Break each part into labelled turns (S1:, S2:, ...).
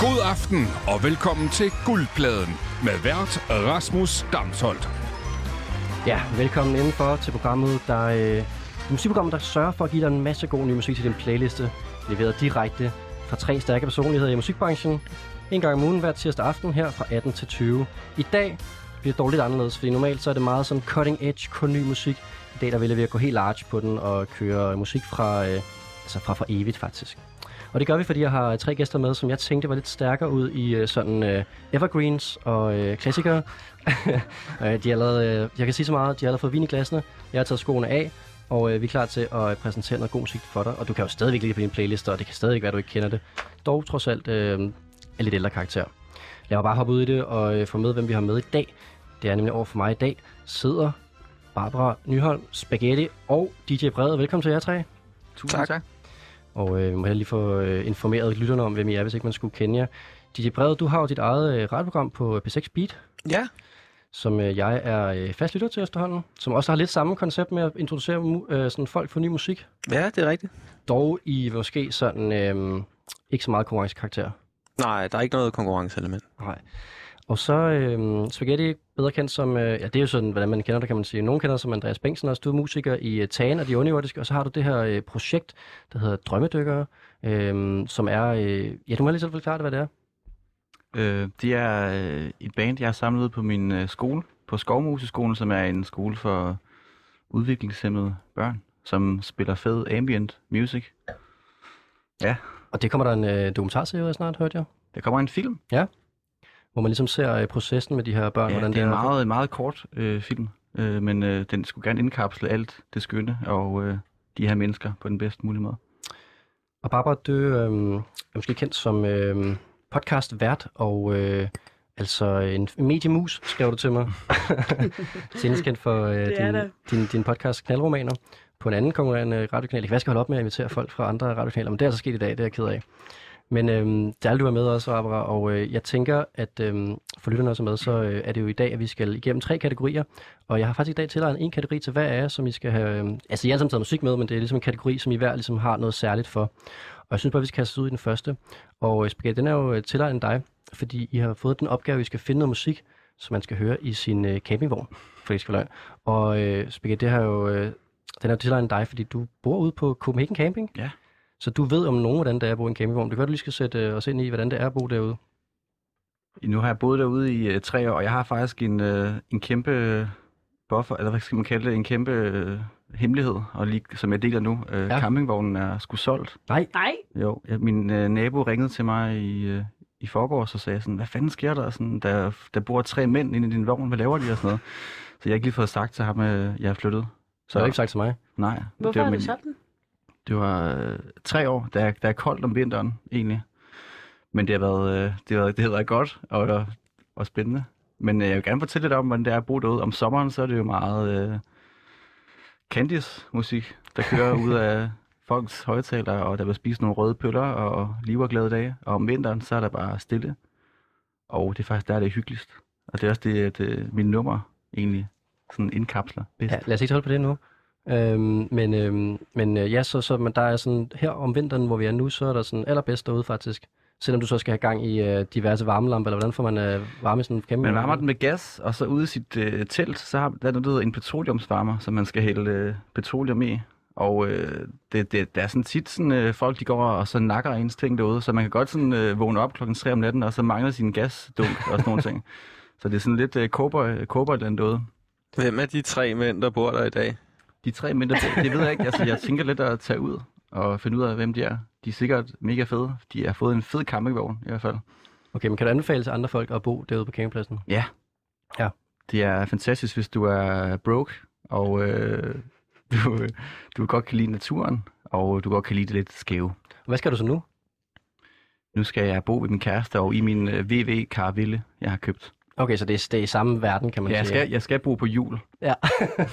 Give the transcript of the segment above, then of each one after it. S1: God aften og velkommen til Guldpladen med vært Rasmus Damsholdt.
S2: Ja, velkommen indenfor til programmet, der øh, musikprogrammet, der sørger for at give dig en masse god ny musik til din playliste, leveret direkte fra tre stærke personligheder i musikbranchen. En gang om ugen hver tirsdag aften her fra 18 til 20. I dag bliver det dog lidt anderledes, fordi normalt så er det meget sådan cutting edge, kun ny musik. I dag der vælger vi at gå helt large på den og køre musik fra, øh, altså fra for evigt faktisk. Og det gør vi, fordi jeg har tre gæster med, som jeg tænkte var lidt stærkere ud i øh, sådan øh, evergreens og øh, klassikere. Øh, de er allerede, øh, jeg kan sige så meget, de har allerede fået vin i glassene. Jeg har taget skoene af, og øh, vi er klar til at præsentere noget god musik for dig. Og du kan jo stadigvæk ligge på din playlist, og det kan stadigvæk være, du ikke kender det. Dog trods alt øh, er lidt ældre karakter. Lad mig bare hoppe ud i det og øh, få med, hvem vi har med i dag. Det er nemlig over for mig i dag, sidder Barbara Nyholm, Spaghetti og DJ Brede. Velkommen til jer tre.
S3: Tusind tak. tak.
S2: Og øh, må jeg lige få øh, informeret lytterne om, hvem I er, hvis ikke man skulle kende jer. DJ Brede, du har jo dit eget øh, radioprogram på P6 Beat,
S3: Ja,
S2: som øh, jeg er øh, fast lytter til efterhånden, som også har lidt samme koncept med at introducere mu- øh, sådan folk for ny musik,
S3: ja, det er rigtigt.
S2: dog i måske sådan øh, ikke så meget konkurrencekarakter.
S3: Nej, der er ikke noget konkurrenceelement.
S2: Nej. Og så øh, Spaghetti, bedre kendt som, øh, ja det er jo sådan, hvordan man kender det, kan man sige. Nogen kender det som Andreas Bengtsen også, du er musiker i øh, Tagen og de underjordiske, og så har du det her øh, projekt, der hedder Drømmedykkere, øh, som er, øh, ja du må lige selv forklare det, hvad det er.
S4: Øh, det er øh, et band, jeg har samlet ud på min øh, skole, på Skovmoseskolen, som er en skole for udviklingshemmede børn, som spiller fed ambient music.
S2: Og det kommer der en øh, dokumentarserie ud af snart, hørte jeg,
S4: Der kommer en film.
S2: hvor man ligesom ser øh, processen med de her børn,
S4: Ja,
S2: hvordan
S4: det er en
S2: det
S4: meget, en meget kort øh, film, øh, men øh, den skulle gerne indkapsle alt det skønne og øh, de her mennesker på den bedst mulige måde.
S2: Og Barbara, du øh, er måske kendt som øh, podcastvært og øh, altså en mediemus, skrev du til mig. Senest kendt for øh,
S5: Det er
S2: din,
S5: det.
S2: din, din podcast Knaldromaner på en anden konkurrerende radiokanal. Jeg kan skal holde op med at invitere folk fra andre radiokanaler, men det er altså sket i dag, det er jeg ked af. Men øh, der er du er med også, Barbara, og øh, jeg tænker, at øh, for lytterne også er med, så øh, er det jo i dag, at vi skal igennem tre kategorier. Og jeg har faktisk i dag tilegnet en kategori til hver af jer, som I skal have... Øh, altså, jeg har alle taget musik med, men det er ligesom en kategori, som I hver ligesom har noget særligt for. Og jeg synes bare, vi skal kaste os ud i den første. Og øh, Spaghetti, den er jo øh, tilegnet dig, fordi I har fået den opgave, at I skal finde noget musik, som man skal høre i sin øh, campingvogn, for det skal være løgn. Og øh, Spaghetti, det har jo, øh, den er jo tilegnet dig, fordi du bor ude på Copenhagen Camping.
S4: Ja.
S2: Så du ved om nogen, hvordan det er at bo i en campingvogn. Det kan være, du lige skal sætte øh, os ind i, hvordan det er at bo derude.
S4: Nu har jeg boet derude i øh, tre år, og jeg har faktisk en, øh, en kæmpe buffer, eller hvad skal man kalde det, en kæmpe øh, hemmelighed, og lige, som jeg deler nu, øh,
S2: Ja.
S4: ja. campingvognen er sgu solgt.
S5: Nej,
S4: Jo, ja, min øh, nabo ringede til mig i, øh, i forgårs og sagde sådan, hvad fanden sker der? Sådan, der, der bor tre mænd inde i din vogn, hvad laver de? Og sådan noget. Så jeg har ikke lige fået sagt til ham, at jeg er flyttet.
S2: Så har du ikke sagt til mig.
S4: Nej.
S5: hvorfor
S4: var
S5: er
S4: min-
S5: det sådan?
S4: Det var øh, tre år, der, er- der er koldt om vinteren egentlig. Men det har været, øh, det har været, det har været godt og, og spændende. Men øh, jeg vil gerne fortælle lidt om, hvordan det er at bo derude. Om sommeren, så er det jo meget øh, Candice-musik, der kører ud af folks højtalere, og der vil spise nogle røde pøller og liv og glade dage. Og om vinteren, så er der bare stille. Og det er faktisk der, det er hyggeligst. Og det er også det, at øh, min nummer egentlig sådan indkapsler bedst.
S2: Ja, lad os ikke holde på det nu. Øhm, men øhm, men øh, ja, så, så men der er sådan, her om vinteren, hvor vi er nu, så er der sådan allerbedst derude faktisk. Selvom du så skal have gang i øh, diverse varmelamper, eller hvordan får man øh, varme i sådan en kæmpe...
S4: Man varmer den med gas, og så ude i sit øh, telt, så har der er noget, der hedder en petroleumsvarmer, som man skal hælde øh, petroleum i. Og øh, det, det, der er sådan tit sådan, øh, folk, de går og så nakker ens ting derude, så man kan godt sådan øh, vågne op klokken 3 om natten, og så mangler sin gasdunk og sådan nogle ting. Så det er sådan lidt øh, cowboy, cowboyland derude.
S3: Hvem er de tre mænd, der bor der i dag?
S4: De tre mænd, der bor- det ved jeg ikke. Altså, jeg tænker lidt at tage ud og finde ud af, hvem de er. De er sikkert mega fede. De har fået en fed campingvogn i hvert fald.
S2: Okay, men kan du anbefale til andre folk at bo derude på campingpladsen?
S4: Ja.
S2: Ja.
S4: Det er fantastisk, hvis du er broke, og øh, du, du godt kan lide naturen, og du godt kan lide det lidt skæve.
S2: Og hvad skal du så nu?
S4: Nu skal jeg bo ved min kæreste og i min øh, VV Karville, jeg har købt.
S2: Okay, så det er, det er i samme verden, kan man
S4: Ja, jeg,
S2: sige.
S4: skal, jeg skal bo på jul.
S2: Ja, det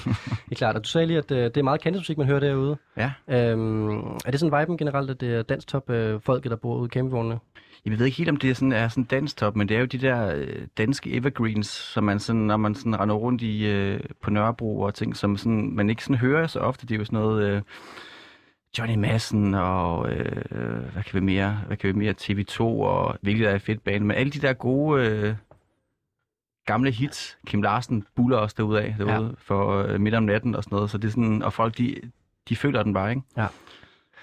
S2: er klart. Og du sagde lige, at øh, det er meget kendt musik, man hører derude.
S4: Ja.
S2: Øhm, er det sådan viben generelt, at det er dansk top øh, folket, der bor ude i campingvognene?
S4: Jeg ved ikke helt, om det er sådan, er sådan danstop, men det er jo de der øh, danske evergreens, som man sådan, når man sådan render rundt i, øh, på Nørrebro og ting, som sådan, man ikke sådan hører så ofte. Det er jo sådan noget øh, Johnny Madsen og øh, hvad kan vi mere? Hvad kan vi mere? TV2 og hvilket er et fedt band. Men alle de der gode øh, gamle hits. Kim Larsen buller også derude af derude ja. for øh, midt om natten og sådan noget. Så det er sådan, og folk de, de føler den bare, ikke?
S2: Ja.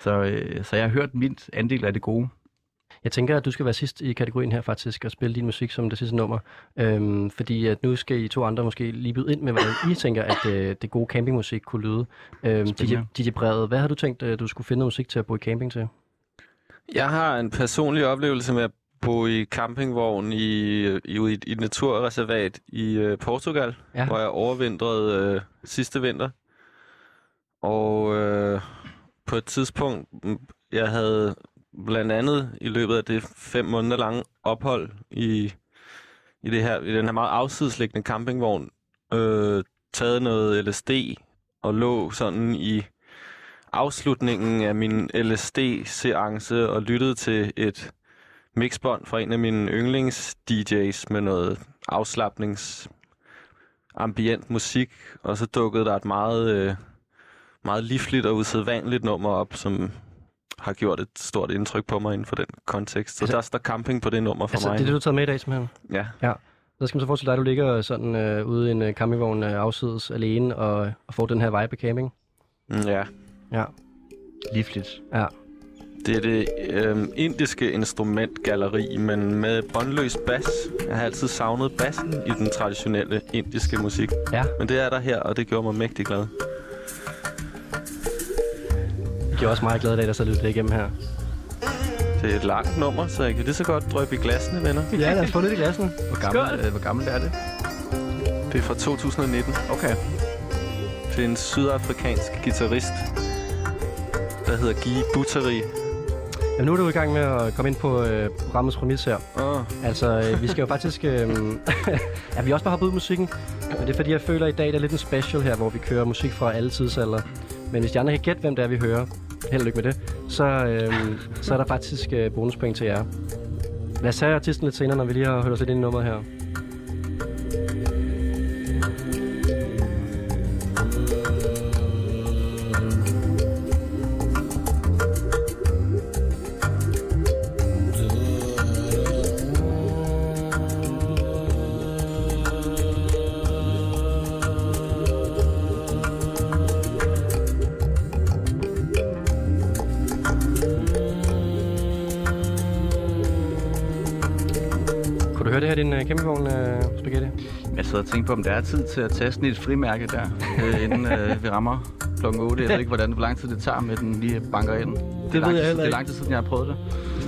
S4: Så, øh, så jeg har hørt mit andel af det gode.
S2: Jeg tænker, at du skal være sidst i kategorien her faktisk, og spille din musik som det sidste nummer. Øhm, fordi at nu skal I to andre måske lige byde ind med, hvordan I tænker, at øh, det gode campingmusik kunne lyde. Øhm, DJ,
S4: Spændende.
S2: DJ Brede, hvad har du tænkt, øh, du skulle finde noget musik til at bo i camping til?
S3: Jeg har en personlig oplevelse med at bo i campingvogn i, i, ude i, et- i et naturreservat i øh, Portugal,
S2: Ja.
S3: ja. hvor jeg overvintrede øh, sidste vinter. Og øh, på et tidspunkt, mm, jeg havde blandt andet i løbet af det fem måneder lange ophold i, i, det her, i den her meget afsidesliggende campingvogn, øh, taget noget LSD og lå sådan i afslutningen af min LSD-seance og lyttede til et mixbånd fra en af mine yndlings-DJ's med noget afslappnings ambient musik, og så dukkede der et meget, øh, meget livligt og usædvanligt nummer op, som har gjort et stort indtryk på mig inden for den kontekst. Så
S2: Altså-
S3: altså, der står camping på det nummer for
S2: Altså,
S3: altså, mig.
S2: det er det, du har taget med i dag simpelthen.
S3: Ja.
S2: Så skal man så forestille dig, at du ligger sådan øh, ude i en øh, campingvogn øh, afsides alene og, og får den her vibe af camping.
S3: Mm, ja.
S2: Ja.
S4: Livligt.
S3: Det er det øh, indiske instrumentgalleri, men med båndløs bas. Jeg har altid savnet bassen i den traditionelle indiske musik.
S2: Ja.
S3: Men det er der her, og det gjorde mig mægtig glad.
S2: Det er også meget glad i dag, der så lytter det igennem her.
S3: Det er et langt nummer, så jeg kan lige så godt drøbe i glasene, venner.
S2: Ja, lad os få lidt i glassene.
S4: Hvor gammel, øh, hvor gammel er det?
S3: Det er fra 2019.
S4: Okay.
S3: Det er en sydafrikansk guitarist, der hedder Guy Butteri.
S2: Jamen, nu er du i gang med at komme ind på øh, programmets præmis her.
S3: Oh.
S2: Altså, øh, vi skal jo faktisk... Øh, ja, vi har også bare hoppet ud i musikken. Men det er fordi, jeg føler, at i dag der er lidt en special her, hvor vi kører musik fra alle tidsalder. Men hvis de andre kan gætte, hvem det er, vi hører, held og lykke med det, så, øh, så er der faktisk øh, bonuspoint til jer. Lad os tage artisten lidt senere, når vi lige har hørt os lidt ind i nummeret her. Kunne du høre det her, din øh, campingvogn, øh, Spaghetti?
S4: Jeg sidder og tænker på, om der er tid til at tage sådan et frimærke der, øh, inden øh, vi rammer kl. 8. Jeg ved ikke, hvordan, hvor lang tid det tager, med den lige banker ind. Det, er
S2: ved
S4: lang
S2: jeg
S4: tid-
S2: heller
S4: Det er
S2: ikke.
S4: lang tid siden, jeg har prøvet det.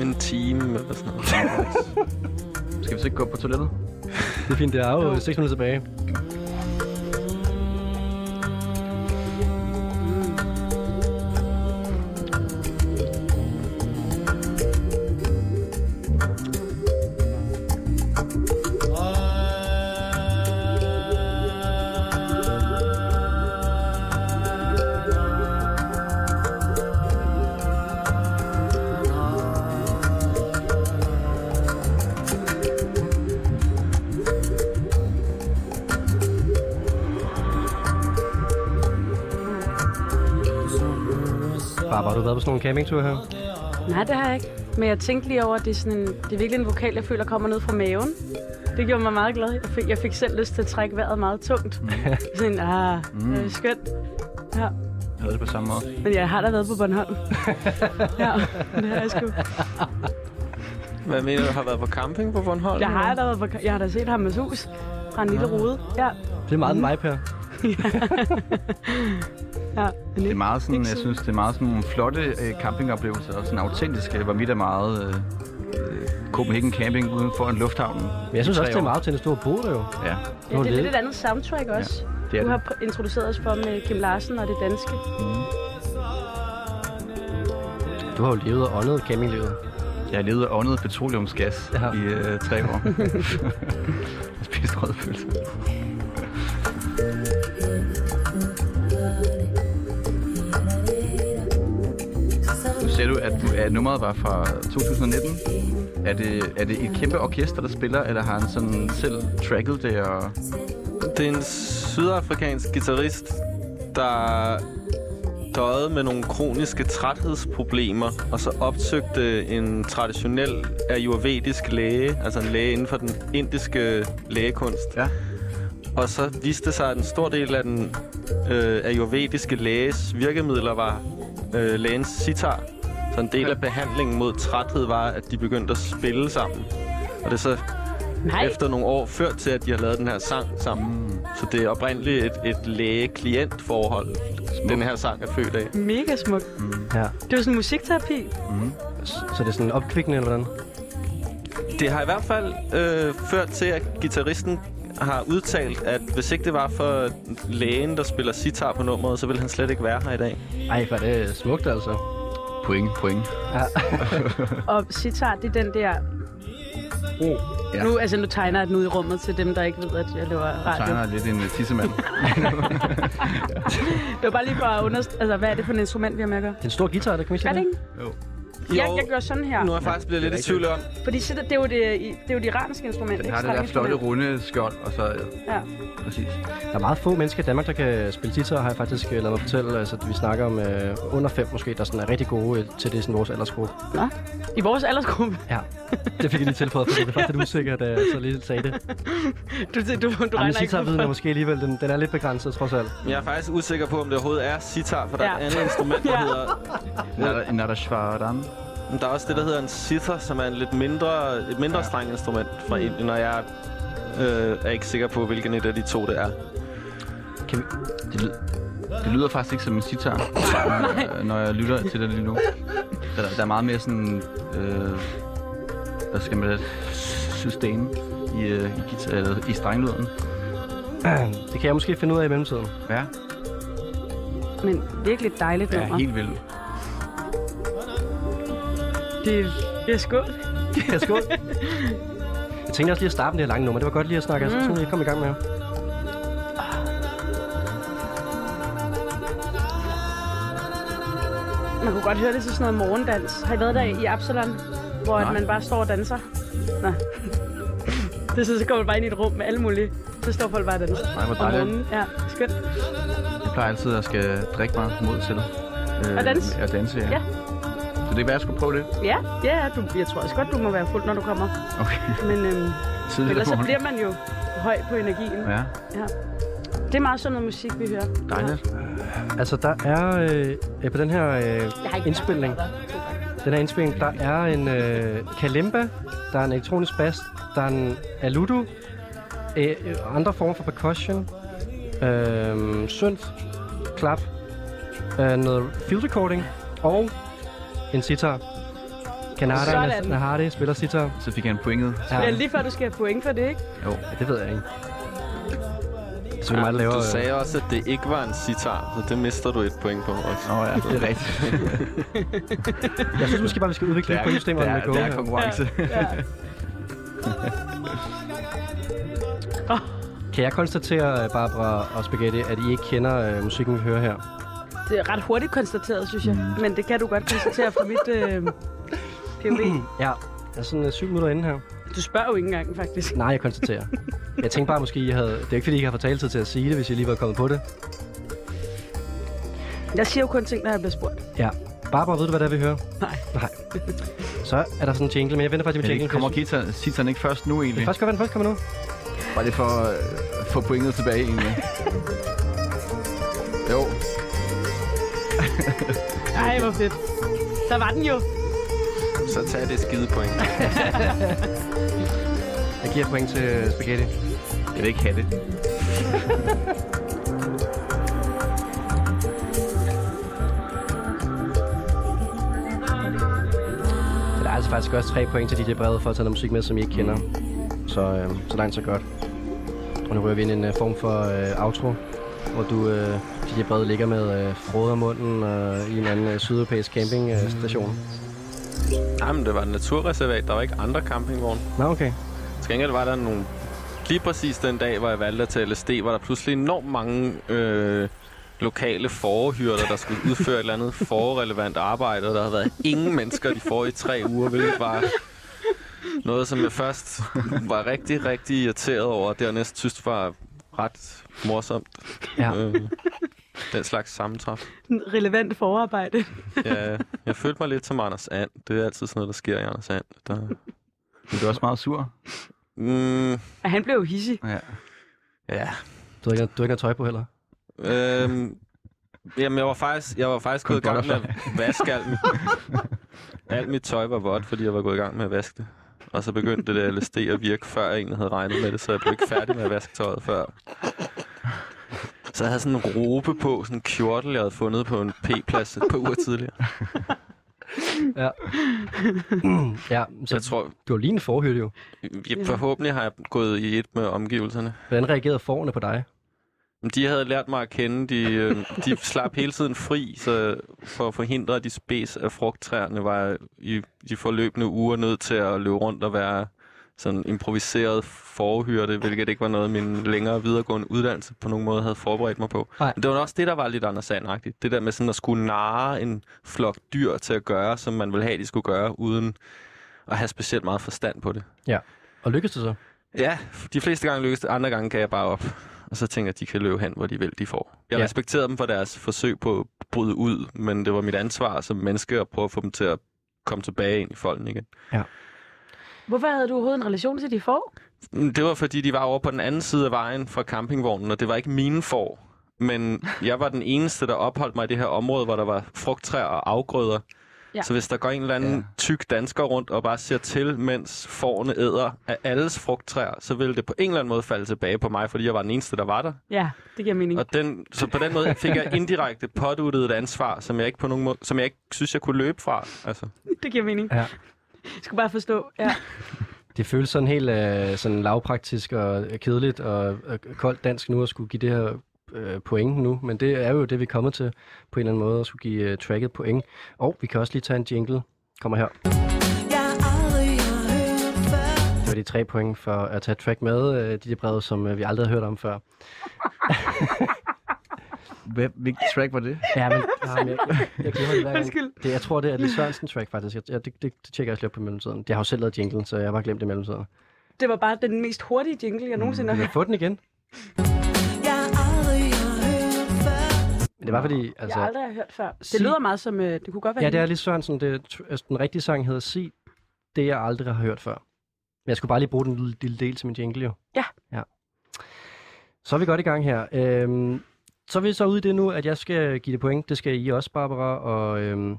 S3: En time eller sådan noget.
S4: Skal vi så ikke gå på toilettet?
S2: Det er fint, det er jo øh, 6 minutter tilbage. Barbara, har du været på sådan nogle campingture her?
S5: Nej, det har jeg ikke. Men jeg tænkte lige over, at det er, sådan en, det er virkelig en vokal, jeg føler kommer ned fra maven. Det gjorde mig meget glad. Jeg fik, jeg fik selv lyst til at trække vejret meget tungt.
S4: Mm.
S5: sådan, ah, mm. det er skønt. Ja.
S4: Jeg havde det på samme måde.
S5: Men jeg har da været på Bornholm. ja, det har jeg sgu.
S3: Hvad mener du, har været på camping på Bornholm?
S5: Jeg har da, været på, jeg har da set ham med hus fra en
S4: Ah.
S5: lille rode. Ja,
S2: Det er meget en vibe her.
S5: ja.
S4: Det er meget sådan,
S5: Ikke
S4: jeg
S5: så-
S4: synes, det er meget sådan nogle flotte øh, campingoplevelser, og sådan autentiske. Det var mit er meget øh, øh, Copenhagen Camping uden for en lufthavn.
S2: Men jeg synes
S4: I
S2: også,
S4: tre
S2: det er
S4: år.
S2: meget til en stor bo, der jo.
S4: Ja,
S5: Ja, det er lidt et andet soundtrack også.
S4: det er
S5: Du
S4: det.
S5: har pr- introduceret os for med Kim Larsen og det danske.
S2: Du har jo levet og åndet campinglivet.
S4: Jeg har levet af åndet petroleumsgas
S2: Ja.
S4: ja. i øh, tre år. jeg spiste rødpølse. Nu ser du, at, du- at nummeret var fra 2019. Er det, er det et kæmpe orkester, der spiller, eller har han sådan selv tracket det? Og...
S3: Det er en sydafrikansk guitarist, der døjede med nogle kroniske træthedsproblemer, og så opsøgte en traditionel ayurvedisk læge, altså en læge inden for den indiske lægekunst.
S4: Ja.
S3: Og så viste det sig, at en stor del af den øh, ayurvediske læges virkemidler var øh, lægens sitar. Så en del af behandlingen mod træthed var, at de begyndte at spille sammen. Og det er så
S5: Nej,
S3: efter nogle år ført til, at de har lavet den her sang sammen. Mm. Så det er oprindeligt et, et læge-klient-forhold, den her sang er født af.
S5: mega smukt.
S2: Ja.
S5: Det er jo sådan musikterapi.
S2: Så det er sådan opkvikkende eller hvordan?
S3: Det har i hvert fald øh, ført til, at gitarristen har udtalt, at hvis ikke det var for lægen, der spiller sitar på nummeret, så ville han slet ikke være her i dag.
S2: Ej, hvor er det smukt altså.
S4: Point, point.
S2: Ja.
S5: Og sitar, det er den der...
S4: Oh. Ja.
S5: Nu, altså, nu tegner jeg den ud i rummet til dem, der ikke ved, at jeg laver radio.
S4: Tegner er lidt en øh, tissemand.
S5: Det var bare lige for at understrege, altså, hvad er det for et instrument, vi har med at gøre?
S2: En stor guitar, det kan man
S5: Er det
S2: sige.
S5: ikke?
S4: Jo.
S5: Jeg,
S3: Jo.
S5: jeg gør sådan her.
S3: Nu er jeg faktisk blevet lidt i tvivl om,
S5: Fordi sitar, det er jo det, det, er jo det iranske instrument.
S4: Den
S5: ikke?
S4: har det der flotte
S5: Strenginstrument.
S4: runde skjold, og så... øh,
S5: Ja.
S4: Præcis.
S2: Der er meget få mennesker i Danmark, der kan spille guitar, har jeg faktisk øh, ladet mig fortælle. Altså, vi snakker om øh, under fem måske, der sådan er rigtig gode øh, til det, sådan vores aldersgruppe.
S5: Nå. I vores aldersgruppe.
S2: Ja, det fik jeg lige tilføjet, fordi det var faktisk lidt usikkert, da jeg så lige sagde det.
S5: Du, du, du, du
S2: Jamen,
S5: regner ikke
S2: guitar
S5: ud
S2: viden er
S5: fra.
S2: måske alligevel, den, den er lidt begrænset trods alt.
S3: jeg er faktisk usikker på, om det overhovedet er sitar, for der er et
S5: Ja.
S3: andet instrument, der
S5: Ja.
S3: hedder...
S4: Nada- Nadashvaram.
S3: Men Der er også det, der hedder en sitar, som er en lidt mindre, et mindre streng instrument
S5: Mm.
S3: fra Indien, og jeg øh, er ikke sikker på, hvilken et af de to det er.
S2: Kan vi...
S4: Det, lyder, det lyder faktisk ikke som en sitar, når, når jeg lytter til det lige nu. Der, der er meget mere sådan... Øh, hvad skal man det? Sustain i, øh, i, guitar, eller i strenglyden.
S2: Det kan jeg måske finde ud af i mellemtiden.
S4: Ja,
S5: Men virkelig et dejligt
S4: det er
S5: nummer.
S4: helt vildt.
S5: Det er, det er skål.
S2: Ja, skål. Jeg tænkte også lige at starte med det her lange nummer. Det var godt lige at snakke, mm. altså, sådan lige kom i gang med.
S5: Man kunne godt høre det til sådan noget morgendans. Har I været der i Absalon, hvor at
S4: Nej.
S5: man bare står og danser? Nå. Det er så, så går man bare ind i et rum med alle mulige. Så står folk bare og danser.
S4: Nej, hvor
S5: Om
S4: dejligt.
S5: morgenen. Ja, skønt.
S4: Jeg plejer altid at skal drikke mig mod til. Øh,
S5: Og danse.
S4: Og danse, ja.
S5: Ja.
S4: ja. Så det er, hvad jeg skulle prøve det.
S5: Ja, ja, ja, du, jeg tror også godt, du må være fuld, når du kommer.
S4: Okay.
S5: Men øhm,
S4: Tidligt
S5: ellers
S4: om
S5: så
S4: morgenen.
S5: bliver man jo høj på energien.
S4: Ja,
S5: Ja. Det er meget sådan noget musik, vi hører.
S4: dejligt.
S2: Altså, der er øh, øh, på den her øh, indspilning, den her indspilning, der er en øh, kalimba, der er en elektronisk bass, der er en aludo, øh, øh, andre former for percussion, øh, synth, klap, øh, noget field recording og en sitar. Kanada
S5: Sådan.
S2: Nahari spiller sitar.
S4: Så fik jeg en pointet.
S5: Ja. ja, lige før du skal have point for det, ikke?
S4: Jo.
S2: Ja, det ved jeg ikke. Så vi ja, meget laver...
S3: Du
S2: øh,
S3: sagde også, at det ikke var en sitar, så det mister du et point på også.
S4: Nå ja, det er rigtigt.
S2: øh, Jeg synes måske bare, vi skal udvikle lidt pointsystemerne med
S4: det
S2: Go.
S4: er, det er konkurrence.
S5: Ja.
S2: Kan jeg konstatere, øh, Barbara og Spaghetti, at I ikke kender øh, musikken, vi hører her?
S5: Det er ret hurtigt konstateret, synes jeg. Mm. Men det kan du godt konstatere fra mit øh, POV.
S2: Ja. Jeg er sådan øh, syv minutter inde her.
S5: Du spørger jo ikke engang, faktisk.
S2: Nej, jeg konstaterer. jeg tænkte bare, måske I havde... Det er jo ikke, fordi I ikke har fået taletid til at sige det, hvis I lige var kommet på det.
S5: Jeg siger jo kun ting, når jeg bliver spurgt.
S2: Ja. Barbara, ved du, hvad det er, vi hører?
S5: Nej.
S2: Nej. Så er der sådan en jingle, men jeg venter faktisk
S4: Men
S2: med jingle.
S4: det kommer guitar, sitaren ikke først nu egentlig?
S2: Først gør den først kommer nu.
S4: Var det for at øh, få pointet tilbage egentlig? jo.
S5: Ej, hvor fedt. Der var den jo.
S3: Så tag det skide point.
S2: Jeg giver point til øh, Spaghetti.
S4: Jeg vil ikke have det.
S2: Så der er altså faktisk også tre point til DJ Brede for at tage noget musik med, som I ikke kender. Så, øh, så langt så godt. Og nu rører vi ind i en øh, form for øh, outro, hvor du, øh, DJ Brede, ligger med øh, frode om munden øh, i en anden øh, sydeuropæisk campingstation. Øh,
S3: Jamen, det var et naturreservat. Der var ikke andre campingvogne.
S2: Nå, okay.
S3: Til gengæld var der nogle... Lige præcis den dag, hvor jeg valgte at tage LSD, var der pludselig enormt mange øh, lokale forhyrter, der skulle udføre et eller andet forrelevant arbejde, og der havde været ingen mennesker de forrige tre uger, hvilket var noget, som jeg først var rigtig, rigtig irriteret over, og dernæst synes var ret morsomt.
S2: Ja.
S3: Øh, Den slags sammentræf.
S5: relevant forarbejde.
S3: Jeg, jeg følte mig lidt som Anders And. Det er altid sådan noget, der sker i Anders And. Der...
S4: Men du er også meget sur.
S3: Mm,
S5: Og han blev jo hissig.
S4: Ja.
S3: ja.
S2: Du har ikke, du har ikke noget tøj på heller.
S3: Øhm, jamen, jeg var faktisk, jeg var faktisk gået i gang med at vaske alt mit, alt mit tøj var vådt, fordi jeg var gået i gang med at vaske det. Og så begyndte det der LSD at virke, før jeg egentlig havde regnet med det, så jeg blev ikke færdig med at vaske tøjet før. Så jeg havde sådan en robe på, sådan en kjortel, jeg havde fundet på en p-plads et par uger tidligere.
S2: Ja, så
S3: Jeg tror,
S2: du har lige en forhyrte jo.
S3: jeg, forhåbentlig har jeg gået i et med omgivelserne.
S2: Hvordan reagerede forerne på dig?
S3: Men De havde lært mig at kende. De, øh, de slap hele tiden fri, så for at forhindre, at de spes af frugttræerne, var jeg i de forløbende uger nødt til at løbe rundt og være sådan improviseret forhyrte, hvilket ikke var noget, min længere videregående uddannelse på nogen måde havde forberedt mig på.
S2: Nej.
S3: Men det var også det, der var lidt Anders Sand -agtigt. Det der med sådan at skulle narre en flok dyr til at gøre, som man ville have, de skulle gøre, uden at have specielt meget forstand på det.
S2: Og lykkedes det så?
S3: Ja, de fleste gange lykkes det, andre gange kan jeg bare op. Og så tænker jeg, at de kan løbe hen, hvor de vil, de får. Jeg
S2: Ja.
S3: ja. respekterede dem for deres forsøg på at bryde ud, men det var mit ansvar som menneske at prøve at få dem til at komme tilbage ind i folden igen.
S5: Hvorfor havde du overhovedet en relation til de får?
S3: Men Det var, fordi de var over på den anden side af vejen fra campingvognen, og det var ikke mine får. Men jeg var den eneste, der opholdt mig i det her område, hvor der var frugttræer og afgrøder.
S5: Ja.
S3: Ja. Så hvis der går en eller anden
S4: Ja.
S3: ja. tyk dansker rundt og bare ser til, mens fårene æder af alles frugttræer, så ville det på en eller anden måde falde tilbage på mig, fordi jeg var den eneste, der var der.
S5: Ja, det giver mening.
S3: Og den, så på den måde fik jeg indirekte påduttet et ansvar, som jeg ikke på nogen måde, som jeg ikke synes, jeg kunne løbe fra. Altså,
S5: Det giver mening.
S2: Ja.
S5: Jeg skulle bare forstå. Ja.
S2: Det føles sådan helt øh, sådan lavpraktisk og kedeligt og, og koldt dansk nu at skulle give det her øh, point nu, men det er jo det, vi er kommet til på en eller anden måde, at skulle give øh, tracket point. Og vi kan også lige tage en jingle. Kommer her.
S6: Dạ,
S2: Det var de tre point for at tage et track med, øh, de der breve, som øh, vi aldrig har hørt om før.
S4: Hvad, hvilket track var det?
S2: Ja, men jamen, jeg, jeg, jeg glemmer det hver gang.
S5: Undskyld.
S2: Det, jeg tror, det er Lis Sørensen track, faktisk. Jeg, jeg, det, det, det, tjekker jeg også lige op på mellemtiden. Jeg har jo selv lavet jinglen, så jeg har bare glemt det i mellemtiden.
S5: Det var bare den mest hurtige jingle, jeg nogensinde har
S2: Kan vi
S5: hørt.
S2: få den igen?
S6: Dạ,
S2: Men det var fordi, altså...
S5: Jeg aldrig har hørt før. Det
S2: Sig-
S5: lyder meget som, øh, det kunne godt være
S2: Ja, det er
S5: hende.
S2: Lis Sørensen. Det, er tr- altså, den rigtige sang hedder Sig det, jeg aldrig har hørt før. Men jeg skulle bare lige bruge den lille, lille del til min jingle, jo.
S5: Ja.
S2: ja. Så er vi godt i gang her. Øhm, så er vi så ude i det nu, at jeg skal give det point. Det skal I også, Barbara og, øhm,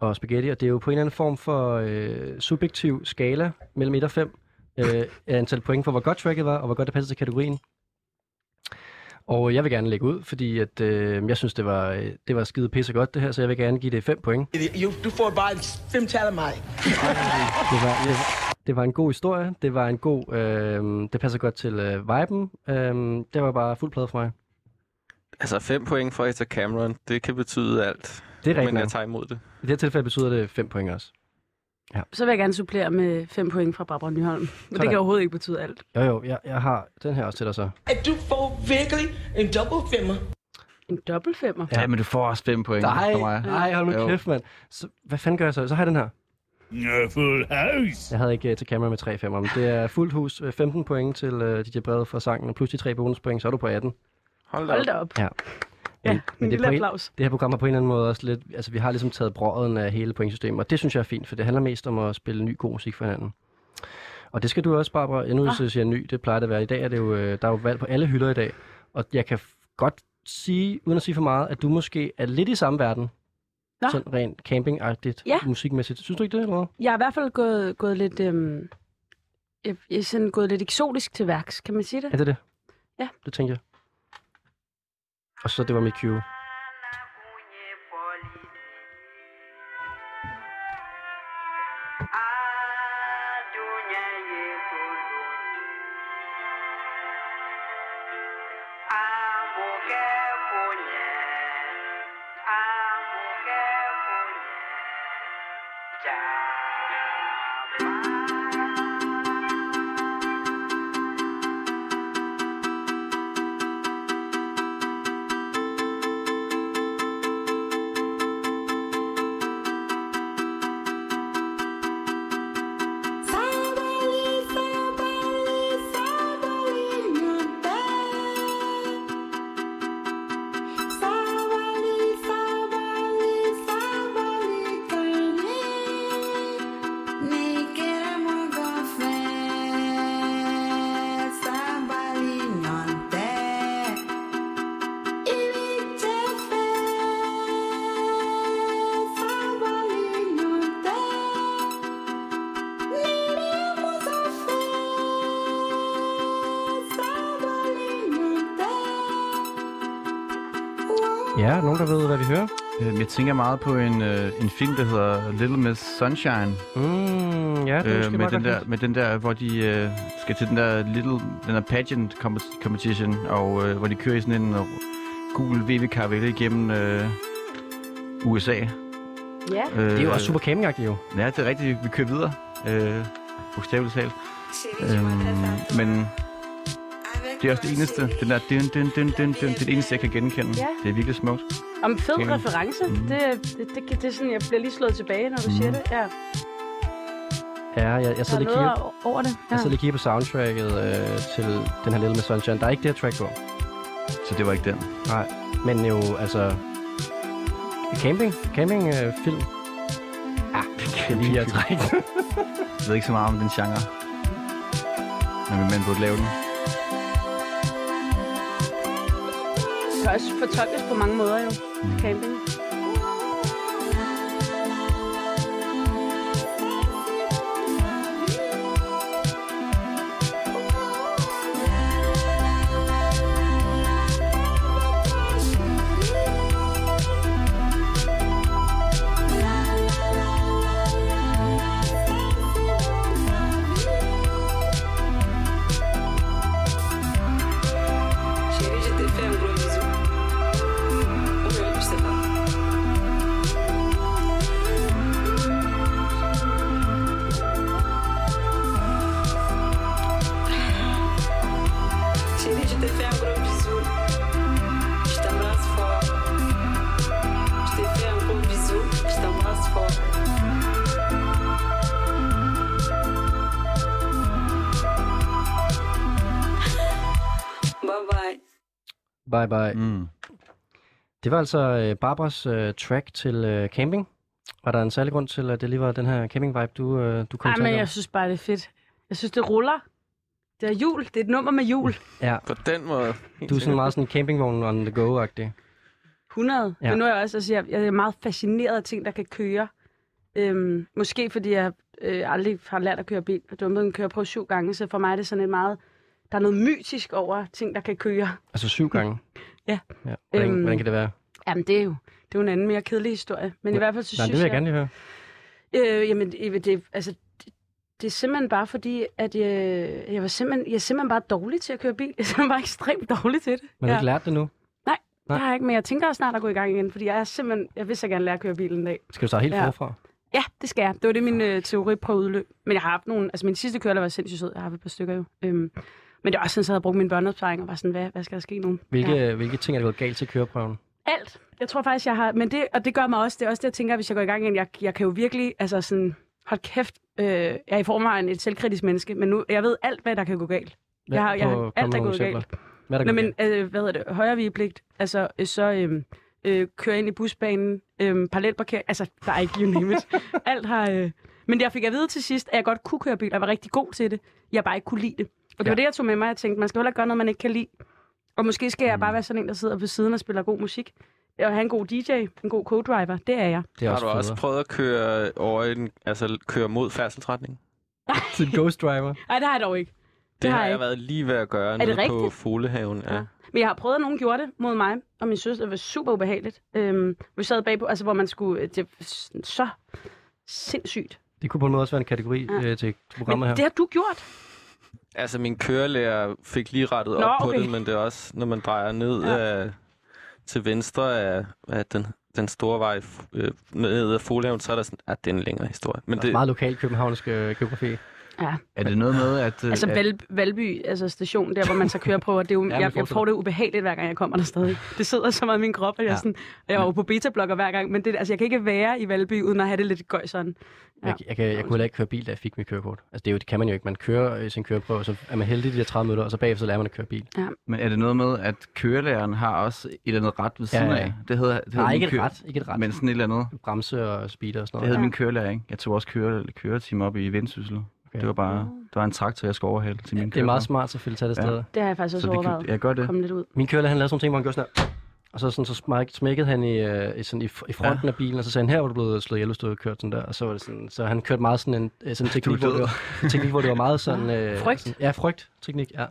S2: og Spaghetti. Og det er jo på en eller anden form for øh, subjektiv skala mellem 1 og 5. Øh, antal point for, hvor godt tracket var, og hvor godt det passede til kategorien. Og jeg vil gerne lægge ud, fordi at, øh, jeg synes, det var, øh, det var skide pisse godt det her, så jeg vil gerne give det 5 point.
S7: Jo, du får bare fem tal af mig.
S2: Det var, det, det var en god historie. Det var en god... Øh, det passer godt til øh, viben. Øh, det var bare fuld plade for mig.
S3: altså fem point for Eta Cameron, det kan betyde alt.
S2: Det er rigtigt.
S3: Men
S2: nok.
S3: jeg tager imod det.
S2: I det her tilfælde betyder det 5 point også.
S5: Så vil jeg gerne supplere med fem point fra Barbara Nyholm. Men det
S2: Sådan.
S5: kan overhovedet ikke betyde alt.
S2: Jo jo, jeg, jeg har den her også til dig så.
S7: At du får virkelig en dobbelt femmer.
S5: En dobbelt femmer.
S2: Ja.
S4: Ja, men du får også fem point fra
S2: Nej,
S4: mig.
S2: nej, hold nu
S4: Jo.
S2: kæft, mand. Så, hvad fanden gør jeg så? Så har jeg den her.
S8: Full house.
S2: Jeg havde ikke øh, til kamera med 3 5 men det er fuldt hus. øh, 15 point til øh, DJ Brede for sangen, og plus de tre bonuspoint, så er du på 18.
S3: Hold da op.
S5: Hold da op.
S2: Ja.
S5: Ja,
S2: Men- men
S5: en
S2: det er
S5: lille
S2: på en-
S5: applaus.
S2: Det her program har på en eller anden måde også lidt... Altså, vi har ligesom taget brøden af hele pointsystemet, og det synes jeg er fint, for det handler mest om at spille ny god musik for hinanden. Og det skal du også, Barbara. Endnu ah. siger jeg ny, det plejer det at være. I dag er det jo, øh, der er jo valg på alle hylder i dag, og jeg kan f- godt sige, uden at sige for meget, at du måske er lidt i samme verden.
S5: Nå.
S2: Sådan rent campingagtigt,
S5: Ja.
S2: musikmæssigt. Synes du ikke det, eller hvad?
S5: Jeg har i hvert fald gået, gået lidt... Øhm, jeg, jeg er sådan gået lidt eksotisk til værks, kan man sige det?
S2: Er det det?
S5: Ja.
S2: Det tænker jeg. Og så det var mit cue.
S9: Sawa
S2: Ja, er der nogen, der ved, hvad vi hører?
S4: Øhm, Jeg tænker meget på en, øh, en film, der hedder Little Miss Sunshine.
S2: Mm, ja, det er måske
S4: øh, med,
S2: meget
S4: den
S2: godt
S4: der, med den der, hvor de øh, skal til den der little, den der pageant compe- competition, og øh, hvor de kører i sådan en øh, gul vv karavelle igennem øh, USA.
S5: Ja.
S4: Øh,
S2: Det er jo også super campingagtigt jo.
S4: Ja, det er rigtigt. Vi kører videre. Øh, bogstaveligt talt. Øhm, men det er også det eneste. Den der dyn, dyn, dyn, dyn, dyn, det er det eneste, jeg kan genkende.
S5: Ja.
S4: Det er virkelig smukt.
S5: Om fed
S4: Tænker-
S5: reference. Det, det, det, det, er sådan, jeg bliver lige slået tilbage, når du siger det. Ja,
S2: Ja, jeg, jeg
S5: der
S2: sidder
S5: Mm. er
S2: lige og
S5: noget
S2: kigger,
S5: o- over det. Ja.
S2: jeg sidder lige og kigger på soundtracket øh, til den her Little Miss Sunshine. Der er ikke det her track på.
S4: Så det var ikke den.
S2: Nej, men jo, altså... Camping, camping øh, film. Ja, det kan jeg lige at trække.
S4: Jeg ved ikke så meget om den genre. Men man burde lave den.
S5: Det kan også fortolkes på mange måder jo. Camping.
S9: Chérie, je te fais un gros bisou. Ou non, je sais pas. Chérie, je te fais un gros bisou. Je t'embrasse fort. Je te fais un gros bisou. Je t'embrasse fort. Bye bye.
S2: Bye bye.
S4: Mm.
S2: Det var altså øh, Barbaras øh, track til øh, camping. Var der en særlig grund til, at det lige var den her camping-vibe, du, øh, du kom
S5: Ej,
S2: til?
S5: men jeg synes bare, det er fedt. Jeg synes, det ruller. Det er jul. Det er et nummer med jul.
S2: Ja,
S3: På den måde.
S2: du er sådan meget sådan campingvogn on the go-agtig.
S5: 100.
S2: Ja.
S5: Ja. Men nu er jeg også, altså, jeg, jeg er meget fascineret af ting, der kan køre. Øhm, måske fordi jeg øh, aldrig har lært at køre bil, og dumpede en køreprøve syv gange, så for mig er det sådan et meget... Der er noget mytisk over ting, der kan køre.
S2: Altså syv gange?
S5: Mm. Ja.
S2: ja. Hvordan, øhm,
S5: Øhm,
S2: hvordan kan det være?
S5: Jamen, det er jo, det er jo en anden mere kedelig historie. Men i hvert fald, så
S2: Nej, det
S5: synes
S2: vil jeg gerne lige høre.
S5: Øh, jamen, det, det, altså, det, det er simpelthen bare fordi, at jeg, jeg, var simpelthen, jeg er simpelthen bare dårlig til at køre bil. Jeg er simpelthen bare ekstremt dårlig til det.
S2: Men har du ikke lært det nu?
S5: det har jeg ikke, men jeg tænker også snart at gå i gang igen, fordi jeg er simpelthen, jeg vil så gerne lære at køre bil en dag.
S2: Skal du starte helt
S5: Ja.
S2: forfra?
S5: Ja, det skal jeg. Det var det, min øh, teori på udløb. Men jeg har haft nogle, altså min sidste kørelærer var sindssygt sød. Jeg har haft et par stykker jo. Øhm, men det er også sådan, at jeg havde brugt min børneopsparing og var sådan, hvad, hvad skal der ske nu?
S2: Hvilke,
S5: Ja.
S2: ja. hvilke ting er det gået galt til køreprøven?
S5: Alt. Jeg tror faktisk, jeg har... Men det, og det gør mig også... Det er også det, jeg tænker, hvis jeg går i gang igen. Jeg, jeg kan jo virkelig... Altså sådan... Hold kæft. Øh, jeg er i forvejen et selvkritisk menneske, men nu... Jeg ved alt, hvad der kan gå galt.
S2: Hvad-
S5: Jeg har- jeg har-
S2: prøv at
S5: alt
S2: komme
S5: er
S2: med nogle
S5: gået
S2: eksempler. Hvad er der
S5: Nå,
S2: gået
S5: men
S2: galt?
S5: øh, hvad hedder det? Højre vigepligt. Altså, øh, så øh, øh, køre ind i busbanen. Øh, parallelparkering. Altså, der er ikke you name it. Alt har... Øh... Men jeg fik at vide til sidst, at jeg godt kunne køre bil, og jeg var rigtig god til det. Jeg bare ikke kunne lide det. Og det ja. var
S2: Ja.
S5: det, jeg tog med mig. Jeg tænkte, man skal heller ikke gøre noget, man ikke kan lide. Og måske skal jeg bare være sådan en, der sidder ved siden og spiller god musik. Og have en god DJ, en god co-driver. Det er jeg.
S2: Det er
S3: Har
S2: også
S3: du også
S2: federe.
S3: prøvet at køre over i den, altså køre mod færdselsretning?
S2: Til en ghost driver.
S5: Nej, det har jeg dog ikke.
S3: Det, det har jeg
S5: ikke.
S3: været lige ved at gøre
S5: det
S3: nede på
S5: rigtigt?
S3: Folehaven. Ja.
S5: Ja. Men jeg har prøvet, at nogen gjorde det mod mig og min søster. Det var super ubehageligt. Øhm, vi sad bagpå, altså, hvor man skulle... Det var så sindssygt.
S2: Det kunne på en måde også være en kategori
S5: Ja.
S2: øh, til programmet
S5: Men
S2: her.
S5: det har du gjort.
S3: Altså, min kørelærer fik lige rettet
S5: Nå,
S3: op på
S5: okay.
S3: det, men det er også, når man drejer ned
S5: Ja.
S3: ja. af, til venstre af, af den, den store vej øh, ned ad Folehaven, så er der sådan, at det er en længere historie. Men det,
S2: Meget lokal københavnsk øh, geografi.
S5: Ja.
S4: Er det noget med, at... øh,
S5: Altså
S4: at,
S5: Val, Valby, altså station, der hvor man så kører på, og det er jo, jeg, jeg
S2: fortsæt.
S5: får det ubehageligt, hver gang jeg kommer der stadig. Det sidder så meget i min krop, at jeg,
S4: Ja.
S5: ja. sådan, og jeg var jo på beta-blokker hver gang, men det, altså, jeg kan ikke være i Valby, uden at have det lidt gøj sådan.
S2: Jeg, jeg, kan, jeg kunne heller ikke køre bil, da jeg fik mit kørekort. Altså det, er jo, det kan man jo ikke. Man kører øh, sin køreprøve, og så er man heldig de der 30 minutter, og så bagefter så lærer man at køre bil.
S4: men er det noget med, at kørelæreren har også et eller andet ret ved
S2: Ja,
S4: siden
S2: ja.
S4: af? Det hedder, det hedder
S2: Nej,
S4: min
S2: ikke et
S4: kø-
S2: ret. Ikke et ret.
S4: Men
S2: Men...
S4: sådan et eller andet.
S2: Bremse og speeder og sådan
S4: Det
S2: noget.
S4: hedder
S5: Ja.
S4: min kørelærer, ikke? Jeg tog også køre, køretime op i Vendsyssel.
S2: Okay.
S4: Okay. Det var bare... Der var en traktor, jeg skulle overhale til min
S2: Det er meget smart, selvfølgelig tage det
S4: Ja.
S2: sted.
S5: Det har jeg faktisk
S4: Så
S5: også
S4: det
S5: overvejet.
S4: kan, jeg gør det.
S5: Kom lidt ud.
S2: Min kørelærer, han lavede sådan nogle ting, hvor han gjorde sådan her. Og så, sådan, så smæk, smækkede han i, øh, i, sådan, i, f- i fronten ja. af bilen, og så sagde han, her var du blevet slået ihjel, hvis du havde kørt sådan der. Og så var det sådan, så han kørte meget sådan en, øh, sådan en teknik, hvor
S4: død.
S2: det, var, en teknik, hvor det var meget sådan... Øh,
S5: Frygt.
S2: Sådan, ja, frygt teknik, ja.
S5: Ja.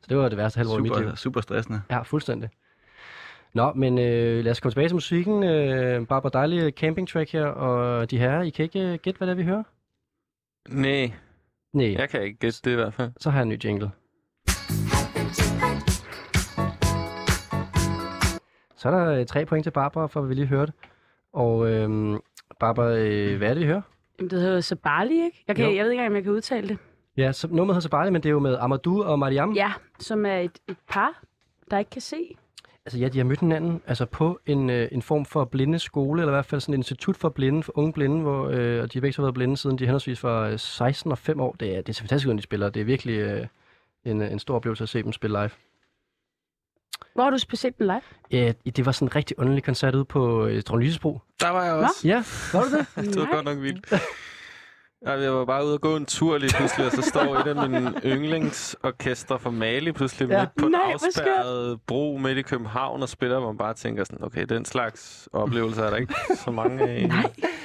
S2: Så det var det værste halvår i mit liv.
S4: Super, super stressende.
S2: Ja, fuldstændig. Nå, men øh, lad os komme tilbage til musikken. Øh, Barbara, dejlig camping track her, og de herrer, I kan ikke øh, gætte, hvad det er, vi hører?
S3: Nej,
S2: Nej, ja.
S3: jeg kan ikke gætte det i hvert fald.
S2: så har jeg en ny jingle. Så er der øh, tre point til Barbara, for at vi lige hørte. Og øh, Barbara, øh, hvad er det, vi hører?
S5: Jamen, det hedder jo Sabali, ikke? Jeg, kan,
S2: Jo.
S5: jeg ved ikke engang, om jeg kan udtale det.
S2: Ja, så, nummeret hedder Sabali, men det er jo med Amadou og Mariam.
S5: Ja, som er et, et par, der ikke kan se.
S2: Altså ja, de har mødt hinanden altså på en, øh, en form for blinde skole, eller i hvert fald sådan et institut for blinde, for unge blinde, hvor øh, og de har begge så været blinde siden de henholdsvis var øh, 16 og 5 år. Det er, det er så fantastisk, hvordan de spiller. Det er virkelig øh, en, øh, en stor oplevelse at se dem spille live.
S5: Hvor har du specielt den live?
S2: Ja, det var sådan en rigtig underlig koncert ude på øh, Trond Lysebro.
S3: Der var jeg
S5: Nå.
S3: også.
S2: Ja, var du det?
S3: Det var
S5: Nej.
S3: godt nok vildt. Ej, jeg var bare ude og gå en tur lige pludselig, og så står et af mine yndlingsorkestre fra Mali pludselig
S2: Ja.
S3: ja. midt på en
S5: Nej, hvor skørt.
S3: afspærret bro midt i København og spiller, hvor man bare tænker sådan, okay, den slags oplevelser er der ikke så mange af i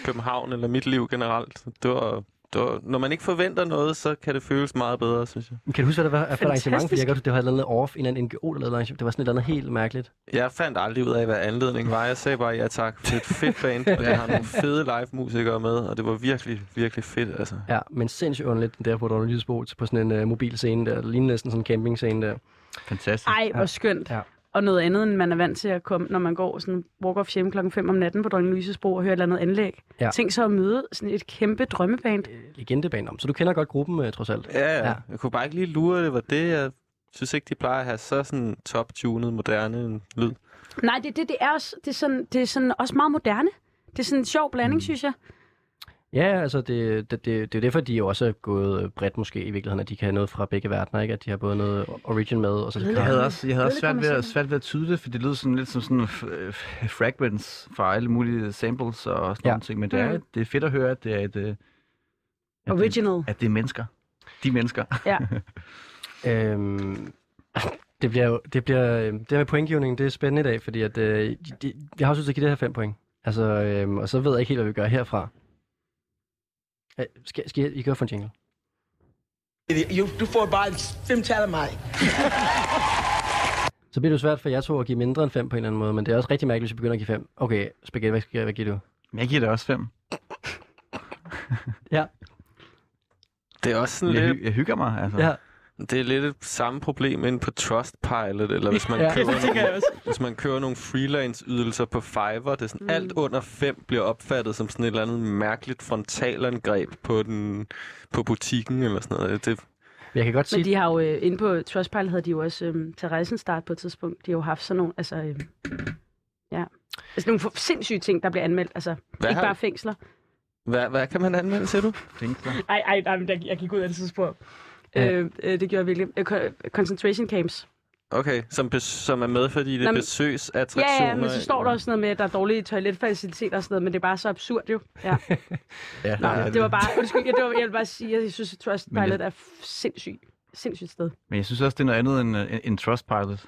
S3: København eller mit liv generelt. Så Det var, det var, når man ikke forventer noget, så kan det føles meget bedre, synes jeg.
S2: Men Kan du huske, hvad det var for et arrangement? Fordi jeg
S5: Fantastisk.
S2: godt, det var et eller andet off, en eller anden NGO, der lavede et arrangement. Det var sådan et eller andet helt mærkeligt.
S3: Jeg fandt aldrig ud af, hvad anledningen var. Jeg sagde bare, ja tak, det er et fedt band, og jeg har nogle fede live-musikere med, og det var virkelig, virkelig fedt, altså.
S2: Ja, men sindssygt underligt, den der på Trond Lysebro, på sådan en øh, mobil scene der. Det lignede næsten sådan en campingscene der.
S4: Fantastisk.
S5: Ej, hvor skønt.
S2: Ja.
S5: Ja. Og noget andet, end man er vant til at komme, når man går sådan walk off hjem klokken 5 om natten på Dronning Louise's Bro og hører et eller andet anlæg.
S2: Ja. Øh.
S5: Ja. Tænk så at møde sådan et kæmpe drømmeband.
S2: Legendeband om. Så du kender godt gruppen, øh, trods alt.
S3: Ja,
S2: Ja.
S3: ja. Jeg kunne bare ikke lige lure, at det var det. Jeg synes ikke, de plejer at have så sådan top-tunet, moderne en lyd.
S5: Nej, det, det, det er også det er sådan, det er sådan også meget moderne. Det er sådan en sjov blanding, mm. synes jeg.
S2: Ja, altså det, det, det, det er jo derfor, de jo også er gået øh, bredt måske i virkeligheden, at de kan have noget fra begge verdener, ikke? At de har både noget origin med, og så det
S4: Jeg havde
S5: Ja.
S4: også, jeg havde også
S5: Det er
S4: svært,
S5: lidt
S4: ved at,
S5: kommercielt.
S4: svært ved at tyde det, for det lyder sådan lidt som sådan f- f- øh, fragments fra alle mulige samples og sådan
S2: Ja.
S4: ja. nogle ting. Men det er,
S5: Mm.
S4: det er fedt at høre, at det er et, øh, at det-
S5: Original.
S4: at det er mennesker. De mennesker.
S2: Øhm, det bliver jo, det bliver, øh, det her med pointgivningen, det er spændende i dag, fordi at, øh, de, de, jeg har også lyst til at give det her fem point. Altså, øhm, og så ved jeg ikke helt, hvad vi gør herfra. Øh, skal, skal jeg, I gøre for en jingle?
S7: You do for by fem talamai.
S2: Så bliver det jo svært for jer to at give mindre end fem på en eller anden måde, men det er også rigtig mærkeligt, hvis vi begynder at give fem. Okay, Spaghetti, hvad, skal, hvad giver du?
S4: Men jeg giver det også fem.
S3: Det er også sådan
S4: Jeg,
S3: lidt,
S4: hy- jeg hygger mig, altså.
S2: Ja.
S3: det er lidt et samme problem inde på Trustpilot, eller hvis man,
S2: Ja,
S3: ja,
S2: det
S3: køber, nogle, hvis man køber nogle freelance-ydelser på Fiverr. Det er sådan, mm. alt under 5 bliver opfattet som sådan et eller andet mærkeligt frontalangreb på, den, på butikken, eller sådan noget. Det,
S2: Men Jeg kan godt sige,
S5: Men de har jo, øh, inde på Trustpilot havde de jo også øh, til rejsen start på et tidspunkt. De har jo haft sådan nogle, altså, øh, ja. Altså nogle for- sindssyge ting, der bliver anmeldt. Altså,
S3: Hvad
S5: ikke
S3: har-
S5: bare fængsler.
S3: hvad, hvad kan man anmelde, siger du?
S4: Fængsler.
S5: Ej, ej, nej, men jeg, jeg gik ud af det tidspunkt.
S2: Ja.
S5: Øh, øh, det gjorde jeg virkelig. Øh, ko- concentration camps.
S3: Okay, som, bes, som er med, fordi det
S5: Nå,
S3: er
S5: men-
S3: besøgsattraktioner.
S5: Ja, ja, men så står der også noget med, at der er dårlige toiletfaciliteter og sådan noget, men det er bare så absurd jo. Ja.
S4: Ja,
S3: Nej,
S4: det er
S5: Det var bare, undskyld, jeg, det var, jeg vil bare sige, at jeg synes, at Trustpilot er f- sindssygt sindssygt sted.
S4: Men jeg synes også, det er noget andet end, øh, end Trustpilot.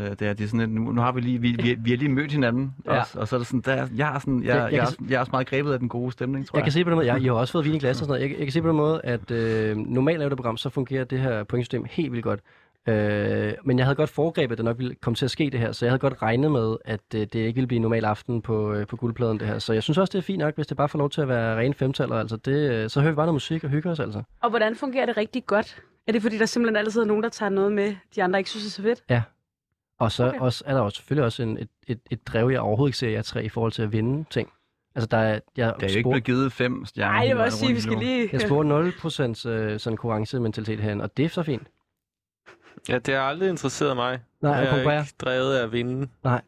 S4: Øh, det er, det er sådan, lidt, nu, nu har vi lige, vi, vi, vi har lige mødt hinanden
S2: Ja.
S4: ja. også, og så er der sådan, der, jeg, er sådan, jeg,
S2: Jeg- jeg
S4: jeg, jeg,
S2: kan
S4: er, også- jeg er også meget grebet af den gode stemning, tror
S2: Jeg
S4: jeg.
S2: kan se på den måde, jeg, I har også fået vin i glas og sådan noget. Jeg, jeg kan se på den måde, at øh, normalt lavet det program, så fungerer det her pointsystem helt vildt godt. Øh, men jeg havde godt foregrebet, at det nok ville komme til at ske det her, så jeg havde godt regnet med, at øh, det ikke ville blive en normal aften på, øh, på guldpladen det her. Så jeg synes også, det er fint nok, hvis det bare får lov til at være rene femtaller. Altså det, øh, så hører vi bare noget musik og hygger os altså.
S5: Og hvordan fungerer det rigtig godt? Er det fordi, der simpelthen altid er nogen, der tager noget med, de andre ikke synes er så fedt?
S2: Og så okay.
S5: Okay.
S2: også, er der også, selvfølgelig også en, et, et, et drev, jeg overhovedet ikke ser jer tre i forhold til at vinde ting. Altså der er, jeg,
S4: Der er jo ikke blevet givet fem stjerner.
S5: Nej, jeg
S4: hele
S5: vil
S4: vejen
S5: også sige, at vi
S4: rundt
S5: skal
S4: endnu.
S5: lige...
S2: jeg spurgte 0% øh, sådan konkurrencementalitet herinde, og det er så fint.
S3: Ja, det har aldrig interesseret mig.
S2: Nej, at
S3: jeg er
S2: konkurrere.
S3: ikke drevet af at vinde.
S5: Nej,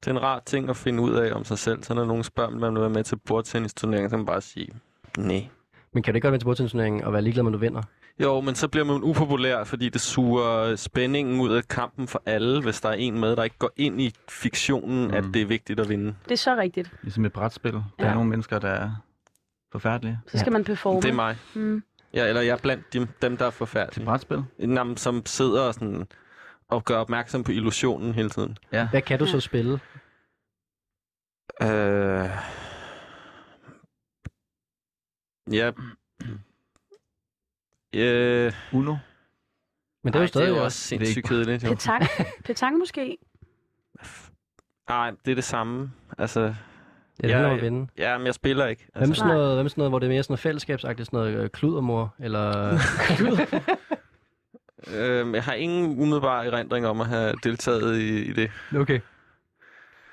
S3: Det er en rar ting at finde ud af om sig selv. Så når nogen spørger, om man vil være med til bordtennisturneringen, så kan man bare sige, nej.
S2: Men kan du ikke godt være til bordtennisturneringen og være ligeglad med, at du vinder?
S3: Jo, men så bliver man upopulær, fordi det suger øh, spændingen ud af kampen for alle, hvis der er en med, der ikke går ind i fiktionen, mm. at det er vigtigt at vinde.
S5: det er så rigtigt.
S4: Ligesom et brætspil. Der ja.
S5: Ja.
S4: er nogle mennesker, der er forfærdelige
S5: Så skal man performe.
S3: Det er mig.
S5: Mm.
S3: Ja, eller jeg er blandt dem, dem der er
S4: til
S3: forfærdelige.
S4: brætspil.
S3: Jamen, som sidder og, sådan, og gør opmærksom på illusionen hele tiden.
S2: Hvad kan du så
S5: Ja.
S2: spille?
S3: Øh... Ja. Øh...
S4: Uno.
S2: Men det er jo
S3: ej,
S2: stadig
S3: det er
S2: også.
S3: jo også sindssygt kedeligt. Jo.
S5: Petang, petang måske.
S3: Nej, det er det samme. Altså,
S2: Det er
S3: Ja, Altså,
S2: ja, at
S3: ja.
S2: vinde.
S3: ja, men jeg spiller ikke.
S2: Hvem
S3: Altså,
S2: med, sådan
S5: Nej.
S2: noget, hvem med sådan noget, hvor det er mere sådan noget fællesskabsagtigt, sådan noget øh, kludermor, eller...
S3: øhm, jeg har ingen umiddelbar erindring om at have deltaget i, i det.
S2: okay.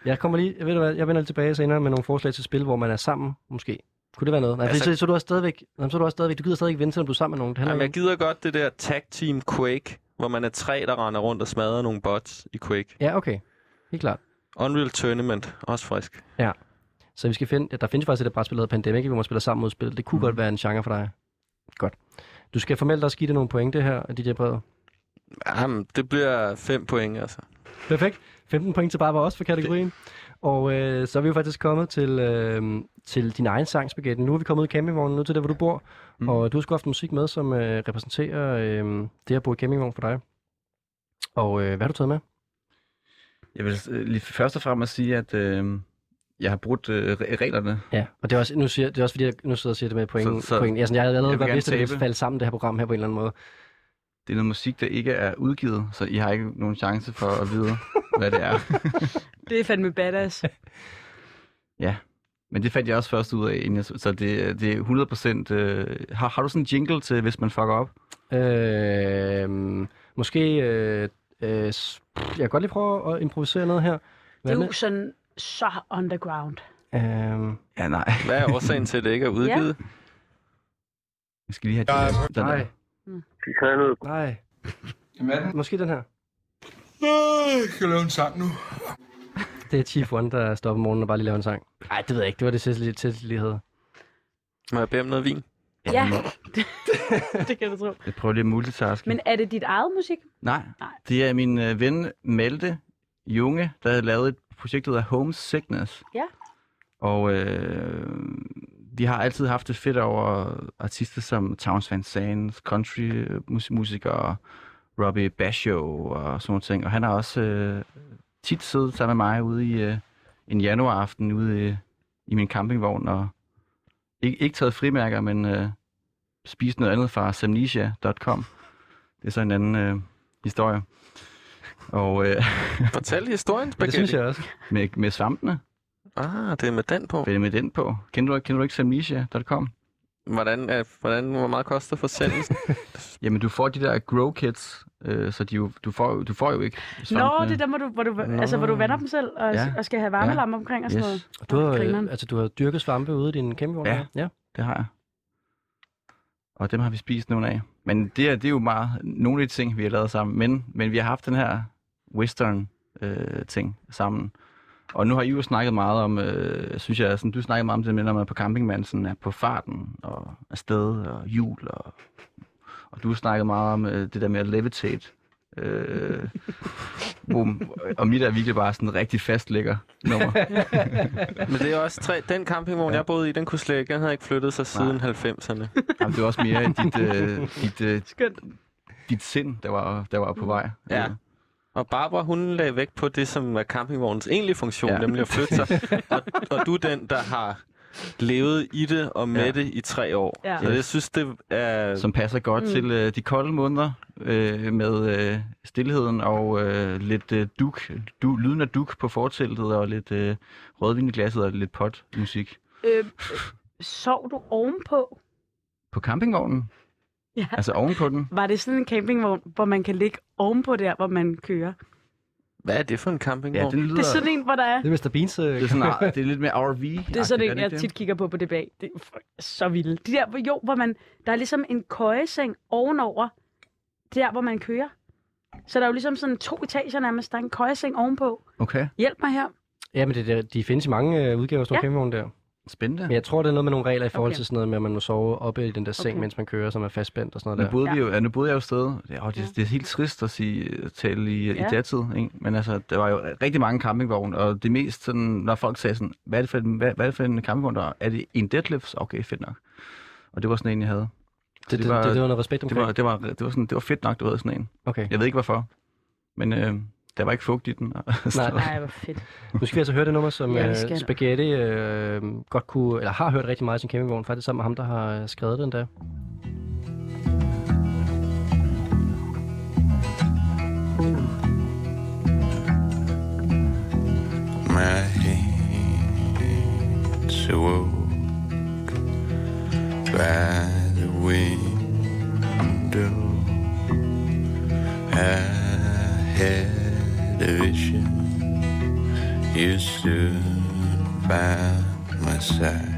S2: Jeg kommer lige, ved du hvad, jeg vender lidt tilbage senere med nogle forslag til spil, hvor man er sammen, måske. Kunne det være noget? Nej, altså,
S3: Altså-
S2: så, så, du er stadigvæk, jamen, så er du også stadigvæk, du gider stadigvæk vinde, selvom du er sammen med nogen. Det handler
S3: Jamen, jeg
S2: Jamen,
S3: gider godt det der Tag Team Quake, hvor man er tre, der render rundt og smadrer nogle bots i Quake.
S2: Ja, okay. Helt klart.
S3: Unreal Tournament, også frisk.
S2: Så vi skal finde, ja, der findes faktisk et brætspil, der hedder Pandemic, hvor man spiller sammen mod spil. Det kunne mm.
S3: Mhm.
S2: godt være en genre for dig. Godt. Du skal formelt også give det nogle pointe her, DJ Breder.
S3: Jamen, det bliver fem point, altså.
S2: Perfekt. 15 point til Barbara også for kategorien. Og øh, så er vi jo faktisk kommet til, øh, til din egen sang, Spaghetti. Nu er vi kommet ud i campingvognen, nu til der, hvor du bor. Mm. Og du har sgu haft musik med, som øh, repræsenterer øh, det at bo i campingvognen for dig. Og øh, hvad har du taget med?
S4: Jeg vil øh, lige først og fremmest sige, at øh, jeg har brudt øh, re- reglerne.
S2: Ja, og det er også, nu siger, det er også fordi, jeg nu sidder og siger det med pointen.
S4: Så- så-
S2: pointen. Jeg, sådan, jeg havde allerede
S4: Jeg vil
S2: godt
S4: gerne
S2: vidst, at det ville
S4: tabe.
S2: falde sammen, det her program her på en eller anden måde.
S4: Det er noget musik, der ikke er udgivet, så I har ikke nogen chance for at vide, hvad det er.
S5: Det er fandme badass.
S4: Men det fandt jeg også først ud af, inden jeg, så så det, det er 100 procent... Øh, har, har du sådan en jingle til, hvis man fucker op?
S2: Øh, måske... Øh, øh, s- jeg kan godt lige prøve at improvisere noget her.
S5: Det
S2: Hvad
S5: er
S2: med?
S5: jo sådan så underground.
S2: Øh,
S4: Ja, nej.
S3: Hvad er årsagen til, at det ikke er udgivet?
S4: Jeg skal lige have den der.
S2: nej,
S5: Mm.
S2: nej. Måske den her.
S10: Jeg kan lave en sang nu.
S2: Det er Chief One, der stopper morgenen og bare lige laver en sang. Nej, det ved jeg ikke. Det var det Cecily, Cecily havde.
S3: Må jeg bede om noget vin?
S5: Ja, det kan du tro.
S4: Jeg prøver lige at multitaske.
S5: Men er det dit eget musik?
S4: Nej,
S5: Nej.
S4: det er min øh, ven Malte Junge, der havde lavet et projekt, der hedder Homesickness.
S5: Ja.
S4: Og øh, vi har altid haft det fedt over artister som Towns Van Zandt, countrymusikere, Robbie Basho og sådan nogle ting. Og han har også øh, tit siddet sammen med mig ude i øh, en januaraften ude i, i min campingvogn og ikke, ikke taget frimærker, men øh, spist noget andet fra samnesia.com. Det er så en anden øh, historie. Og øh,
S3: Fortæl historien,
S2: Men det
S3: Spaghetti.
S2: synes jeg også.
S4: med, med svampene,
S3: Ah, det er med den på.
S4: med, med den på. Kender du, kender du ikke samnesia.com?
S3: Hvordan, er, hvordan, hvor meget koster forsendelsen?
S4: Jamen, du får de der grow kits, øh, så de, jo- du, får, jo- du får jo ikke
S5: Nå,
S4: svampene.
S5: det er der, hvor du, hvor du, altså, hvor du vander dem selv og,
S4: øh, Ja.
S5: ja. og skal have varmelampe ja. omkring og sådan yes. noget.
S4: Yes,
S2: Du har,
S5: Grineren.
S2: øh, altså, du har dyrket svampe ude i din kæmpevogn?
S4: Ja.
S2: her. ja.
S4: det har jeg. Og dem har vi spist nogle af. Men det, er, det er jo meget nogle af de ting, vi har lavet sammen. Men, men vi har haft den her western øh, ting sammen. Og nu har I jo snakket meget om, øh, synes jeg, sådan, du snakkede meget om det med, når man er på campingmand, sådan er på farten og afsted og jul. Og, og du har snakket meget om øh, det der med at levitate. Øh, boom. Og mit er virkelig bare sådan en rigtig fastlægger nummer.
S3: Men det er også tre... Den campingvogn, jeg boede i, den kunne slet ikke... Den havde ikke flyttet sig siden 90'erne.
S4: Jamen, det var også mere dit, øh, dit, øh,
S5: Skønt.
S4: dit sind, der var, der var på vej.
S3: Ja. Og Barbara, hun lagde vægt på det, som er campingvognens egentlige funktion, ja.
S4: Ja.
S3: nemlig at flytte sig. og, og du er den, der har levet i det og med ja.
S4: Ja.
S3: det i tre år.
S5: Ja.
S3: Ja. Så jeg synes, det er...
S4: Som passer godt mm. til øh, de kolde måneder øh, med øh, stillheden og øh, lidt øh, duk, du, lyden af duk på forteltet og lidt øh, rødvin i glasset og lidt pot musik.
S5: Øh, sov du ovenpå?
S4: På campingvognen?
S5: Ja.
S4: Altså ovenpå den?
S5: Var det sådan en campingvogn, hvor man kan ligge ovenpå der, hvor man kører?
S3: Hvad er det for en
S4: Ja,
S3: campingvogn?
S4: den lyder...
S5: Det er sådan en, hvor der er...
S2: Det er Mr. Beans. Øh,
S4: det er, sådan, det er lidt mere RV.
S5: Det er sådan en, jeg tit kigger på på det bag. Det er f- så vildt. De der, hvor- jo, hvor man... Der er ligesom en køjeseng ovenover, der hvor man kører. Så der er jo ligesom sådan to etager nærmest. Der er en køjeseng ovenpå.
S4: Okay,
S5: Hjælp mig her.
S2: Ja, men det, der, de findes i mange øh, udgaver af sådan
S5: Ja.
S2: nogle campingvogne der.
S4: spændende.
S2: Men jeg tror, det er noget med nogle regler i forhold
S5: Okay.
S2: til sådan noget med, at man må sove oppe i den der seng,
S5: Okay.
S2: mens man kører, så man er fastspændt og sådan
S4: Nu
S2: noget der.
S4: boede, vi
S5: Ja.
S4: jo, ja, nu boede jeg jo et sted. Ja, og det, det er helt trist at sige, øh, tale i, ja.
S5: Ja.
S4: i datid, ikke? men altså, der var jo rigtig mange campingvogne, og det mest sådan, når folk sagde sådan, hvad er det for en, hvad, hvad er det for en campingvogn, der er? er det en deadlifts? Okay, fedt nok. Og det var sådan en, jeg havde. Så
S2: Det, det, det, det, var noget respekt
S4: det,
S2: omkring.
S4: var, det, var, det, var sådan, det var fedt nok, du havde sådan en.
S2: Okay.
S4: Jeg ved ikke hvorfor, men øh, der var ikke fugt i den. Og,
S2: Nej.
S5: Nej, hvor fedt.
S2: Nu skal vi altså høre det nummer, som
S5: Ja, vi
S2: ja,
S5: skal.
S2: Spaghetti øh, godt kunne, eller har hørt rigtig meget i sin campingvogn, faktisk sammen med ham, der har øh, skrevet den der.
S3: Mm.
S11: my head so woke by the window. I had a vision. You stood by my side.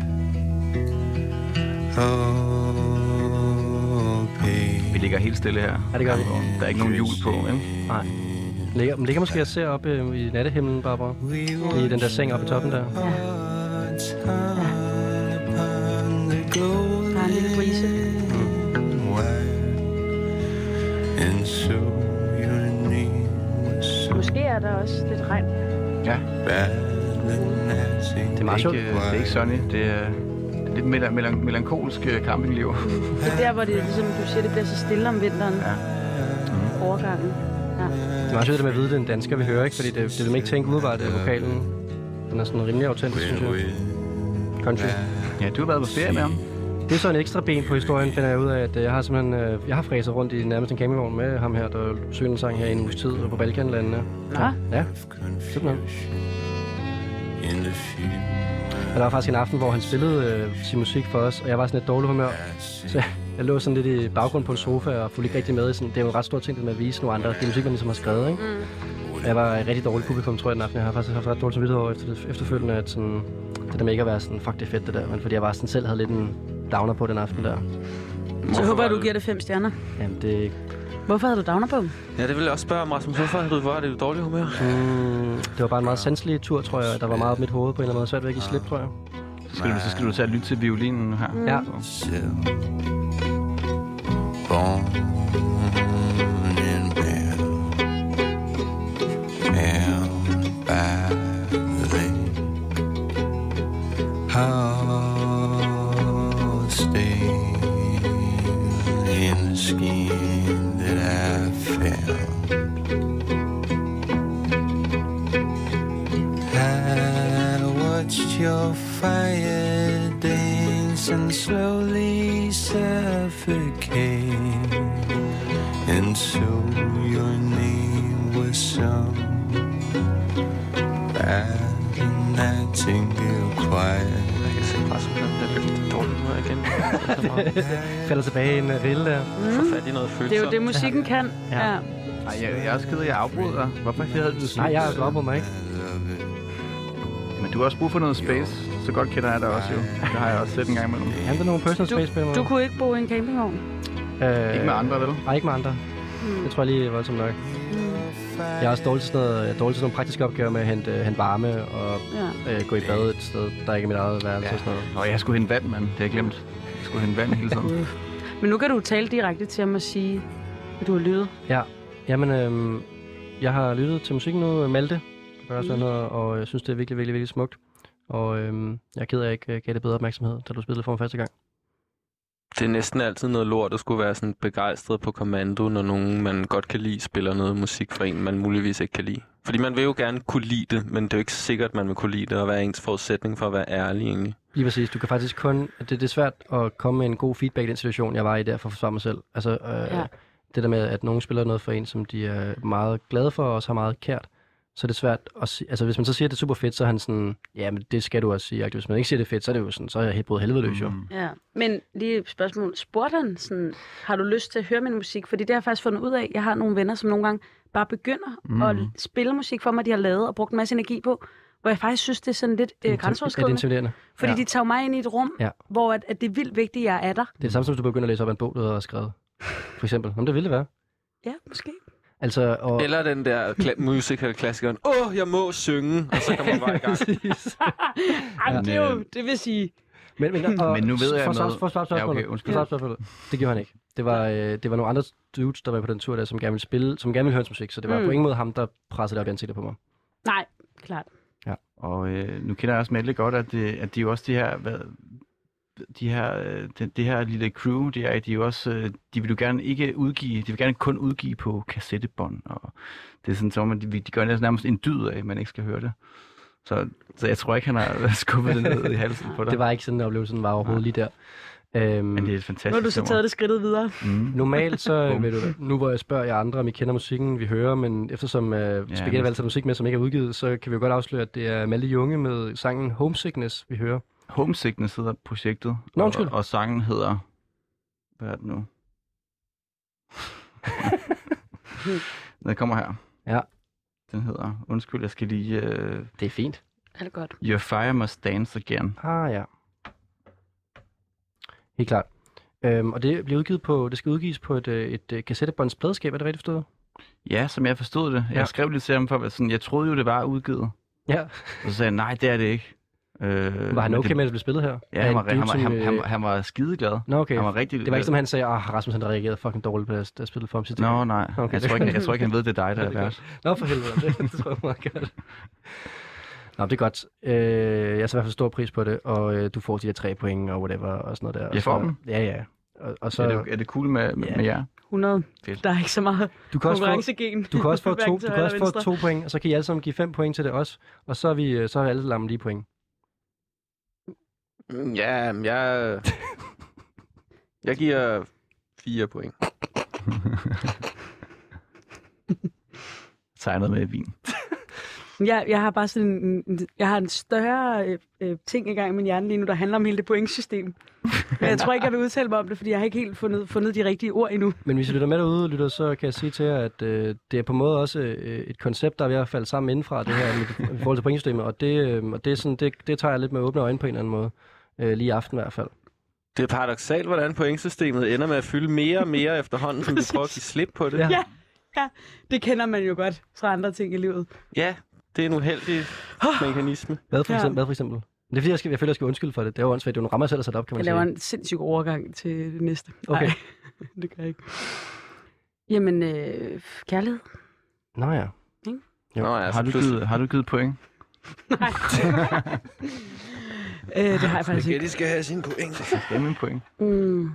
S11: Oh, baby.
S4: Vi ligger helt stille her.
S2: Ja, det gør vi.
S4: Der er ikke nogen jul på, vel?
S2: Nej. Ligger, men ligger måske og ser op øh, i nattehimlen, Barbara. I den der seng oppe i toppen der.
S5: Der er en lille brise.
S11: And so your name was so
S5: Måske er der også lidt regn.
S11: bad and I sing
S2: Det er
S4: Det er
S2: meget sjovt.
S4: ikke, øh, det er ikke sunny. Det er, det er lidt melan- melan- melankolsk øh, campingliv.
S5: Det er der, hvor det, ligesom du siger, det bliver så stille om vinteren.
S4: Ja.
S5: Ja. Overgangen. Ja.
S2: Det er meget sjovt det med at vide, at det er en dansker, vi hører, ikke? Fordi det, det vil man ikke tænke udebart, at vokalen den er sådan rimelig autentisk, synes jeg. Country.
S4: Ja, du har været på ferie med ham.
S2: Det er så en ekstra ben på historien, finder jeg ud af, at øh, jeg har simpelthen, øh, jeg har fræset rundt i nærmest en campingvogn med ham her, der synger en sang her i en uges tid på Balkanlandene.
S5: Nå,
S2: Ja,
S11: confusion in the field.
S2: og der var faktisk en aften, hvor han spillede øh, sin musik for os, og jeg var sådan lidt dårlig humør. Så jeg, jeg lå sådan lidt i baggrunden på en sofa og fulgte ikke rigtig med. i Sådan, det er jo en ret stor ting, det med at vise nogle andre. Det er musik, man ligesom har skrevet, ikke? Mm. Jeg var et rigtig dårligt publikum, tror jeg, den aften. Jeg har faktisk haft ret dårligt samvittighed over efter det, efterfølgende, at sådan, det der med ikke at være sådan, fuck det er fedt det der, men fordi jeg var sådan selv havde lidt en downer på den aften der.
S5: Så
S3: Hvorfor
S5: jeg håber,
S3: var
S5: at du giver det fem stjerner.
S2: Jamen det,
S5: Hvorfor havde du downer på?
S3: Ja, det vil jeg også spørge om, Rasmus. Hvorfor havde du var det dårligt humør?
S2: mm, det var bare en meget sanselig tur, tror jeg. Der var meget op mit hoved på en eller anden måde. Svært ved at give slip, tror jeg.
S4: Så skal, du, så skal du tage og lytte til violinen nu her.
S2: Ja.
S11: Still born in hell, held by the lake. How stay in the skin that I fell. I watched your fire dance and slowly suffocate. And so your name was sung by the nightingale choir.
S3: Jeg kan se Rasmus, han bliver lidt dårlig humør igen.
S2: Falder tilbage i en øh, rille der.
S3: Få fat i noget følsomt.
S5: Det er jo det, musikken kan. Ja.
S4: Ej, jeg, jeg er også ked af, at jeg afbryder dig. Hvorfor havde du det
S2: Nej, jeg er op på mig, ikke?
S4: Men du har også brug for noget space. Så godt kender jeg dig også jo. Det har jeg også set en gang imellem.
S2: Han der er nogle personal space på en måde.
S5: Du kunne ikke bo i en campingvogn.
S2: Øh,
S4: Ikke med andre, vel?
S2: Nej, ikke med andre.
S5: Hmm.
S2: Det tror jeg lige er voldsomt nok. Jeg er også dårlig til sådan, noget, jeg er dårlig til sådan nogle praktiske opgaver med at hente, øh, hente varme og
S5: Ja.
S2: øh, gå i bad et sted, der ikke er mit eget værelse ja. og sådan noget.
S4: Nå, jeg skulle hente vand, mand. Det har jeg glemt. Jeg skulle hente vand hele tiden.
S5: Men nu kan du tale direkte til ham og sige, at du har lyttet.
S2: Ja, jamen, øh, jeg har lyttet til musikken nu, øh, Malte, der gør
S5: Hmm.
S2: også noget, og jeg synes, det er virkelig, virkelig, virkelig smukt. Og øh, jeg er ked af, at jeg ikke øh, gav det bedre opmærksomhed, da du spillede for mig første gang.
S3: Det er næsten altid noget lort at skulle være sådan begejstret på kommando, når nogen, man godt kan lide, spiller noget musik for en, man muligvis ikke kan lide. Fordi man vil jo gerne kunne lide det, men det er jo ikke sikkert, man vil kunne lide det, og hvad er ens forudsætning for at være ærlig egentlig?
S2: Lige præcis, du kan faktisk kun, det, det er svært at komme med en god feedback i den situation, jeg var i der for at forsvare mig selv. Altså, øh, ja.
S5: Ja.
S2: det der med, at nogen spiller noget for en, som de er meget glade for, og også har meget kært, så er det svært at sige, altså hvis man så siger, at det er super fedt, så er han sådan, ja, men det skal du også sige, agtigt. hvis man ikke siger, det er fedt, så er det jo sådan, så er jeg helt både helvede løs jo. Mm.
S5: Ja. Men lige et spørgsmål. Spurgte han sådan, har du lyst til at høre min musik? Fordi det har jeg faktisk fundet ud af. Jeg har nogle venner, som nogle gange bare begynder mm. at spille musik for mig, de har lavet og brugt en masse energi på. Hvor jeg faktisk synes, det er sådan lidt øh,
S2: Er det
S5: grænseoverskridende.
S2: intimiderende?
S5: Fordi
S2: ja.
S5: ja. de tager mig ind i et rum,
S2: Ja.
S5: ja. hvor at, at det er vildt vigtigt, at jeg er der.
S2: Det er det samme som, hvis du begynder at læse op af en bog, du har skrevet. For eksempel. Jamen, det ville det være.
S5: Ja, måske.
S2: Altså, og...
S3: Eller den der kla- musical-klassikeren, åh, jeg må synge, og så kommer man bare i gang.
S2: Præcis.
S5: Ej,
S4: Ja.
S5: ja. det, er jo, det vil sige...
S2: men, men, og,
S4: Men nu ved jeg
S2: for, noget.
S4: noget.
S2: For, for, for,
S4: Ja, okay, undskyld.
S2: for, for, for, det gjorde han ikke. Det var, øh, det var nogle andre dudes, der var på den tur der, som gerne ville spille, som gerne ville høre hans musik, så det var mm.
S5: Mm.
S2: på ingen måde ham, der pressede det op i ansigtet på mig.
S5: Nej, klart.
S4: Og øh, nu kender jeg også Mette godt, at, det, at de er jo også de her, hvad, de her, øh, det, det her lille crew, de er, i, de er jo også, øh, de vil jo gerne ikke udgive, de vil gerne kun udgive på kassettebånd, og det er sådan som, at de, de gør næsten nærmest en dyd af, at man ikke skal høre det. Så, så jeg tror ikke, han har skubbet det ned i halsen på dig.
S2: Det var ikke sådan, at oplevelsen var overhovedet lige der. Øhm, Men
S4: det er et fantastisk
S5: Nu har du så taget det skridtet videre.
S4: Mm.
S2: Normalt så, ved du, nu hvor jeg spørger jer andre, om I kender musikken, vi hører, men eftersom øh, Spaghetti
S4: men-
S2: har altid musik med, som ikke er udgivet, så kan vi jo godt afsløre, at det er Malte Junge med sangen Homesickness, vi hører.
S4: Homesickness hedder projektet.
S2: Nå,
S4: og,
S2: undskyld.
S4: og sangen hedder... Hvad er det nu? Den kommer her.
S2: Ja.
S4: Den hedder... Undskyld, jeg skal lige... Uh,
S2: Det er fint.
S5: Alt godt.
S4: Your fire must dance again.
S2: Ah ja. Helt klart. Øhm, og det bliver udgivet på, det skal udgives på et, øh, et, et kassettebånds pladeskab, er det rigtigt forstået?
S4: Ja, som jeg forstod det. Jeg
S2: Ja.
S4: skrev lidt til ham for, at være sådan, jeg troede jo, det var udgivet.
S2: Ja.
S4: Og så sagde han, nej, det er det ikke. Øh,
S2: Var han
S4: men
S2: okay med, at det blev spillet her?
S4: Ja, han var,
S2: det er
S4: han,
S2: jo
S4: var,
S2: sådan,
S4: han, han,
S2: øh,
S4: var- han var skideglad.
S2: Nå, okay.
S4: Han var rigtig...
S2: Det var ikke som han sagde, at Rasmus han reagerede fucking dårligt på det, der spillede for ham sidste
S4: Nå,
S2: gang."
S4: nej.
S2: Okay,
S4: jeg,
S2: det-
S4: tror ikke, jeg tror ikke, han ved, det er dig, der er
S2: Det er
S4: vært.
S2: Nå, for helvede, det, det tror jeg meget godt. Nå, det er godt. Øh, jeg så i hvert fald stor pris på det, og øh, du får de der tre point og whatever og sådan noget der.
S4: Jeg
S2: Og så-
S4: får dem?
S2: Ja, ja. Og, og så,
S4: Så... Er, det, er det cool med, med,
S2: Ja.
S4: med jer?
S5: 100.
S4: Fedt.
S5: Der er ikke så meget
S2: du kan også få,
S5: konkurrencegen.
S2: du kan også få, to,
S5: Hverken
S2: du
S5: til
S2: kan
S5: højre
S2: også
S5: eller
S2: få to point, og så kan I alle sammen give fem point til det også. Og så er, vi, øh, så er alle sammen lige point.
S3: Mm, Ja, men jeg... Jeg giver fire point.
S4: Tegnet med vin.
S5: venstre. Jeg, jeg har bare sådan en- en, jeg har en større øh, øh, ting i gang i min hjerne lige nu, der handler om hele det pointsystem. Men jeg tror ikke, jeg vil udtale mig om det, fordi jeg har ikke helt fundet, fundet de rigtige ord endnu.
S2: Men hvis I lytter med derude, lytter, så kan jeg sige til jer, at øh, det er på en måde også øh, et koncept, der er ved at falde sammen indenfra, det her med, i forhold til pointsystemet. Og, det, øh, og det, er sådan, det, det tager jeg lidt med åbne øjne på en eller anden måde. Øh, lige i aften i hvert fald.
S3: Det er paradoxalt, hvordan pointsystemet ender med at fylde mere og mere efterhånden, som vi prøver at give slip på det.
S2: Ja.
S5: Ja. Det kender man jo godt fra andre ting i livet.
S3: ja det er en uheldig Ah. mekanisme.
S2: Hvad for,
S5: Ja.
S2: eksempel, hvad for eksempel? Det er fordi, jeg, skal, jeg føler, jeg skal undskylde for det. Det er jo åndssvagt. Det er jo en rammer, jeg selv har sat op, kan man
S5: Jeg
S2: sige.
S5: laver en sindssyg overgang til det næste.
S2: Okay.
S5: Nej, det gør jeg ikke. Jamen, øh, kærlighed.
S2: Nå ja.
S5: Ikke?
S2: Jo.
S3: Nå, ja,
S4: Har du, givet, har du givet point?
S5: Nej.
S2: Ah,
S5: øh, det har jeg faktisk ikke.
S3: Spaghetti skal have sine point.
S4: Jamen en point.
S5: Mm.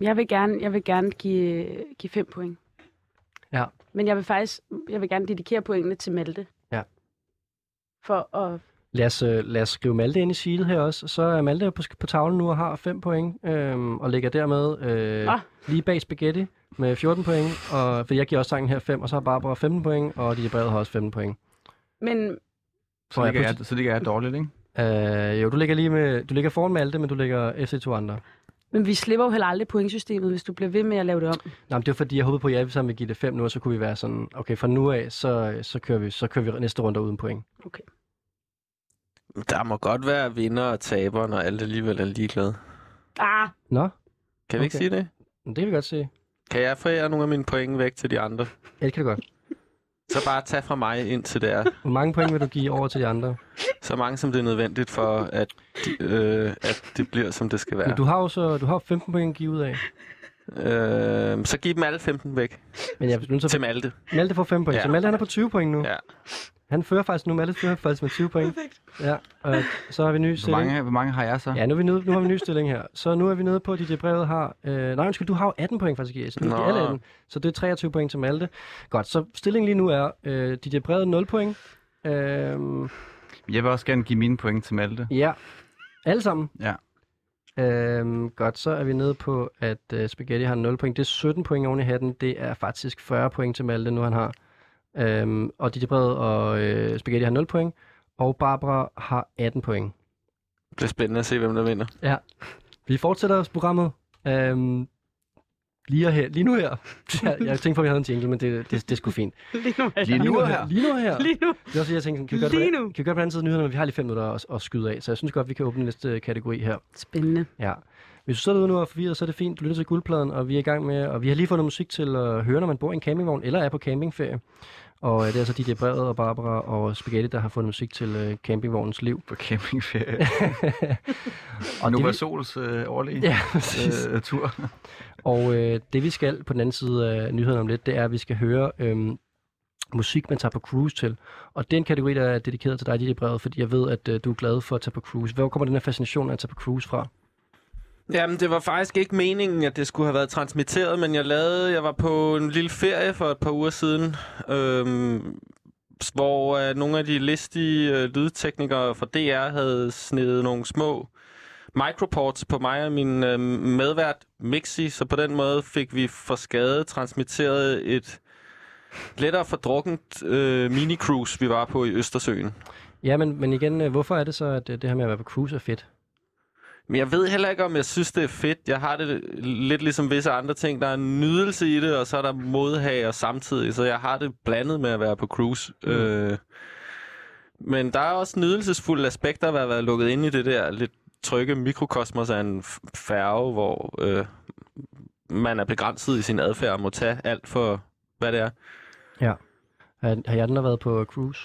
S5: Jeg vil gerne, jeg vil gerne give, give fem point.
S2: Ja.
S5: Men jeg vil faktisk, jeg vil gerne dedikere pointene til Malte.
S2: Ja.
S5: For at,
S2: Lad os, øh, lad os skrive Malte ind i sheetet her også. Så er Malte på, på tavlen nu og har 5 point, øhm, og ligger dermed øh,
S5: Ah.
S2: lige bag Spaghetti med 14 point. Og, for jeg giver også sangen her 5, og så har Barbara 15 point, og de brevet har også 15 point.
S5: men
S4: Så
S2: Tror jeg
S4: ligger, jeg, så ligger jeg dårligt, ikke?
S2: Øh, jo, du ligger, lige med, du ligger foran Malte, men du ligger efter de to andre.
S5: Men vi slipper jo heller aldrig pointsystemet, hvis du bliver ved med at lave det om.
S2: Nej, men det var fordi, jeg håbede på, at I alle sammen ville give det 5 nu, og så kunne vi være sådan, okay, fra nu af, så, så, kører, vi, så kører vi næste runde uden point.
S3: Der må godt være vinder og taber, når alle alligevel er ligeglade.
S5: Ah,
S2: Nå,
S3: Kan vi ikke
S2: Okay.
S3: sige det?
S2: men det kan vi godt se.
S3: Kan jeg forære nogle af mine point væk til de andre?
S2: Ja, det kan du godt.
S3: Så bare tag fra mig ind til der.
S2: Hvor mange point vil du give over til de andre?
S3: Så mange som det er nødvendigt for, at, de, øh, at det bliver, som det skal
S2: Men
S3: være.
S2: du har jo så du har 15 point at give ud af.
S3: Øh, så giv dem alle 15 væk
S2: Men jeg er nødt til at
S3: til Malte.
S2: Malte får 5 point, ja.
S3: Ja.
S2: så Malte han er på 20 point nu. Ja.
S3: Ja.
S2: Han fører faktisk nu, Malte fører faktisk med 20 point.
S5: Perfekt.
S2: Ja, og så har vi en ny
S4: Hvor
S2: stilling.
S4: mange, hvor mange har jeg så?
S2: Ja, nu, er vi nede, nu har vi en ny stilling her. Så nu er vi nede på, at DJ Brevet har... Øh, nej, undskyld, du har jo 18 point faktisk, Jes. Du
S3: Nå.
S2: giver alle 18, så det er 23 point til Malte. Godt, så stillingen lige nu er øh, DJ Brevet 0 point. Øh,
S4: Jeg vil også gerne give mine point til Malte.
S2: ja, alle sammen.
S4: Ja.
S2: Øhm, godt, så er vi nede på, at øh, Spaghetti har 0 point. Det er 17 point oven i hatten. Det er faktisk 40 point til Malte, nu han har. Øhm, og Ditte Bred og øh, Spaghetti har 0 point. Og Barbara har 18 point.
S3: Det bliver spændende at se, hvem der vinder.
S2: Vi fortsætter programmet. Øhm, lige, her, lige nu her. Jeg, jeg tænkte på, at vi havde en jingle, men det, det, det er sgu fint.
S5: lige nu. er
S4: Lige
S5: jeg-
S4: nu og her.
S2: Lige nu her.
S5: Lige nu.
S2: Det er også, fordi, jeg tænkte, sådan, kan vi gøre det,
S5: Lige
S2: på-
S5: nu.
S2: Kan vi gøre det på den anden side af nyhederne, men vi har lige fem minutter at, at skyde af, så jeg synes godt, vi kan åbne næste kategori her.
S5: Spændende.
S2: Ja. Hvis du sidder derude nu og er forvirret, så er det fint. Du lytter til guldpladen, og vi er i gang med, og vi har lige fundet musik til at høre, når man bor i en campingvogn eller er på campingferie. Og øh, det er altså DJ Brevet og Barbara og Spaghetti, der har fundet musik til øh, campingvognens liv.
S4: På campingferie.
S2: Og
S4: og
S2: det
S4: nu var
S2: vil-
S4: Sols øh, årlige
S2: Ja, præcis.
S4: øh, tur.
S2: Og øh, det vi skal på den anden side af nyhederne om lidt, det er, at vi skal høre øhm, musik, man tager på cruise til. Og det er en kategori, der er dedikeret til dig, dit brevet, fordi jeg ved, at øh, du er glad for at tage på cruise. Hvor kommer den her fascination af at tage på cruise fra?
S3: Jamen, det var faktisk ikke meningen, at det skulle have været transmitteret, men jeg lavede, jeg var på en lille ferie for et par uger siden, øhm, tips, hvor øh, nogle af de listige øh, lydteknikere fra DR havde snedet nogle små microports på mig og min øh, medvært Mixi, så på den måde fik vi for skade transmitteret et lettere fordrukkent øh, minicruise, vi var på i Østersøen.
S2: Ja, men, men igen, øh, hvorfor er det så, at øh, det her med at være på cruise er fedt?
S3: Men jeg ved heller ikke, om jeg synes, det er fedt. Jeg har det lidt ligesom visse andre ting. Der er en nydelse i det, og så er der modhager samtidig. Så jeg har det blandet med at være på cruise. Mm. Øh, men der er også nydelsesfulde aspekter ved at være lukket ind i det der lidt trygge mikrokosmos af en f- færge, hvor øh, man er begrænset i sin adfærd og må tage alt for, hvad det er.
S2: Ja. Har, har jeg den været på cruise?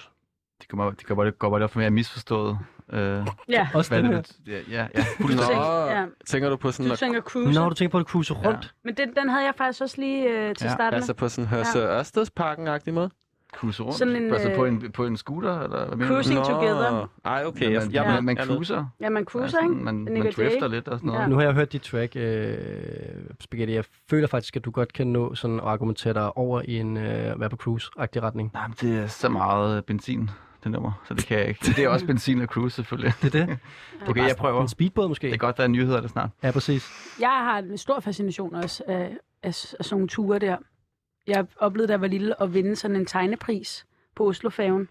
S4: Det kommer, det kommer, det kommer op for mig, at jeg misforstået. Øh, ja.
S2: Også
S4: hvad
S2: den
S4: det, bet- ja, ja, ja.
S5: Du tænker, ja.
S3: ja. tænker du på sådan
S5: Du
S3: at,
S5: tænker cruise.
S2: Nå, du tænker på at cruise rundt?
S5: Men den, den havde jeg faktisk også lige øh, til
S4: Ja,
S5: starten.
S3: altså på sådan Hørsø Ørstedsparken-agtig måde?
S4: Cruise rundt?
S5: Sådan en,
S4: altså på
S5: øh,
S4: en, på en scooter, eller hvad mener
S5: Cruising
S4: du?
S5: together.
S3: Ej, okay.
S4: man,
S3: Jeg, jeg,
S4: man, man, man
S3: jeg-
S4: cruiser.
S5: Ja, man cruiser,
S4: Ja,
S5: ikke?
S4: sådan, man,
S5: Den
S4: man
S5: ligger
S4: drifter
S5: det,
S4: lidt og sådan noget.
S5: Ja.
S2: Ja. Nu har jeg hørt dit track, øh, Spaghetti. Jeg føler faktisk, at du godt kan nå sådan at argumentere dig over i en øh, være på cruise-agtig retning.
S4: Nej, men det er så meget øh, benzin, det nummer, så det kan jeg ikke. Det er også benzin og cruise, selvfølgelig.
S2: Det er det.
S4: Okay, jeg prøver.
S2: En speedbåd måske?
S4: Det er godt, der er nyheder der snart.
S2: Ja, præcis.
S5: Jeg har en stor fascination også af, af, af sådan nogle ture der. Jeg oplevede, da jeg var lille, at vinde sådan en tegnepris på Oslofaven.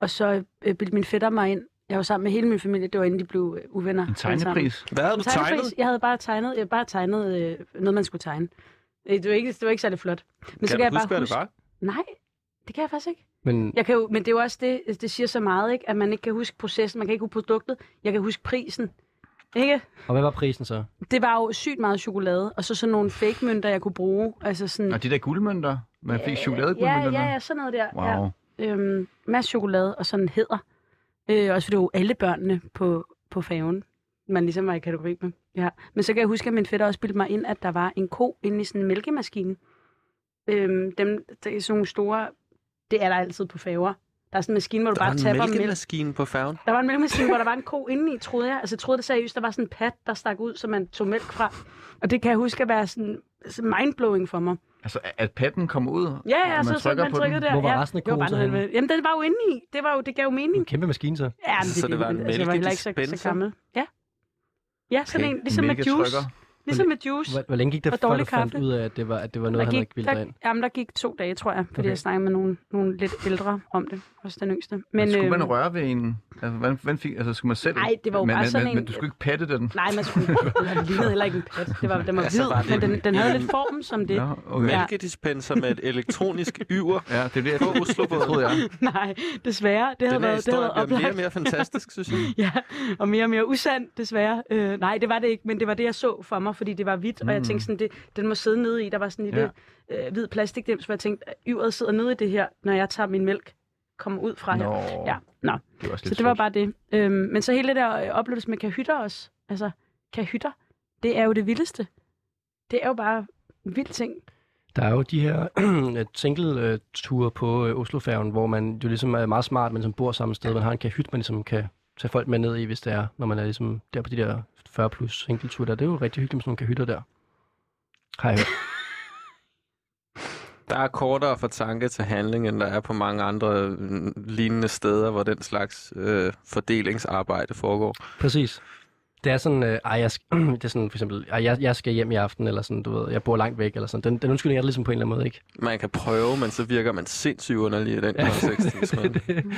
S5: Og så øh, bildte min fætter mig ind. Jeg var sammen med hele min familie, det var inden de blev øh, uvenner.
S4: En
S5: alle sammen.
S4: tegnepris.
S3: Hvad havde
S5: En
S3: du tegnet?
S5: tegnepris. Jeg havde bare tegnet, jeg bare tegnet øh, noget, man skulle tegne. Øh, Det var ikke, det var ikke særlig flot. Men
S3: Kan
S5: så
S3: du
S5: kan jeg
S3: huske,
S5: bare
S3: hvad det var?
S5: Nej, det kan jeg faktisk ikke.
S2: Men
S5: Jeg kan jo, men det er jo også det, det siger så meget, ikke? at man ikke kan huske processen, man kan ikke huske produktet, jeg kan huske prisen. Ikke?
S2: Og hvad var prisen så?
S5: Det var jo sygt meget chokolade, og så sådan nogle fake mønter, jeg kunne bruge. Altså sådan,
S4: Og de der guldmønter, man fik
S5: ja,
S4: chokoladeguldmønterne.
S5: ja, ja, sådan noget der.
S4: Wow.
S5: Ja. Øhm, masse chokolade og sådan hedder. Øh, også fordi det var jo alle børnene på, på faven, man ligesom var i kategori med. Ja. Men så kan jeg huske, at min fætter også bildte mig ind, at der var en ko inde i sådan en mælkemaskine. Øhm, dem, der er sådan nogle store, det er der altid på faver. Der er sådan en maskine, hvor du
S3: Der var
S5: bare tapper
S3: en
S5: mælk.
S3: mælkemaskine på færgen.
S5: Der var en mælkemaskine, hvor der var en ko indeni, troede jeg. Altså, jeg troede det seriøst, der var sådan en pat, der stak ud, så man tog mælk fra. Og det kan jeg huske at være sådan, sådan mindblowing for mig.
S4: Altså, at patten kommer ud,
S5: Ja, ja,
S4: og
S5: så
S4: man
S5: man
S4: trykker
S5: man
S4: på
S5: trykkede
S4: den.
S5: der.
S2: Hvor var
S5: ja.
S2: resten af
S5: Det var
S2: koen
S5: bare
S2: så
S5: noget
S2: henne?
S5: med- Jamen, den var jo inde i. Det, var jo, det gav jo
S2: En
S5: mening.
S2: kæmpe maskine så?
S5: Ja, men
S3: Så det var en
S5: altså, jeg var heller ikke så,
S3: mælkedispenser?
S5: så gammel. Ja. Ja, sådan
S3: Okay,
S5: en, ligesom med juice.
S4: mælketrykker.
S5: Ligesom med juice.
S2: Hvor, hvor længe gik det,
S5: Og
S2: før du
S5: dårlig
S2: fandt
S5: kaffe.
S2: ud af, at det var, at det var noget, han ikke ville
S5: der,
S2: have ind?
S5: jamen, der gik to dage, tror jeg, fordi
S2: Okay.
S5: okay. jeg snakkede med nogle, nogle lidt ældre om det. Også den yngste. Men,
S4: Men, skulle
S5: øhm,
S4: man røre ved en? Altså, hvordan, hvordan fik, altså skulle man selv?
S5: Ej, det var jo
S4: men,
S5: bare
S4: men,
S5: sådan
S4: men,
S5: en-
S4: Men du skulle ikke patte den?
S5: Nej, man skulle, den lignede heller ikke en pat. Det var, den var
S3: så var det
S5: hvid, men den, den havde lidt formen som det.
S4: Nå, okay.
S5: Ja.
S3: Mælkedispenser med et elektronisk yver.
S4: Ja, det er det, jeg
S3: På Oslobåden.
S4: det troede jeg.
S5: Nej, desværre. Det havde
S3: Den her
S5: været, det havde
S3: historie
S5: været
S3: bliver
S5: oplagt.
S3: mere og mere fantastisk, synes jeg.
S5: Ja, og mere og mere usand, desværre. Øh, nej, det var det ikke, men det var det, jeg så for mig, fordi det var hvidt, mm. og jeg tænkte sådan, det, den må sidde nede i. Der var sådan en lille øh, hvid plastikdims, hvor jeg tænkte, "Øh, yveret sidder nede i det her, når jeg tager min mælk, kommer ud fra her.
S4: Nå.
S5: Ja, nå.
S4: Det var også
S5: Så
S4: lidt
S5: det var
S4: sødt.
S5: bare det. Øhm, men så hele det der øh, oplevelse med kahytter også, altså kahytter, det er jo det vildeste. Det er jo bare vild ting.
S2: Der er jo de her øh, single-ture på øh, Oslofærgen, hvor man jo ligesom er meget smart, men som bor samme sted. Man har en kahyt, man ligesom kan tage folk med ned i, hvis det er, når man er ligesom der på de der 40 plus single der. Det er jo rigtig hyggeligt med sådan nogle kahytter der. Har jeg hørt.
S3: Der er kortere fra tanke til handling, end der er på mange andre øh, lignende steder, hvor den slags øh, fordelingsarbejde foregår.
S2: Præcis. Det er sådan, øh, ej, jeg, sk- det er sådan for eksempel, ej, jeg, jeg skal hjem i aften, eller sådan, du ved, jeg bor langt væk, eller sådan. Den, den undskyldning er der ligesom på en eller anden måde, ikke?
S3: Man kan prøve, men så virker man sindssygt underlig i den kontekst. hvis man-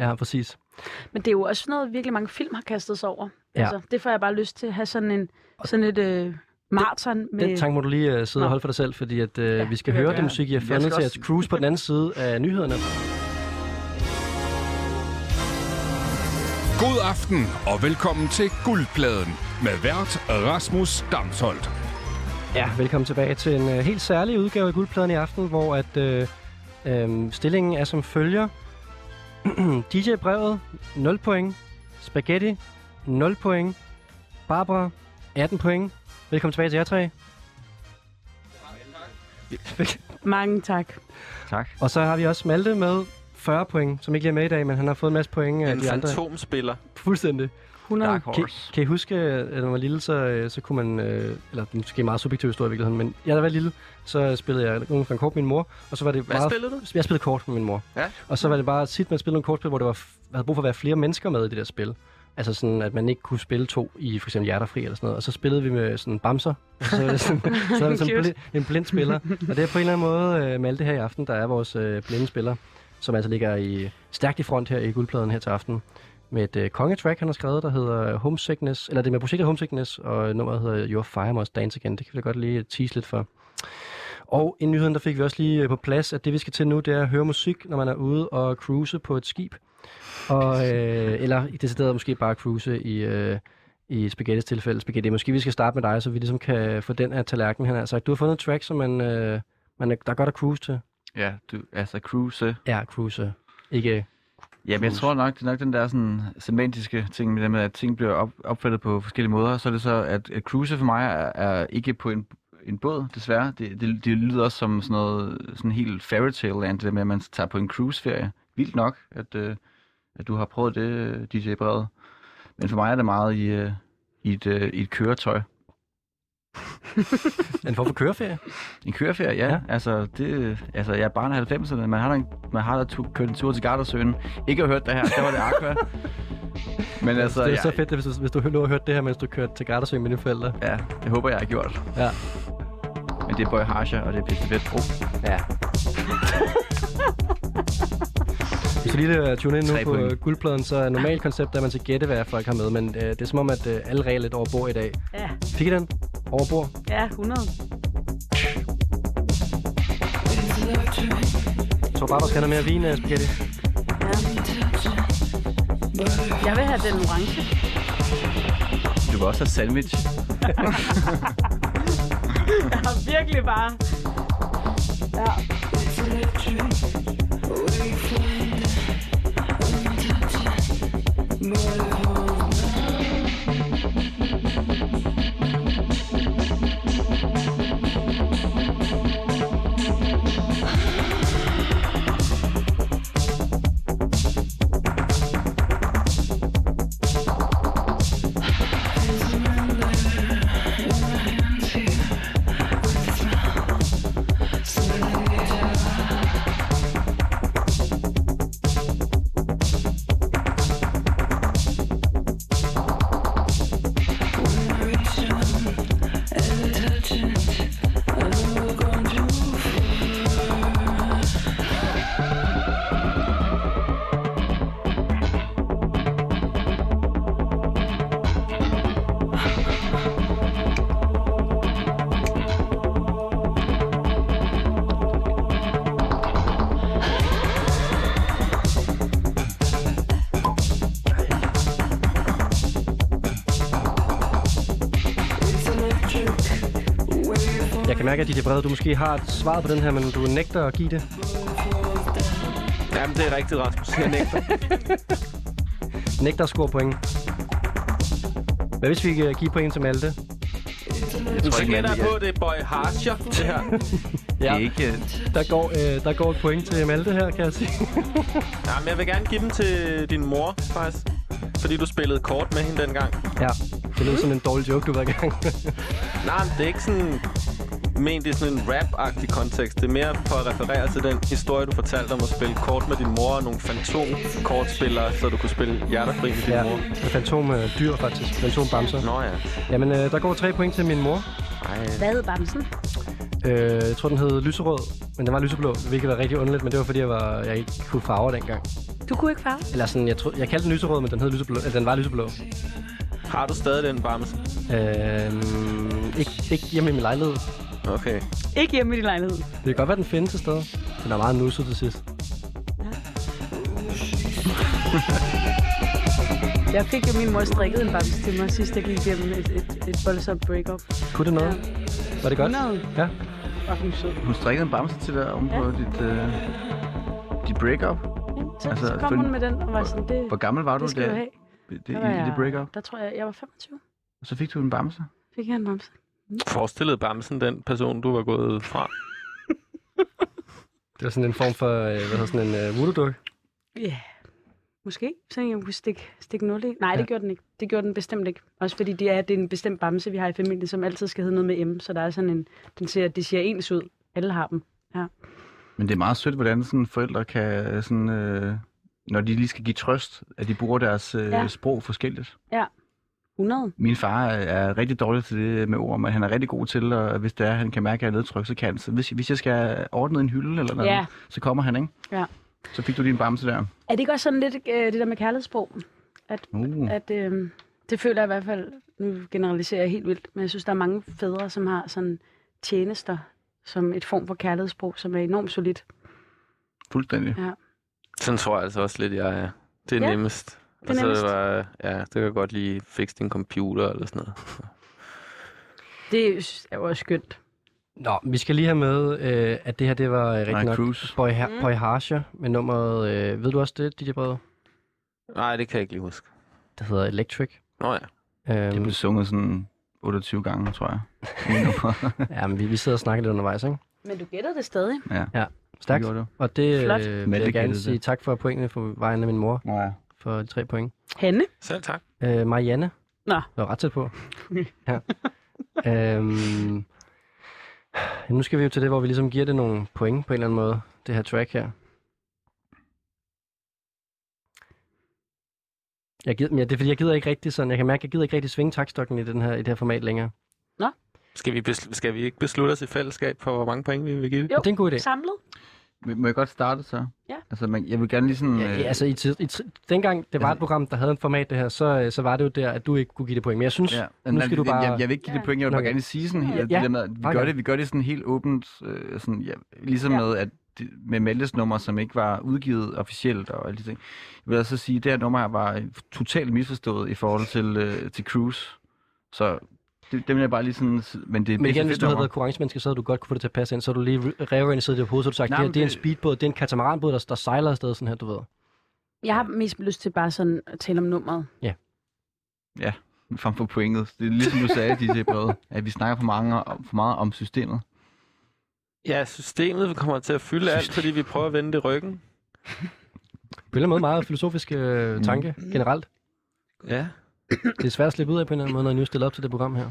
S2: Ja, præcis.
S5: Men det er jo også noget, virkelig mange film har kastet sig over.
S2: Ja.
S5: Ja. Altså, det får jeg bare lyst til at have sådan en sådan et øh, maraton med...
S2: Den tanke må du lige uh, sidde og
S5: Nå.
S2: holde for dig selv, fordi at, uh, ja, vi skal
S5: det vil
S2: høre
S5: jeg
S2: det
S5: gøre.
S2: musik, I har
S4: Jeg
S2: fundet
S4: skal
S2: til
S4: også-
S2: at cruise på den anden side af nyhederne.
S1: God aften og velkommen til Guldpladen med vært Rasmus Damsholdt.
S2: Ja, velkommen tilbage til en uh, helt særlig udgave af Guldpladen i aften, hvor at uh, um, stillingen er som følger. DJ-brevet 0 point, Spaghetti 0 point, Barbara 18 point. Velkommen tilbage til jer tre.
S5: Mange tak.
S4: Tak.
S2: Og så har vi også Malte med 40 point, som ikke lige er med i dag, men han har fået en masse point af
S3: En
S2: de andre.
S3: fantomspiller.
S2: Fuldstændig.
S5: 100.
S3: Dark
S2: Kan,
S3: Horse.
S2: kan I huske, at når man var lille, så, øh, så kunne man... Øh, eller det er måske en meget subjektiv historie i virkeligheden, men jeg, da jeg var lille, så spillede jeg nogle kort med min mor, og så var det
S3: Hvad
S2: meget...
S3: spillede du?
S2: Jeg spillede kort med min mor.
S3: Ja.
S2: Og så var det bare tit, man spillede nogle kortspil, hvor det var, f- man havde brug for at være flere mennesker med i det der spil. Altså sådan, at man ikke kunne spille to i for eksempel Hjerterfri eller sådan noget. Og så spillede vi med sådan bamser. Og Så var det sådan, så var det sådan en,
S5: Cute.
S2: blind, en blind spiller. Og det er på en eller anden måde øh, med alt det her i aften, der er vores øh, blinde spiller, som altså ligger i stærkt i front her i guldpladen her til aften. Med et øh, kongetrack, han har skrevet, der hedder Homesickness. Eller det er med projektet Homesickness, og nummeret hedder Your Fire Must Dance Again. Det kan vi da godt lige tease lidt for. Og i nyheden, der fik vi også lige øh, på plads, at det vi skal til nu, det er at høre musik, når man er ude og cruise på et skib. Og, øh, eller i det stedet måske bare cruise i, øh, i Spaghettis tilfælde. Spaghetti, måske vi skal starte med dig, så vi ligesom kan få den af tallerkenen. Han har sagt, du har fundet et track, som man, øh, man er, der er godt at cruise til.
S4: Ja, du, altså cruise.
S2: Ja, cruise. Ikke øh,
S4: Jamen, jeg tror nok, det er nok den der sådan, semantiske ting med, det med, at ting bliver op, opfattet på forskellige måder. Så er det så, at, at cruise for mig er, er ikke på en, en båd, desværre. Det, det, det lyder også som sådan noget sådan helt fairy tale land, det der med, at man tager på en cruiseferie. Vildt nok, at, øh, at du har prøvet det, øh, DJ Brede. Men for mig er det meget i, øh, i, et, øh, i et køretøj.
S2: en form for køreferie.
S4: En køreferie, ja.
S2: Ja.
S4: ja. Altså, det, altså, jeg er barn af 90'erne. Man har da, en- man har da tu- kørt en tur til Gardersøen. Ikke har hørt det her. Der var det Aqua. Men altså,
S2: det er
S4: jeg,
S2: jo så fedt, hvis du, hvis du lå og hørte det her, mens du kørte til Gardasø med dine forældre.
S4: ja, det håber jeg har gjort.
S2: Ja.
S4: Men det er Boy Harsha, og det er pisse fedt. Oh,
S2: Ja. Hvis vi lige øh, tune ind nu
S4: Tre
S2: på
S4: point.
S2: øh, guldpladen, så er normalt koncept, at man skal gætte, hvad folk har med, men øh, det er som om, at øh, alle regler er lidt over bord i dag.
S5: Ja,
S2: Fik I den? Over bord?
S5: ja 100.
S2: Jeg tror bare, der skal have noget mere vin, øh, Spaghetti.
S5: Jeg vil have den orange.
S4: du vil også have sandwich.
S5: Jeg har virkelig bare... Ja.
S2: Jeg kan mærke, at DJ Brede, du måske har et svar på den her, men du nægter at give det.
S3: Jamen, det er rigtigt, Rasmus. Jeg nægter.
S2: Nægter at score point. Hvad hvis vi øh, giver point til Malte?
S4: Jeg tror
S3: Så
S4: ikke, man
S3: gætter jeg på,
S4: det.
S3: det er Boy Harsher, det her.
S4: Det er ikke... øh,
S2: Der går, øh, der går et point til Malte her, kan jeg sige.
S3: Jamen, jeg vil gerne give dem til din mor, faktisk. Fordi du spillede kort med hende dengang.
S2: Ja, det lød som en dårlig joke, du var i gang.
S3: Nej, men det er ikke sådan... Men det er sådan en rap-agtig kontekst. Det er mere for at referere til den historie, du fortalte om at spille kort med din mor og nogle fantom-kortspillere, så du kunne spille hjerterfri med din
S2: ja,
S3: ja. mor.
S2: med fantom øh, dyr faktisk. Fantom bamser.
S3: Nå ja.
S2: Jamen, øh, der går tre point til min mor.
S3: Ej.
S5: Hvad hed bamsen?
S2: Øh, jeg tror, den hed lyserød, men den var lyseblå, hvilket var rigtig underligt, men det var, fordi jeg, var, jeg ikke kunne farver dengang.
S5: Du kunne ikke farve?
S2: Eller sådan, jeg, tro, jeg kaldte den lyserød, men den, hed lyseblå, eller, den var lyseblå.
S3: Har du stadig den bamse?
S2: Øh, ikke, ikke hjemme i min lejlighed.
S3: Okay.
S5: Ikke hjemme i din lejlighed.
S2: Det kan godt være, den findes et sted. Den er meget nusset til sidst.
S5: Jeg fik jo min mor strikket en bamse til mig, sidst jeg gik igennem et, et, et voldsomt breakup.
S2: Kunne det noget? Var det godt?
S5: 100.
S2: Ja.
S5: Fucking sød.
S4: Hun strikkede en bamse til dig oven på
S5: Ja.
S4: dit, øh, dit breakup.
S5: Ja,
S4: Altså,
S5: så, altså, så kom
S4: for-
S5: hun med den og var sådan, det,
S4: Hvor gammel var du,
S5: det skal
S4: da,
S5: du have.
S4: det,
S5: Der
S4: i,
S5: var
S4: i det
S5: jeg-
S4: breakup?
S5: Der tror jeg, jeg var 25.
S4: Og så fik du en bamse.
S5: Fik jeg en bamse.
S3: Forestillede bamsen den person, du var gået fra?
S2: Det var sådan en form for, øh, hvad hedder sådan en øh, voodoo-duk.
S5: Ja, yeah. måske. Så jeg kunne stikke, stikke 0 i. Nej, ja. det gjorde den ikke. Det gjorde den bestemt ikke. Også fordi det er, det er en bestemt bamse, vi har i familien, som altid skal hedde noget med M. Så der er sådan en, den ser, det ser ens ud. Alle har dem. Ja.
S4: Men det er meget sødt, hvordan sådan forældre kan, sådan, øh, når de lige skal give trøst, at de bruger deres øh,
S5: Ja.
S4: ja. sprog forskelligt.
S5: ja. 100.
S4: Min far er- er rigtig dårlig til det med ord, men han er rigtig god til, og hvis det er, han kan mærke, at jeg er nedtryk, så kan han. Så hvis, hvis jeg skal ordne en hylde eller noget,
S5: Ja.
S4: så kommer han, ikke?
S5: Ja.
S4: Så fik du din bamse der.
S5: Er det ikke også sådan lidt øh, det der med kærlighedssprog? At,
S4: Uh.
S5: at øh, det føler jeg i hvert fald, nu generaliserer jeg helt vildt, men jeg synes, der er mange fædre, som har sådan tjenester som et form for kærlighedssprog, som er enormt solidt.
S4: Fuldstændig.
S5: Ja.
S3: Sådan tror jeg altså også lidt, jeg er. Det er
S5: Ja,
S3: ja, nemmest.
S5: det er
S3: Og så
S5: nemmest.
S3: var, ja, det kan jeg godt lige fikse din computer eller sådan noget.
S5: Det er jo også skønt.
S2: Nå, vi skal lige have med, øh, at det her, det var øh, rigtig nok
S4: Cruise.
S2: Boy, ha- Boy Harsha med nummeret, øh, ved du også det, DJ Brede?
S3: Nej, det kan jeg ikke lige huske.
S2: Det hedder Electric.
S3: Nå ja.
S4: Det
S2: Øhm,
S4: blev sunget sådan 28 gange, tror jeg. Min nummer.
S2: ja, men vi, vi sidder og snakker lidt undervejs, ikke?
S5: Men du gætter det stadig.
S4: ja.
S2: Ja, stærkt.
S4: gjorde du.
S2: Og det
S5: Flot.
S2: øh, vil
S4: Mette
S2: jeg gerne
S4: gættede
S2: sige
S4: det.
S2: tak for pointene for vejen af min mor,
S4: Nå ja.
S2: for de tre point.
S5: Hanne?
S3: Selv tak.
S2: Øh, Marianne.
S5: Nå.
S2: Det var ret tæt på. ja. øhm, jamen, nu skal vi jo til det, hvor vi ligesom giver det nogle point på en eller anden måde, det her track her. Jeg gider, men ja, det er fordi, jeg gider ikke rigtig sådan, jeg kan mærke, jeg gider ikke rigtig svinge takstokken i, den her, i det her format længere.
S3: Skal vi, besl- skal vi ikke beslutte os i fællesskab for, hvor mange point vi vil give det?
S5: Jo.
S2: Det er en god idé.
S5: Samlet?
S4: Må- Må jeg godt starte så?
S5: Ja.
S4: Altså, man, jeg vil gerne lige sådan... øh,
S2: Ja, ja, altså, i tid, i tid, dengang det var et program, der havde en format det her, så, øh, så var det jo der, at du ikke kunne give det point. Men jeg synes, ja.
S4: men
S2: nu
S4: nej,
S2: skal du
S4: det-
S2: bare...
S4: Jeg, jeg vil ikke give det
S5: Ja.
S4: point, jeg vil
S2: Nå,
S4: bare
S2: okay.
S4: gerne sige sådan helt,
S2: Ja,
S4: at det der med, at vi,
S2: meget
S4: gør
S2: gerne.
S4: det, vi gør det sådan helt åbent, øh, sådan, ja, ligesom
S5: Ja.
S4: ja. med, at det- med Meldes nummer, som ikke var udgivet officielt og alle de ting. Jeg vil altså sige, at det her nummer her var øh, totalt misforstået i forhold til, øh, til Cruise. Så det, det vil jeg bare lige sådan... s- Men det er
S2: Men igen, hvis
S4: fedt
S2: du havde
S4: nummer.
S2: været konkurrencemenneske, så havde du godt kunne få det til at passe ind. Så havde du lige re- reorganiseret dit hoved, så havde du sagt,
S4: Nej,
S2: det, her,
S4: men
S2: det er en
S4: det-
S2: speedbåd, det er en katamaranbåd, der, der sejler afsted sådan her, du ved.
S5: Jeg har mest lyst til bare sådan at tale om nummeret.
S4: frem for pointet. Det er ligesom du sagde, DJ Brede, at vi snakker for, mange, om- for meget om systemet.
S3: Ja, systemet kommer til at fylde alt, fordi vi prøver at vende det ryggen.
S2: På en eller anden måde meget filosofisk øh, tanke
S4: Mm.
S2: generelt.
S3: Ja.
S2: Det er svært at slippe ud af på en eller anden måde, når jeg nu stiller op til det program her.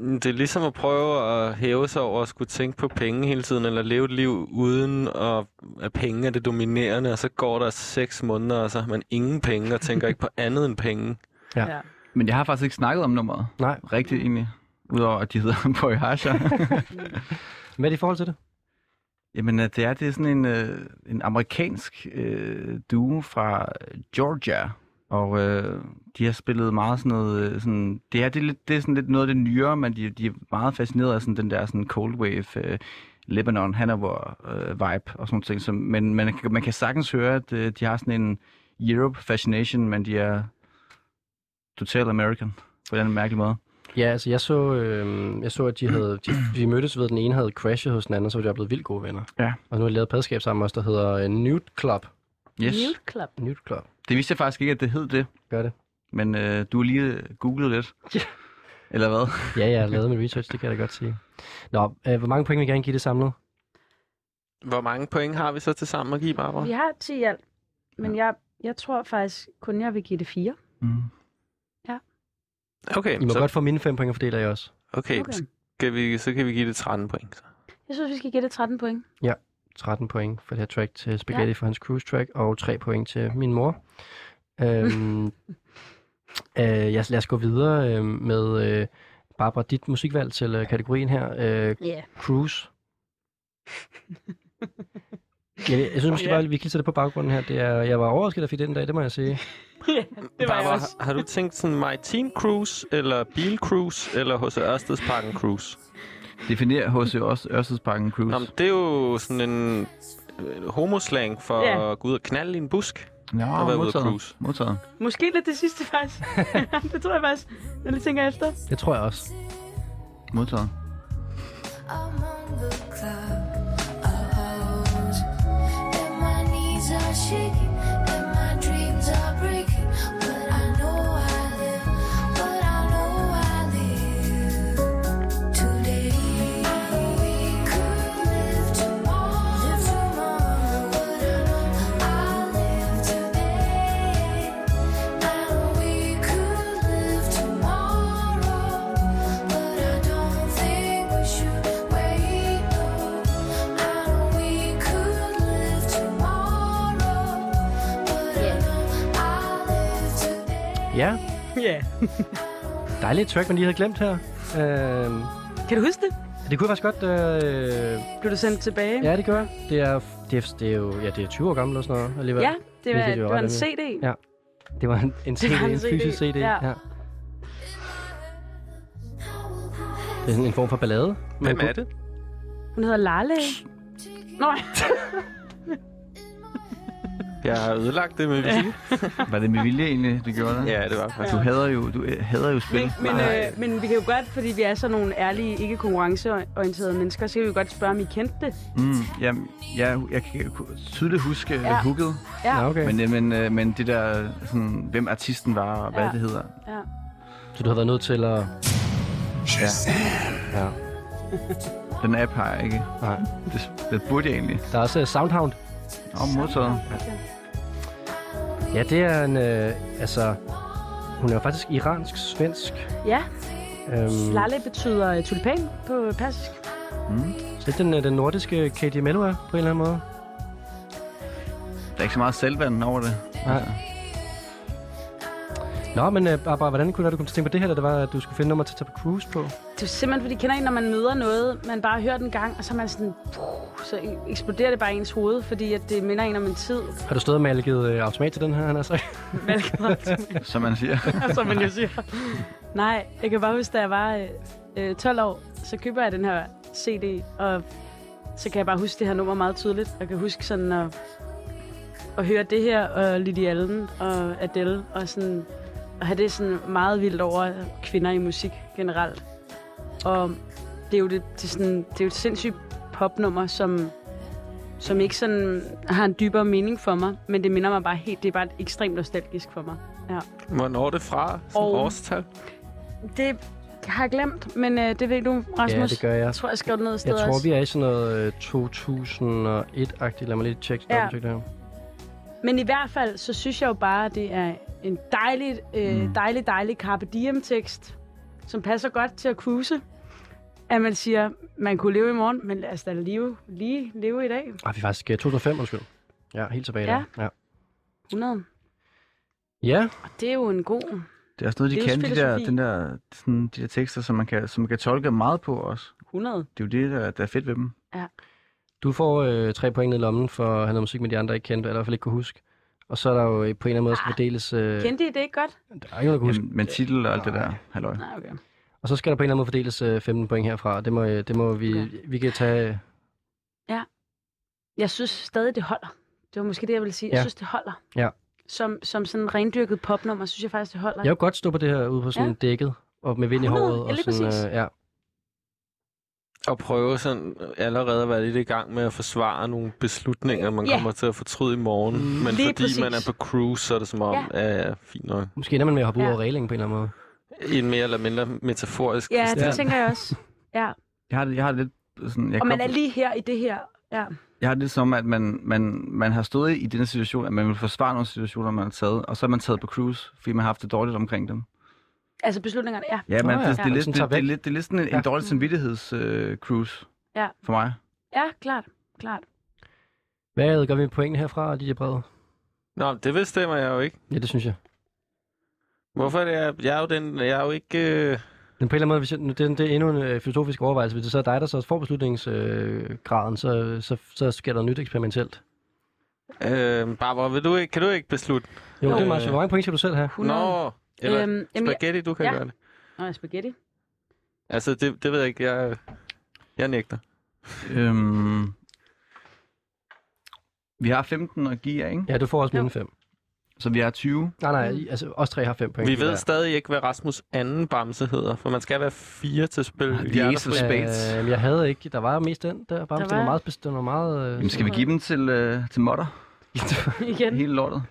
S3: Det er ligesom at prøve at hæve sig over at skulle tænke på penge hele tiden, eller leve et liv uden at, at penge er det dominerende, og så går der seks måneder, og så har man ingen penge, og tænker ikke på andet end penge.
S2: Ja.
S4: Men jeg har faktisk ikke snakket om nummeret.
S2: Nej,
S4: Rigtigt egentlig. Udover at de hedder Boy Harsha.
S2: hvad er det i forhold til det?
S4: Jamen, øh, det er, det er sådan en, øh, en amerikansk øh, duo fra Georgia, og øh, de har spillet meget sådan noget, øh, sådan, det, er, det, er lidt, det er sådan lidt noget af det nyere, men de, de er meget fascineret af sådan den der sådan cold wave, øh, Lebanon, Hanover øh, vibe og sådan nogle ting. Så, men man, kan- man kan sagtens høre, at øh, de har sådan en Europe fascination, men de er total American på den mærkelige måde.
S2: Ja, altså jeg så, øh, jeg så at de, havde, de, de mødtes ved, at den ene havde crashet hos den anden, og så var de blevet vildt gode venner.
S4: Ja.
S2: Og nu har de lavet et padskab sammen også, der hedder øh, Nude Club.
S4: Yes.
S5: Nude Club.
S2: Nude Club.
S4: Det vidste jeg faktisk ikke, at det hed det,
S2: Gør det.
S4: men øh, du har lige googlet lidt.
S2: Ja.
S4: Eller hvad?
S2: Ja, jeg har lavet min research, det kan jeg da godt sige. Nå, øh, hvor mange point vil I gerne give det samlet?
S3: Hvor mange point har vi så til sammen at give, Barbara?
S5: Vi har 10 i alt, men jeg, jeg tror faktisk kun, jeg vil give det 4.
S4: Mm.
S3: Okay,
S2: I må
S3: så,
S2: godt få mine fem point og fordele jer også.
S3: okay,
S5: Okay.
S3: Skal vi, så kan vi give det 13 point. Så.
S5: Jeg synes, vi skal give det 13 point.
S2: 13 point for det her track til Spaghetti ja. for hans cruise track, og 3 point til min mor. Øhm, øh, jeg, lad os gå videre øh, med øh, Barbara, dit musikvalg til øh, kategorien her, øh,
S5: Ja. Yeah.
S2: cruise. Jeg, jeg synes måske
S5: Ja.
S2: bare, at vi kan sætte det på baggrunden her. Det er, jeg var overrasket, at jeg fik det den dag, det må jeg sige.
S5: Det var jeg
S3: Barbara,
S5: også.
S3: har- Har du tænkt sådan maritim cruise, eller bilcruise, eller hos Ørstedsparken cruise?
S4: Definer H.C. Ørs- Ørstedsparken Cruise.
S3: Nå, men det er jo sådan en øh, homoslang for
S5: Ja.
S3: at gå ud og knalde i en busk.
S4: Nå,
S3: har været ude at
S4: modtaget.
S3: cruise.
S4: modtaget.
S5: Måske lidt det sidste, faktisk. det tror jeg faktisk, når jeg tænker efter.
S2: Det tror jeg også.
S4: Modtaget.
S6: among the cloud of holes. And my knees are shaking, and my dreams are breaking. But I know I live, but I know I live today. We could live tomorrow, but I know I live.
S2: Ja,
S5: Ja.
S2: dejligt track, man lige havde glemt her. Øhm,
S5: Kan du huske det?
S2: det kunne jeg faktisk godt... Øh,
S5: Blev du sendt tilbage?
S2: ja, det gør jeg. det er, det, er, det er jo ja, det er 20 år gammel og sådan noget alligevel.
S5: Ja, det var,
S2: Hvilket
S5: det
S2: jo er
S5: var en
S2: ret
S5: CD.
S2: almindeligt. Ja, det var en, en CD,
S5: Det var en
S2: en fysisk
S5: CD,
S2: CD.
S5: ja.
S2: Ja. Det er sådan en form for ballade.
S3: Hvem er det?
S5: Hun hedder Lale. Nej.
S3: Jeg har ødelagt det med vilje.
S4: Var det med vilje egentlig, det gjorde det?
S3: Ja, det var det faktisk.
S4: Du hader jo, du øh, hader jo spil.
S5: Men, men, øh, men vi kan jo godt, fordi vi er sådan nogle ærlige, ikke konkurrenceorienterede mennesker, så kan vi jo godt spørge, om I kendte det.
S4: Mm, ja, jeg, jeg kan tydeligt huske
S5: Ja.
S4: ja. hooket.
S5: Ja.
S2: Ja, okay.
S4: Men, øh, men, øh, men det der, sådan, hvem artisten var og hvad
S5: Ja.
S4: det hedder.
S5: Ja.
S2: Så du har været nødt til at...
S4: Ja.
S2: Ja.
S4: Den app har jeg ikke.
S2: Nej.
S4: Det, det burde jeg egentlig.
S2: Der er også uh, Soundhound.
S4: Og modtaget.
S2: Ja, det er en... Øh, altså, hun er jo faktisk iransk-svensk.
S5: ja.
S2: Øhm,
S5: Lale betyder øh, tulipan på persisk.
S4: Mm.
S2: så lidt den, øh, den nordiske Katie Mello er, på en eller anden måde.
S4: Der er ikke så meget selvvand over det.
S2: Nej. Nå, men øh, Barbara, hvordan kunne det være, du komme til at tænke på det her, da det var, at du skulle finde nummer til at tage på cruise på?
S5: Det er simpelthen, fordi kender en, når man møder noget, man bare har hørt en gang, og så er man sådan, puh, så eksploderer det bare i ens hoved, fordi at det minder en om en tid.
S2: Har du stået og malket øh, automat til den her, han har sagt?
S4: Som man siger.
S5: som man jo siger. Nej, jeg kan bare huske, da jeg var øh, øh, 12 år, så køber jeg den her CD, og så kan jeg bare huske det her nummer meget tydeligt. Jeg kan huske sådan at, at høre det her, og Lydie Allen og Adele, og sådan at have det sådan meget vildt over kvinder i musik generelt. Og det er jo, det, det er sådan, det er jo et sindssygt popnummer, som som ikke sådan har en dybere mening for mig, men det minder mig bare helt, det er bare ekstremt nostalgisk for mig. Ja.
S3: Hvornår er det fra? Sådan
S5: Og-
S3: og... årstal?
S5: Det har jeg glemt, men øh, det ved du, Rasmus.
S2: Ja, det gør jeg.
S5: Jeg tror, jeg skrev det ned et sted
S2: Jeg tror,
S5: også.
S2: vi er i sådan noget øh, 2001-agtigt. Lad mig lige tjekke
S5: Ja.
S2: ja. det her.
S5: Men i hvert fald, så synes jeg jo bare, at det er en dejlig, øh, mm. dejlig, dejlig Carpe Diem-tekst, som passer godt til at cruise. At man siger, man kunne leve i morgen, men lad os da leve, lige leve i dag.
S2: Ah, vi er faktisk øh, 2005, undskyld. Ja, helt tilbage
S5: Ja.
S2: der. Ja.
S5: 100.
S2: ja.
S5: Og det er jo en god...
S4: Det er også noget, de kan, de der,
S5: Livsfilosofi.
S4: den der, sådan, de der tekster, som man, kan, som man kan tolke meget på også.
S5: 100.
S4: Det er jo det, der, der er fedt ved dem.
S2: Du får øh, tre point ned i lommen for at have noget musik med de andre, ikke kendte, eller i hvert fald ikke kunne huske. Og så er der jo øh, på en eller anden måde
S5: Ah,
S2: skal fordeles... Øh, der er ikke
S5: Kendte I det ikke godt?
S2: noget, der kan huske.
S4: Jamen, men titel og alt det der, halløj.
S5: Nej, okay.
S2: Og så skal der på en eller anden måde fordeles øh, 15 point herfra. Det må, øh, det må vi... Vi kan tage... Øh,
S5: Jeg synes stadig, det holder. Det var måske det, jeg ville sige. Ja.
S2: Ja.
S5: Jeg synes, det holder.
S2: Ja.
S5: Som, som sådan rendyrket popnummer, synes jeg faktisk, det holder.
S2: jeg vil godt stå på det her ude på sådan
S5: Ja.
S2: ja. dækket, og med vind i
S5: 100,
S2: håret.
S5: ja,
S2: Og
S5: lige præcis.
S2: sådan, øh, ja.
S3: Og prøve sådan allerede at være lidt i gang med at forsvare nogle beslutninger, man
S5: Ja. Mm,
S3: kommer til at fortryde i morgen. Men
S5: Lige
S3: fordi
S5: præcis.
S3: man er på cruise, så er det som om, ja, fint nok.
S2: Måske ender man med at hoppe ja.
S5: Ja.
S2: ud over reglingen på en eller anden måde.
S3: I en mere eller mindre metaforisk
S5: Ja, det
S3: forstand.
S5: tænker jeg også. Ja.
S4: Jeg har, det- jeg har det lidt sådan... Jeg
S5: Og
S4: kan
S5: man
S4: godt-
S5: er lige her i det her. Ja.
S4: Jeg har det lidt som, at man, man, man har stået i den her situation, at man vil forsvare nogle situationer, man har taget, og så er man taget på cruise, fordi man har haft det dårligt omkring dem.
S5: Altså beslutningerne, ja.
S4: Ja, man,
S2: Nå
S4: oh,
S2: ja.
S4: ja. Det, det,
S2: Ja,
S4: er lidt,
S2: sådan
S4: det,
S2: tager
S4: det, er
S2: væk.
S4: lidt, det er lidt sådan en, ja.
S2: Ja.
S4: en dårlig samvittighedscruise
S5: Ja.
S4: for mig.
S5: Ja, klart. klart.
S2: Hvad gør vi med pointene herfra, Lydia Brede?
S3: Nå, det bestemmer jeg jo ikke.
S2: Ja, det synes jeg.
S3: Hvorfor er det, jeg, jeg er jo den, jeg er jo ikke...
S2: Men
S3: Øh,
S2: på en eller anden måde, hvis jeg, nu- det, er- det er endnu en øh, filosofisk overvejelse. Hvis det så er dig, der så får beslutningsgraden, øh, graden, så, så, så sker der noget nyt eksperimentelt.
S3: øh, Barbara, vil du ikke, kan du ikke beslutte?
S2: Jo, øh.
S3: Jo.
S2: det er meget sjovt. Hvor mange point skal du selv have?
S5: 100.
S3: Nå, eller
S5: Øhm, jamen, jeg-
S3: spaghetti, du kan
S5: ja.
S3: ja. gøre det.
S5: Nå, spaghetti.
S3: Altså, det, det ved jeg ikke. Jeg, jeg nægter.
S4: Øhm, vi har 15 at give jer, ikke?
S2: Ja, du får også
S5: Jo.
S2: mine fem.
S4: Så vi er 20.
S2: Nej, nej, I- altså os tre har fem point.
S3: Vi ved
S2: Ja.
S3: stadig ikke, hvad Rasmus anden bamse hedder, for man skal være fire til at spille.
S4: The
S3: Hjerter
S4: Ace of
S3: for-
S4: Spades.
S2: Øh, men jeg havde ikke. Der var mest den der. Bare,
S5: Der
S2: der var...
S5: var-
S2: meget, bestemt, var meget... Øh,
S4: Jamen, skal vi give dem til, øh, til Motter?
S5: Igen.
S4: Hele lortet?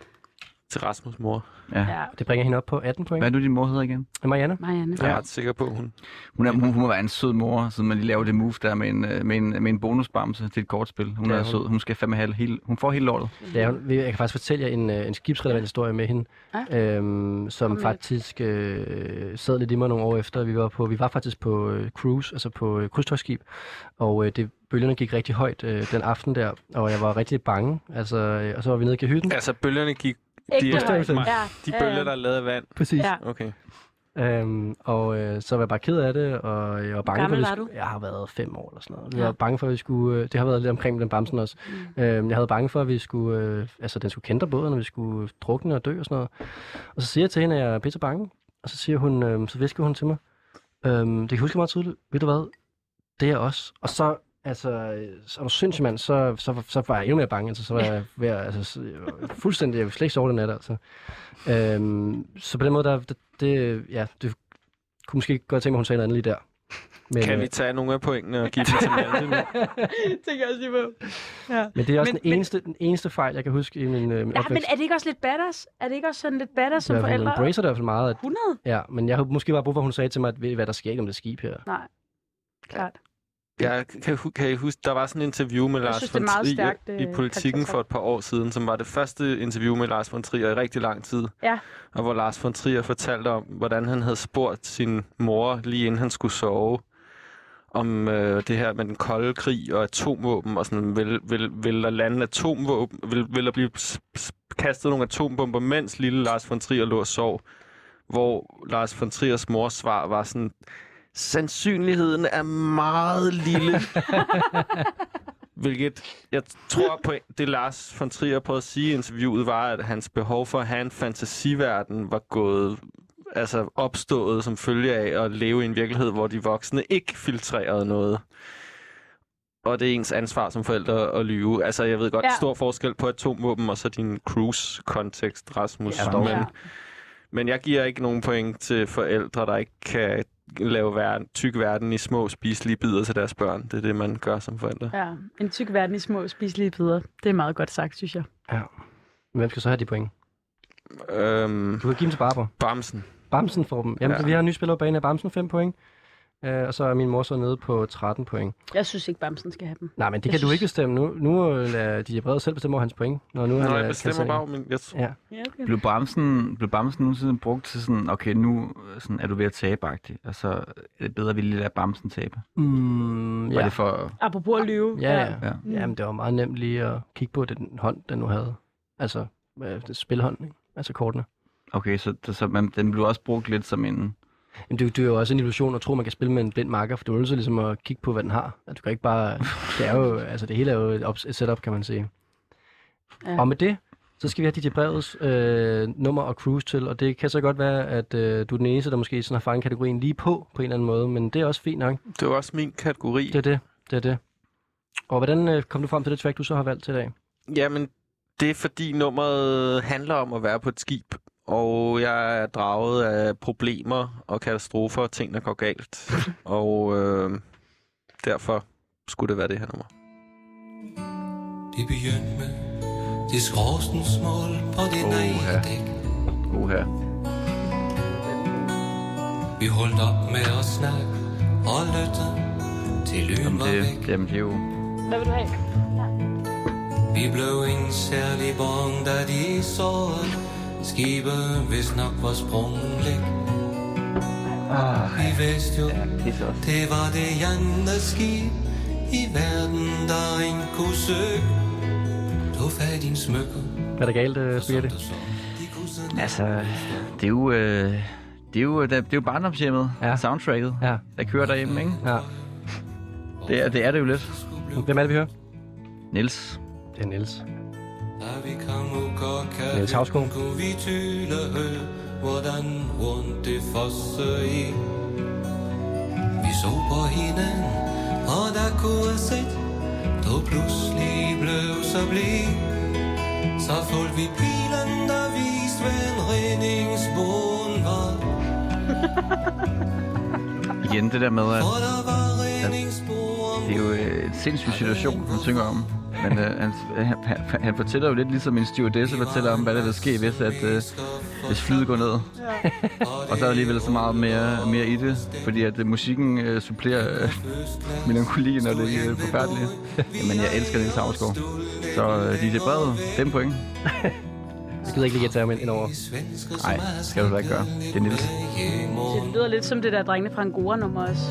S3: Til Rasmus' mor.
S5: Ja.
S2: Det bringer hende op på 18 point.
S4: Hvad er nu din mor hedder igen?
S2: Marianne?
S5: Marianne.
S3: Jeg er ret sikker på, hun.
S4: Hun, er, hun, hun må være en sød mor, så man lige laver det move der med en, øh, med en, med en bonusbamse til et kortspil. Hun
S2: Ja,
S4: er
S2: hun-
S4: sød. Hun skal fandme have hele, hun får hele lortet.
S2: Ja, hun- jeg kan faktisk fortælle jer en, øh, en skibsrelevant historie med hende, ja. øhm, som
S5: Kom med det.
S2: faktisk øh, sad lidt i mig nogle år efter. Vi var, på, vi var faktisk på øh, cruise, altså på øh, krydstogsskib, og øh, det, bølgerne gik rigtig højt øh, den aften der, og jeg var rigtig bange. Altså, øh, og så var vi nede i kahytten.
S3: Altså, bølgerne gik
S5: Ægte
S3: de,
S5: højde. Ja,
S3: de
S5: ja,
S3: bølger,
S5: ja.
S3: der er lavet af vand.
S2: Præcis.
S5: Ja.
S3: Okay.
S2: Øhm, og øh, så var jeg bare ked af det, og jeg var bange
S5: gammel
S2: for, at vi
S5: var
S2: skulle-
S5: du?
S2: Jeg har været fem år eller sådan noget. Jeg
S5: Ja.
S2: var bange for, at vi skulle... Øh, det har været lidt omkring den bamsen også. Mm. Øhm, jeg havde bange for, at vi skulle... Øh, altså, den skulle kendre båden, og vi skulle drukne og dø og sådan noget. Og så siger jeg til hende, at jeg er pisse bange. Og så siger hun... Øh, så visker hun til mig. Øhm, det kan jeg huske meget tydeligt. Ved du hvad? Det er jeg også. Og så... Altså, øh, så er du sindssyg, mand. Så, så, så var jeg endnu mere bange. Altså, så var jeg ved, at- altså, så- jeg var fuldstændig... Jeg ville slet ikke sove den nat, altså. Øhm, så på den måde, der, det, det, ja, det kunne måske godt tænke mig, at hun sagde noget andet lige der.
S3: Men, kan
S2: øh,
S3: vi tage nogle af pointene og give dem til Malte nu?
S5: Tænker jeg også lige på. Ja.
S2: men det er også men, den, eneste, men, den eneste fejl, jeg kan huske i min, øh, min
S5: Ja, men
S2: opvækst.
S5: er det ikke også lidt badass? Er det ikke også sådan lidt badass som
S2: Ja, hun
S5: forældre?
S2: embracer det i hvert fald meget. At,
S5: 100?
S2: ja, men jeg havde måske bare brug for, at hun sagde til mig, at, ved I hvad der sker ikke om det skib her.
S5: Nej, klart.
S3: Jeg kan, hu- kan I huske, der var sådan et interview med
S5: Jeg
S3: Lars
S5: synes, det er
S3: von
S5: meget
S3: Trier
S5: stærkt, øh,
S3: i Politikken for et par år siden, som var det første interview med Lars von Trier i rigtig lang tid.
S5: Ja.
S3: Og hvor Lars von Trier fortalte om, hvordan han havde spurgt sin mor, lige inden han skulle sove, om øh, det her med den kolde krig og atomvåben, og sådan, vil, vil, vil der lande atomvåben, vil, vil der blive s- s- kastet nogle atombomber, mens lille Lars von Trier lå og sov, hvor Lars von Triers mors svar var sådan, sandsynligheden er meget lille. Hvilket, jeg tror på, det Lars von Trier prøvede at sige i interviewet, var, at hans behov for at have en fantasiverden var gået altså opstået som følge af at leve i en virkelighed, hvor de voksne ikke filtrerede noget. Og det er ens ansvar som forældre at lyve. Altså, jeg ved godt,
S5: Ja.
S3: ja. stor forskel på atomvåben og så din cruise-kontekst, Rasmus.
S5: Ja, dog. Ja.
S3: men, men jeg giver ikke nogen point til forældre, der ikke kan lave verden, tyk verden i små spiselige bidder til deres børn. Det er det, man gør som forældre.
S5: Ja, en tyk verden i små spiselige bidder. Det er meget godt sagt, synes jeg.
S2: Ja. Men Hvem skal så have de point? Du kan
S3: Øhm,
S2: give dem til Barbara.
S3: Bamsen.
S2: Bamsen får dem. Jamen,
S3: Ja.
S2: ja. vi har en ny spiller på banen af Bamsen 5 point. Øh, og så er min mor så nede på 13 point.
S5: Jeg synes ikke, Bamsen skal have dem.
S2: Nej, men det
S5: Jeg
S2: kan du
S5: synes-
S2: ikke bestemme nu. Nu øh, lader de brede selv bestemme over hans point. Når nu
S3: Nå,
S2: han øh,
S3: jeg
S2: er
S3: bestemmer
S2: kasseret.
S3: bare, men jeg tror...
S2: Ja.
S5: Ja, okay.
S4: Blev bremsen, blev bremsen nogensinde brugt til sådan, okay, nu øh, sådan, er du ved at tabe -agtigt, og så øh, er det bedre, at vi lige lader bremsen tabe?
S2: Mm,
S4: Var
S2: ja.
S4: det for...
S5: Apropos at lyve.
S2: Ja, ja.
S4: Ja.
S2: ja.
S5: Mm.
S2: Jamen, det var meget nemt lige at kigge på den hånd, den nu havde. Altså, øh, det spilhånd, ikke? altså kortene.
S4: Okay, så, så man, den blev også brugt lidt som en...
S2: Jamen, det, det er jo også en illusion at tro, man kan spille med en blind marker, for du er nødt til ligesom at kigge på, hvad den har. At du kan ikke bare... Det, er jo, altså, det hele er jo et, ops- et setup, kan man sige.
S5: Ja.
S2: Ja. Og med det, så skal vi have DJ Brevets øh, nummer og cruise til, og det kan så godt være, at øh, du er den eneste, der måske sådan har fanget kategorien lige på, på en eller anden måde, men det er også fint nok.
S3: Det var også min kategori.
S2: Det er det. Det er det. Og hvordan øh, kom du frem til det track, du så har valgt til i dag?
S3: Jamen, det er fordi nummeret handler om at være på et skib, og jeg er draget af problemer og katastrofer og ting, der går galt. og øh, derfor skulle det være det her nummer.
S12: Det begyndte med det er skorstens mål på det oh, ene dæk.
S4: Oha.
S12: Vi holdt op med at snakke og lytte til lyden
S4: Jamen
S12: var væk.
S4: det, jamen det er jo...
S5: Hvad vil du have?
S12: Vi blev en særlig bong, da de så, at skibet vist nok var sprunget læk.
S4: Ah,
S12: Vi vidste jo, det var det andet skib i verden, der ingen kunne søge. Du fat din smykker,
S2: Hvad er der galt, øh, Spaghetti?
S4: Altså, det er jo... Øh, det er jo, det er, det er jo barndomshjemmet, ja. soundtracket,
S2: ja.
S4: der kører derhjemme, ikke?
S2: Ja.
S4: Det er det, er det jo lidt.
S2: Hvem er det, vi hører?
S4: Niels.
S2: Det er Niels.
S12: da vi kom ud og kan
S2: Niels Hausgaard.
S12: kunne vi tyle øh, hvordan rundt det fosse i. Vi så på hinanden, og der kunne jeg set, du pludselig blev så bleg. Så fulgte vi pilen, der viste, hvad en redningsbåden var.
S4: Igen det der med, at...
S12: For der var
S4: at
S12: redningsbåden
S4: det er jo øh, en sindssyg situation, han synger om. Men øh, han, han, han- han fortæller jo lidt ligesom en stewardesse fortæller om, hvad der vil ske, hvis, at, øh, hvis flyet går ned. og så er der alligevel så meget mere, mere i det, fordi at øh, musikken øh, supplerer øh, melankolien og det øh, forfærdelige. Jamen, jeg elsker Niels Havsgaard. Så øh, DJ Brede, 5 point.
S2: Jeg gider ikke lige at tage ham ind over.
S4: Nej, det skal du da ikke gøre. Det er Niels.
S5: Det lyder lidt som det der drengene fra Angora nummer også.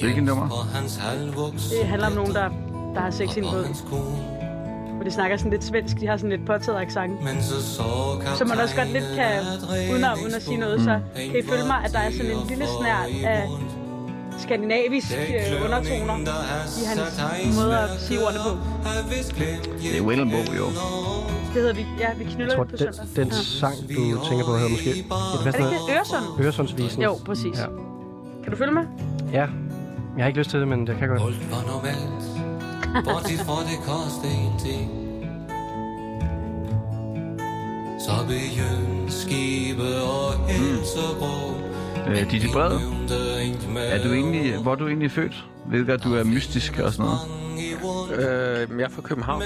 S4: Hvilket nummer?
S12: på hans halvvuks.
S5: Det handler om nogen, der, der har sex i en båd. hvor de snakker sådan lidt svensk. De har sådan lidt påtaget accent.
S12: Men så så
S5: Så man også godt lidt kan, uden at, uden at sige noget, så kan I følge mig, at der er sådan en lille snært af skandinavisk øh, undertoner i hans måde at sige ordene på.
S4: Det er Winelbo, jo.
S5: Det hedder vi, ja, vi
S2: Jeg
S5: knytter
S2: tror,
S5: det på
S2: den,
S5: søndag.
S2: den sang, du tænker på, hedder måske...
S5: Er det ikke Øresund?
S2: Øresundsvisen.
S5: Jo, præcis.
S2: Ja.
S5: Kan du følge mig?
S2: ja. Jeg har ikke lyst til det, men jeg kan godt.
S12: var normalt Bortset fra det kostede ingenting Så begyndte skibe og helsegrå
S4: Øh, Didi Bred, er du egentlig, hvor er du egentlig født? Ved godt, du er mystisk og sådan noget.
S3: Øh, jeg er fra København.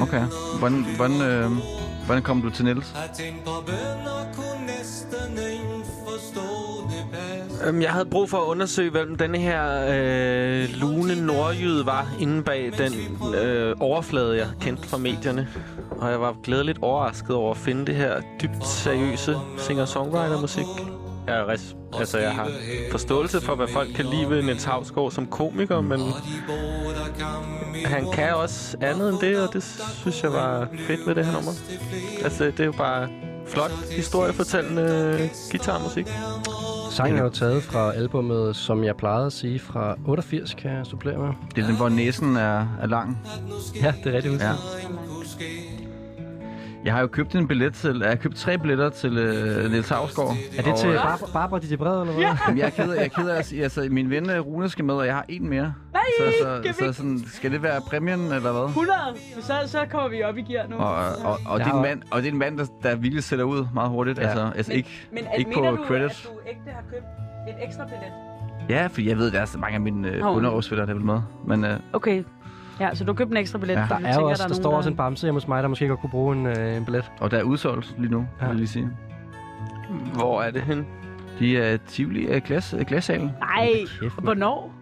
S4: Okay. Hvordan, hvordan, øh, hvordan kom du til Niels?
S3: Øhm, jeg havde brug for at undersøge, hvem denne her øh, lune nordjyde var inde bag den øh, overflade, jeg kendte fra medierne. Og jeg var glædeligt overrasket over at finde det her dybt seriøse singer-songwriter-musik. Jeg, er res- altså, jeg har forståelse for, hvad folk kan lide ved Niels Havsgaard som komiker, men han kan også andet end det, og det synes jeg var fedt ved det her nummer. Altså, det er jo bare flot historiefortællende øh, guitarmusik.
S2: Sangen er jo taget fra albummet, som jeg plejede at sige, fra 88, kan jeg supplere med.
S4: Det er den, hvor næsen er, er lang.
S2: Ja, det er rigtigt
S4: Ja. Jeg har jo købt en billet til... Jeg har købt tre billetter til øh, Niels Havsgaard.
S2: Er det til Barbara, Barbara Didi Brede, eller hvad? Ja.
S4: Jamen, jeg er ked af, jeg er ked af at sige, altså, min ven øh, Rune skal med, og jeg har en mere.
S5: Nej,
S4: så, så,
S5: kan vi
S4: så, sådan, skal det være præmien, eller hvad?
S5: 100, for så, så kommer vi op i gear nu.
S4: Og, øh, og, og, det er en mand, og det er en mand, der, der virkelig sætter ud meget hurtigt. Ja. Altså, altså
S5: Men-
S4: ikke,
S5: men
S4: men,
S5: at-
S4: ikke på
S5: mener
S4: credit.
S5: at du ægte har købt en ekstra billet?
S4: Ja, for jeg ved, der er så mange af mine øh,
S5: Nå.
S4: underårsfælder, der vil med. Men øh,
S5: Okay. Ja, så du købte en ekstra billet.
S4: Ja.
S5: fordi
S4: Der
S5: du
S2: Der, er jo
S5: tænker,
S2: også, der,
S5: nogen,
S2: står også en bamse hjemme hos mig, der måske godt kunne bruge en, øh, en billet.
S4: og der er udsolgt lige nu, ja. vil jeg lige sige.
S3: Hvor er det hen?
S4: De er Tivoli øh, glas, øh, glassalen.
S5: Nej,
S4: Kæft, mand.
S5: hvornår?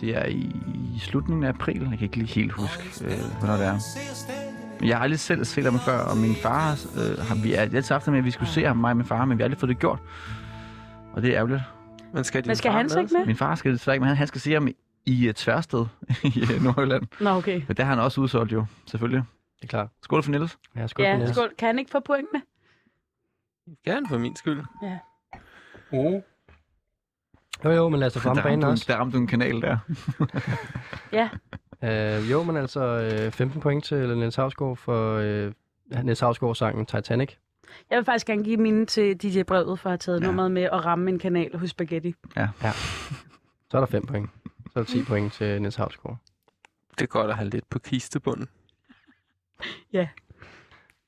S4: Det er i, i slutningen af april. Jeg kan ikke lige helt huske, øh, hvornår det er. Men Jeg har aldrig selv set ham før, og min far øh, har vi har altid haft det med, at vi skulle se ham, mig og min far, men vi har aldrig fået det gjort. Og det er ærgerligt.
S3: Men skal, din
S5: Men skal
S3: far
S5: han så ikke med?
S4: Min far skal desværre ikke med, han- han skal se ham i, i øh, Tværsted i øh, Nordjylland.
S5: Nå, okay.
S4: Men der har han også udsolgt jo, selvfølgelig.
S2: Det er klart.
S4: Skål for Niels.
S2: Ja,
S5: Ja, skål. Kan han ikke få pointene?
S3: Gerne for min skyld.
S5: Ja.
S4: Oh.
S2: Jo, jo, men lad os da fremme
S4: Der
S2: banen
S4: ramte, du,
S2: også.
S4: der ramte du en kanal der.
S5: Ja,
S2: Øh, jo, men altså øh, 15 point til Niels Havsgaard for øh, Niels Havsgaards sangen Titanic.
S5: jeg vil faktisk gerne give mine til DJ Brevet for at have taget ja. nummeret med og ramme en kanal hos Spaghetti.
S4: Ja.
S2: ja. Så er der 5 point. Så er der 10 point til Niels Havsgaard.
S3: Det er godt at have lidt på kistebunden.
S5: Ja.
S2: Meget,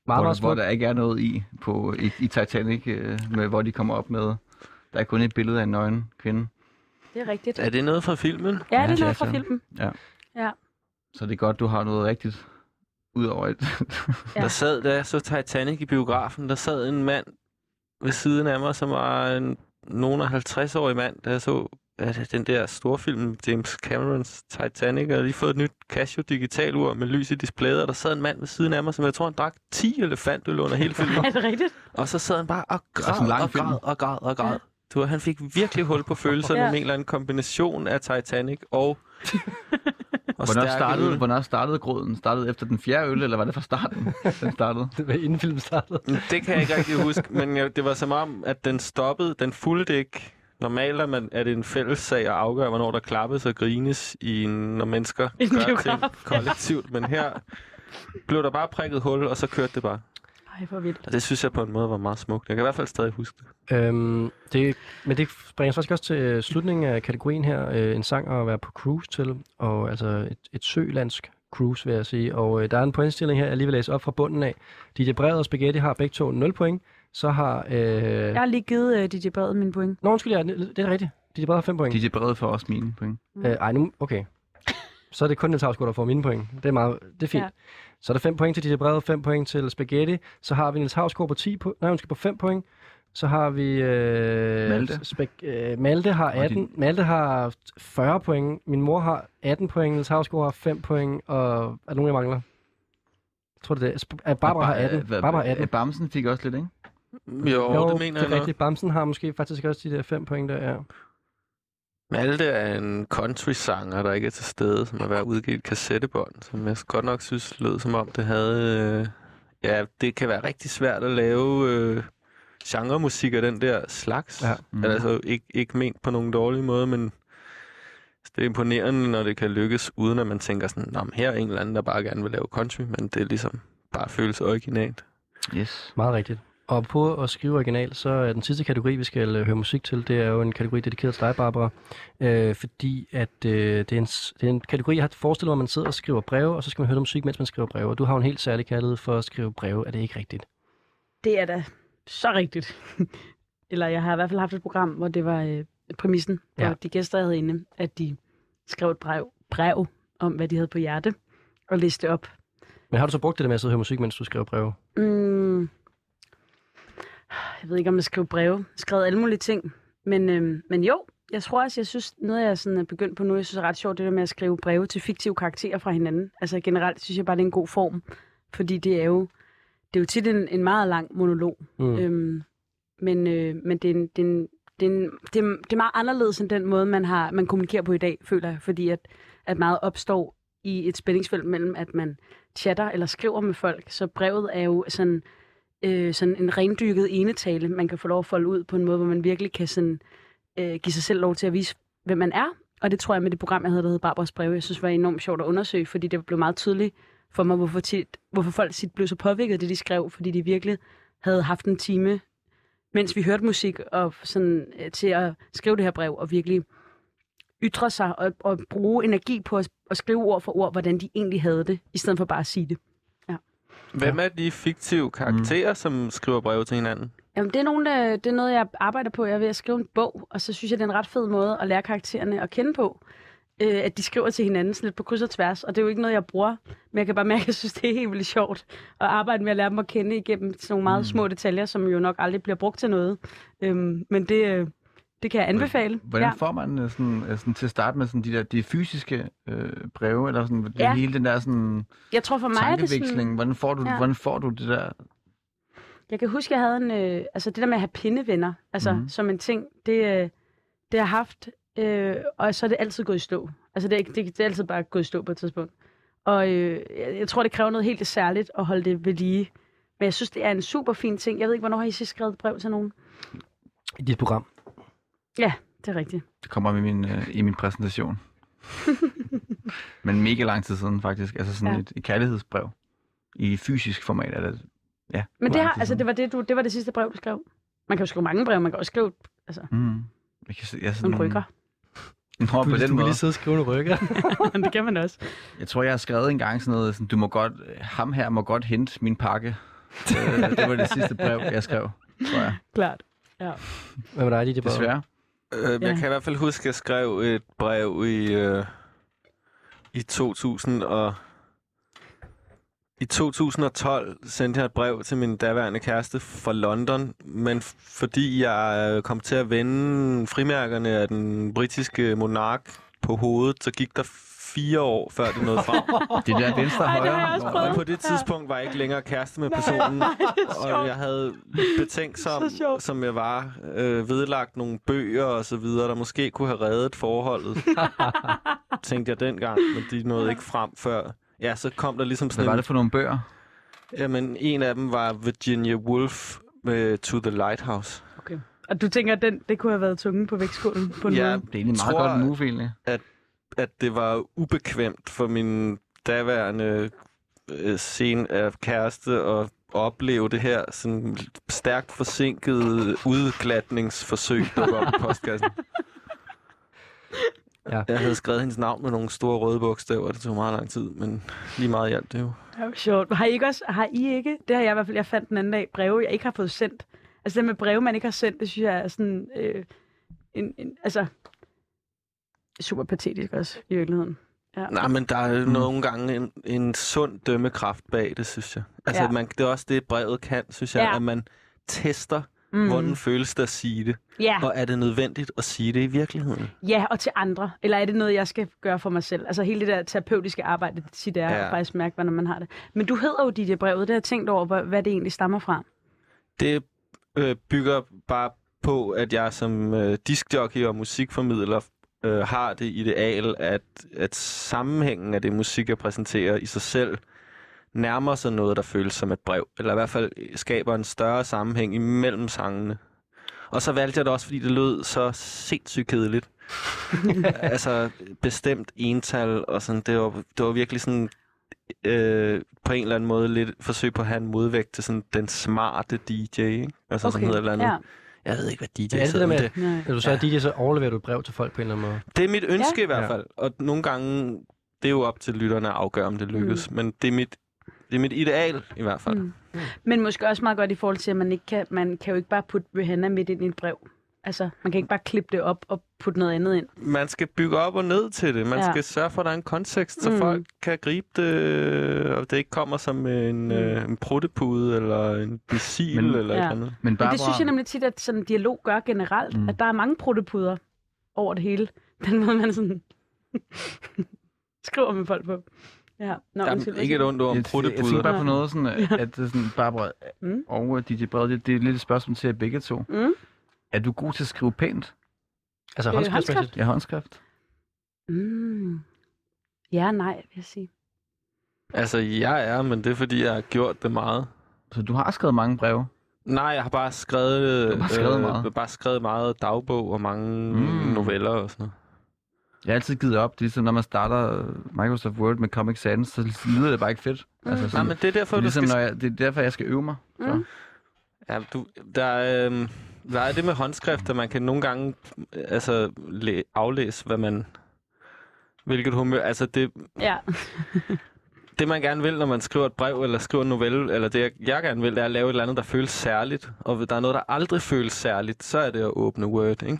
S4: hvor,
S2: meget
S4: hvor
S2: smukt.
S4: der ikke er noget i på i, i Titanic, øh, med, hvor de kommer op med. Der er kun et billede af en nøgen kvinde.
S5: Det er rigtigt.
S3: Er det noget fra filmen?
S5: Ja, det
S4: det
S5: er
S4: er
S5: noget fra
S4: så.
S5: filmen.
S4: Ja.
S5: Ja.
S4: Så det er godt, du har noget rigtigt ud over et.
S5: Ja.
S3: Ja. Der sad, da jeg så Titanic i biografen, der sad en mand ved siden af mig, som var en nogen af 50-årig mand, der så at den der store film, James Camerons Titanic, og lige fået et nyt Casio digitalur med lys i displayet, og der sad en mand ved siden af mig, som jeg tror, han drak 10 elefantøl under hele filmen.
S5: Er det rigtigt?
S3: og så sad han bare og
S4: er sådan
S3: græd
S4: en lang
S3: og
S4: film.
S3: græd og græd og græd. Du, ved, han fik virkelig hul på følelserne
S5: Ja.
S3: ja. med en eller anden kombination af Titanic og, og
S4: Hvornår
S3: stærke
S4: startede,
S3: øl.
S4: hvornår startede gråden? Startede efter den fjerde øl, eller var det fra starten, den startede?
S2: Det var inden filmen startede.
S3: Mm, Det kan jeg ikke rigtig huske, men jeg, det var som om, at den stoppede, den fulgte ikke. Normalt er, man, er det en fælles sag at afgøre, hvornår der klappes og grines, i en, når mennesker
S5: I en
S3: gør
S5: biograf,
S3: ting kollektivt. Men her blev der bare prikket hul, og så kørte det bare.
S5: Ej, hvor vildt.
S3: Og det synes jeg på en måde var meget smukt. Jeg kan i hvert fald stadig huske det.
S2: Øhm, det, men det bringer os faktisk også til øh, slutningen af kategorien her. Øh, en sang at være på cruise til, og altså et, et sølandsk cruise, vil jeg sige. Og øh, der er en pointstilling her, jeg lige vil læse op fra bunden af. DJ Brevet og Spaghetti har begge to 0 point. Så har... Øh...
S5: Jeg
S2: Ja.
S5: har lige givet uh, DJ Brevet mine point.
S2: Nå, undskyld, jeg, det er rigtigt. DJ Brevet har 5 point.
S4: De er brede for os mine point.
S2: Øh, ej, nu, okay. Så er det kun Niels Havsgaard, der får mine point. Det er, meget, det er fint.
S5: Ja.
S2: Ja. Så er der 5 point til Ditte Brede, 5 point til Spaghetti. Så har vi Niels Havsgaard på, 10 po- nej, undskyld, på 5 point. Så har vi... Øh,
S4: Malte.
S2: Spag- øh, Malte, har
S4: Og
S2: 18, Malte har 40 point. Min mor har 18 point. Niels Havsgaard har 5 point. Og er der nogen, jeg mangler? Jeg tror, det er det. Sp- øh, Barbara har 18.
S4: Hvad-
S2: Barbara har 18.
S4: øh, Bamsen fik også lidt, ikke?
S3: Jo, jo det mener
S2: det er
S3: jeg nok.
S2: rigtigt. Bamsen har måske faktisk også de der 5 point der, ja.
S3: Malte er en country-sanger, der ikke er til stede, som har været udgivet et kassettebånd, som jeg godt nok synes lød, som om det havde... Øh, ja, det kan være rigtig svært at lave øh, genremusik af den der slags. Ja. Mm. Eller altså ikke, ikke ment på nogen dårlig måde, men det er imponerende, når det kan lykkes, uden at man tænker sådan, Nå, men her er en eller anden, der bare gerne vil lave country, men det er ligesom bare føles originalt.
S4: Yes.
S2: Meget rigtigt. Og på at skrive original, så er den sidste kategori, vi skal øh, høre musik til, det er jo en kategori dedikeret til dig, Barbara. Øh, fordi at øh, det, er en, s- det er en kategori, jeg har forestillet mig, at man sidder og skriver breve, og så skal man høre noget musik, mens man skriver breve. Og du har jo en helt særlig kærlighed for at skrive breve, er det ikke rigtigt?
S5: Det er da så rigtigt. Eller jeg har i hvert fald haft et program, hvor det var øh, præmissen for
S2: Ja.
S5: ja. de gæster, jeg havde inde, at de skrev et brev, brev om, hvad de havde på hjerte, og læste op.
S2: Men har du så brugt det der med at sidde og høre musik, mens du skriver breve?
S5: Mm, jeg ved ikke, om jeg skrev breve. Jeg skrev alle mulige ting. Men, øhm, men jo, jeg tror også, jeg synes, noget jeg sådan er begyndt på nu, jeg synes er ret sjovt, det der med at skrive breve til fiktive karakterer fra hinanden. Altså generelt synes jeg bare, det er en god form. Fordi det er jo, det er jo tit en, en meget lang monolog.
S6: Mm.
S5: Mm. Øhm, men øh, men det, er en, det, er en, det, er en, det, er, det er meget anderledes end den måde, man, har, man kommunikerer på i dag, føler jeg. Fordi at, at meget opstår i et spændingsfelt mellem, at man chatter eller skriver med folk. Så brevet er jo sådan, øh, sådan en rendyrket enetale, man kan få lov at folde ud på en måde, hvor man virkelig kan sådan, øh, give sig selv lov til at vise, hvem man er. Og det tror jeg med det program, jeg havde, der hed Barbaras Breve, jeg synes var enormt sjovt at undersøge, fordi det blev meget tydeligt for mig, hvorfor, tit, hvorfor folk tit blev så påvirket af det, de skrev, fordi de virkelig havde haft en time, mens vi hørte musik, og sådan, øh, til at skrive det her brev, og virkelig ytre sig og, og bruge energi på at, at skrive ord for ord, hvordan de egentlig havde det, i stedet for bare at sige det.
S3: Hvem er de fiktive karakterer, mm. som skriver breve til hinanden?
S5: Jamen, det er, nogen, der, det er noget, jeg arbejder på. Jeg er ved at skrive en bog, og så synes jeg, det er en ret fed måde at lære karaktererne at kende på. Øh, at de skriver til hinanden sådan lidt på kryds og tværs, og det er jo ikke noget, jeg bruger. Men jeg kan bare mærke, at jeg synes, det er helt vildt sjovt at arbejde med at lære dem at kende igennem sådan nogle meget mm. små detaljer, som jo nok aldrig bliver brugt til noget. Øhm, men det, øh, det kan jeg anbefale.
S4: Hvordan får man øh, sådan, øh, sådan, til at starte med sådan de der de fysiske øh, breve, eller sådan, ja.
S5: Ja.
S4: hele den der sådan,
S5: Jeg tror for mig er det
S4: tankeveksling?
S5: sådan...
S4: Hvordan, får du, ja.
S5: Ja.
S4: hvordan får du det der?
S5: Jeg kan huske, jeg havde en... Øh, altså det der med at have pindevenner, altså
S4: Mhm.
S5: mm. som en ting, det, øh, det har jeg haft, øh, og så er det altid gået i stå. Altså det, er ikke- det, det er altid bare gået i stå på et tidspunkt. Og øh, jeg, jeg tror, det kræver noget helt særligt at holde det ved lige. Men jeg synes, det er en super fin ting. Jeg ved ikke, hvornår har I sidst skrevet et brev til nogen?
S2: I dit program?
S5: Ja, det er rigtigt.
S4: Det kommer med min, øh, i min præsentation. Men mega lang tid siden faktisk. Altså sådan ja.
S5: Ja.
S4: et, et kærlighedsbrev. I fysisk format er det. Ja.
S5: Men det,
S4: lang
S5: har,
S4: tid
S5: altså,
S4: siden.
S5: det, var det, du, det var det sidste brev, du skrev. Man kan jo skrive mange breve, man kan også skrive altså,
S4: Mm. Jeg kan se, jeg er sådan
S5: nogle rykker.
S4: Nå, på den måde.
S2: og skrive nogle rykker.
S5: det kan man også.
S4: Jeg tror, jeg har skrevet en gang sådan noget, sådan, du må godt, ham her må godt hente min pakke. Øh, det var det sidste brev, jeg skrev, tror jeg.
S5: Klart. Ja.
S2: Hvad med dig, det
S4: Desværre.
S3: Øh,
S5: Ja.
S3: jeg kan i hvert fald huske, at jeg skrev et brev i, øh, i 2000 og... I 2012 sendte jeg et brev til min daværende kæreste fra London, men f- fordi jeg øh, kom til at vende frimærkerne af den britiske monark på hovedet, så gik der fire år, før det nåede frem.
S4: Det der venstre Ej, det har højre. jeg også prøvet.
S3: Og på det tidspunkt var jeg ikke længere kæreste med personen,
S4: nej, det er
S3: og
S4: sjovt.
S3: jeg havde betænksom, som jeg var, øh, vedlagt nogle bøger og så videre, der måske kunne have reddet forholdet, tænkte jeg dengang, men de nåede ikke frem før. Ja, så kom der ligesom sådan
S4: Hvad var
S3: en-
S4: det for nogle bøger?
S3: Jamen, en af dem var Virginia Woolf med To the Lighthouse.
S5: Okay. Og du tænker, at den, det kunne have været tungen på vægtskålen på en måde?
S4: move, egentlig.
S3: At, at det var ubekvemt for min daværende øh, scene af kæreste at opleve det her sådan stærkt forsinkede udglatningsforsøg, der var på postkassen.
S2: Ja.
S3: Jeg havde skrevet hendes navn med nogle store røde bogstaver, det tog meget lang tid, men lige meget hjalp det jo.
S5: Ja, hvor sjovt. Har I ikke også, har I ikke, det har jeg i hvert fald, jeg fandt den anden dag, breve, jeg ikke har fået sendt. Altså det med breve, man ikke har sendt, det synes jeg er sådan, øh, en, en, altså, super patetisk også i virkeligheden. Ja.
S3: Nej, men der er mm. nogle gange en, en sund dømmekraft bag det, synes jeg. Altså,
S5: Ja.
S3: ja. man, det er også det, brevet kan, synes jeg,
S5: Ja.
S3: ja. at man tester,
S5: Mm.
S3: mm. hvordan føles det at sige det.
S5: Ja.
S3: Og er det nødvendigt at sige det i virkeligheden?
S5: Ja, og til andre. Eller er det noget, jeg skal gøre for mig selv? Altså hele det der terapeutiske arbejde, det tit er,
S3: Ja.
S5: ja. og faktisk mærke, hvordan man har det. Men du hedder jo dit brevet, det har jeg tænkt over, hvor- hvad det egentlig stammer fra.
S3: Det øh, bygger bare på, at jeg som øh, diskjockey og musikformidler øh, har det ideal, at, at sammenhængen af det musik, jeg præsenterer i sig selv, nærmer sig noget, der føles som et brev. Eller i hvert fald skaber en større sammenhæng imellem sangene. Og så valgte jeg det også, fordi det lød så sindssygt kedeligt. altså bestemt ental, og sådan, det var, det var virkelig sådan øh, på en eller anden måde lidt forsøg på at have en modvægt til sådan den smarte DJ, ikke? Altså okay. sådan noget eller andet.
S5: ja.
S3: Jeg ved ikke, hvad DJ
S2: Det er altid
S3: sidder
S2: det med,
S3: med.
S2: at når du så er DJ, så overleverer du et brev til folk på en eller anden måde.
S3: Det er mit ønske
S2: Ja.
S3: ja. i hvert fald, og nogle gange, det er jo op til lytterne at afgøre, om det lykkes, mm. men det er, mit, det er mit ideal i hvert fald.
S5: Mm. Men måske også meget godt i forhold til, at man, ikke kan, man kan jo ikke bare putte Rihanna midt ind i et brev. Altså, man kan ikke bare klippe det op og putte noget andet ind.
S3: Man skal bygge op og ned til det, man
S5: Ja.
S3: ja. skal sørge for, at der er en kontekst, så
S5: Mm.
S3: mm. folk kan gribe det, og det ikke kommer som en, mm. øh, en pruttepude, eller en missil,
S4: Men-
S3: eller et eller
S5: ja.
S3: andet.
S5: Men, Barbara... Men det synes jeg nemlig tit, at sådan en dialog gør generelt, mm.
S3: Mm.
S5: at der er mange pruttepuder over det hele. Den måde, man sådan skriver med folk på. Ja, Nå, undskyld, hvad siger du?
S3: ord om
S4: Jeg, jeg
S3: pruttepuder.
S4: tænker bare på
S5: Nej.
S4: noget, sådan, øh,
S5: Ja.
S4: at det er sådan, Barbara
S5: Mm.
S4: og øh, DJ Brede, det, det er et lille spørgsmål til jer begge to.
S5: Mm.
S4: Er du god til at skrive pænt?
S2: Altså
S5: Øh, håndskriftsmæssigt? håndskrift?
S4: Ja, håndskrift.
S5: Mm. Ja, nej, vil jeg sige.
S3: Altså, jeg er, men det er, fordi jeg har gjort det meget.
S4: Så du har skrevet mange breve?
S3: Nej, jeg har bare skrevet, øh,
S4: Du har bare skrevet meget.
S3: bare skrevet meget dagbog og mange
S4: Mm.
S3: mm. noveller og sådan noget.
S4: Jeg har altid givet op. Det er ligesom, når man starter øh, Microsoft Word med Comic Sans, så lyder det bare ikke fedt. Altså,
S3: Mm. Nej, men det er derfor, du
S4: ligesom,
S3: skal-
S4: Når jeg, det er derfor, jeg skal øve mig. Så.
S3: Mm. Ja, du, der, er, øhm, der er det med håndskrift, at man kan nogle gange øh, altså, læ- aflæse, hvad man... Hvilket humør... Altså, det,
S5: Ja.
S3: det, man gerne vil, når man skriver et brev, eller skriver en novelle, eller det, jeg, jeg gerne vil, det er at lave et eller andet, der føles særligt. Og hvis der er noget, der aldrig føles særligt, så er det at åbne Word, ikke?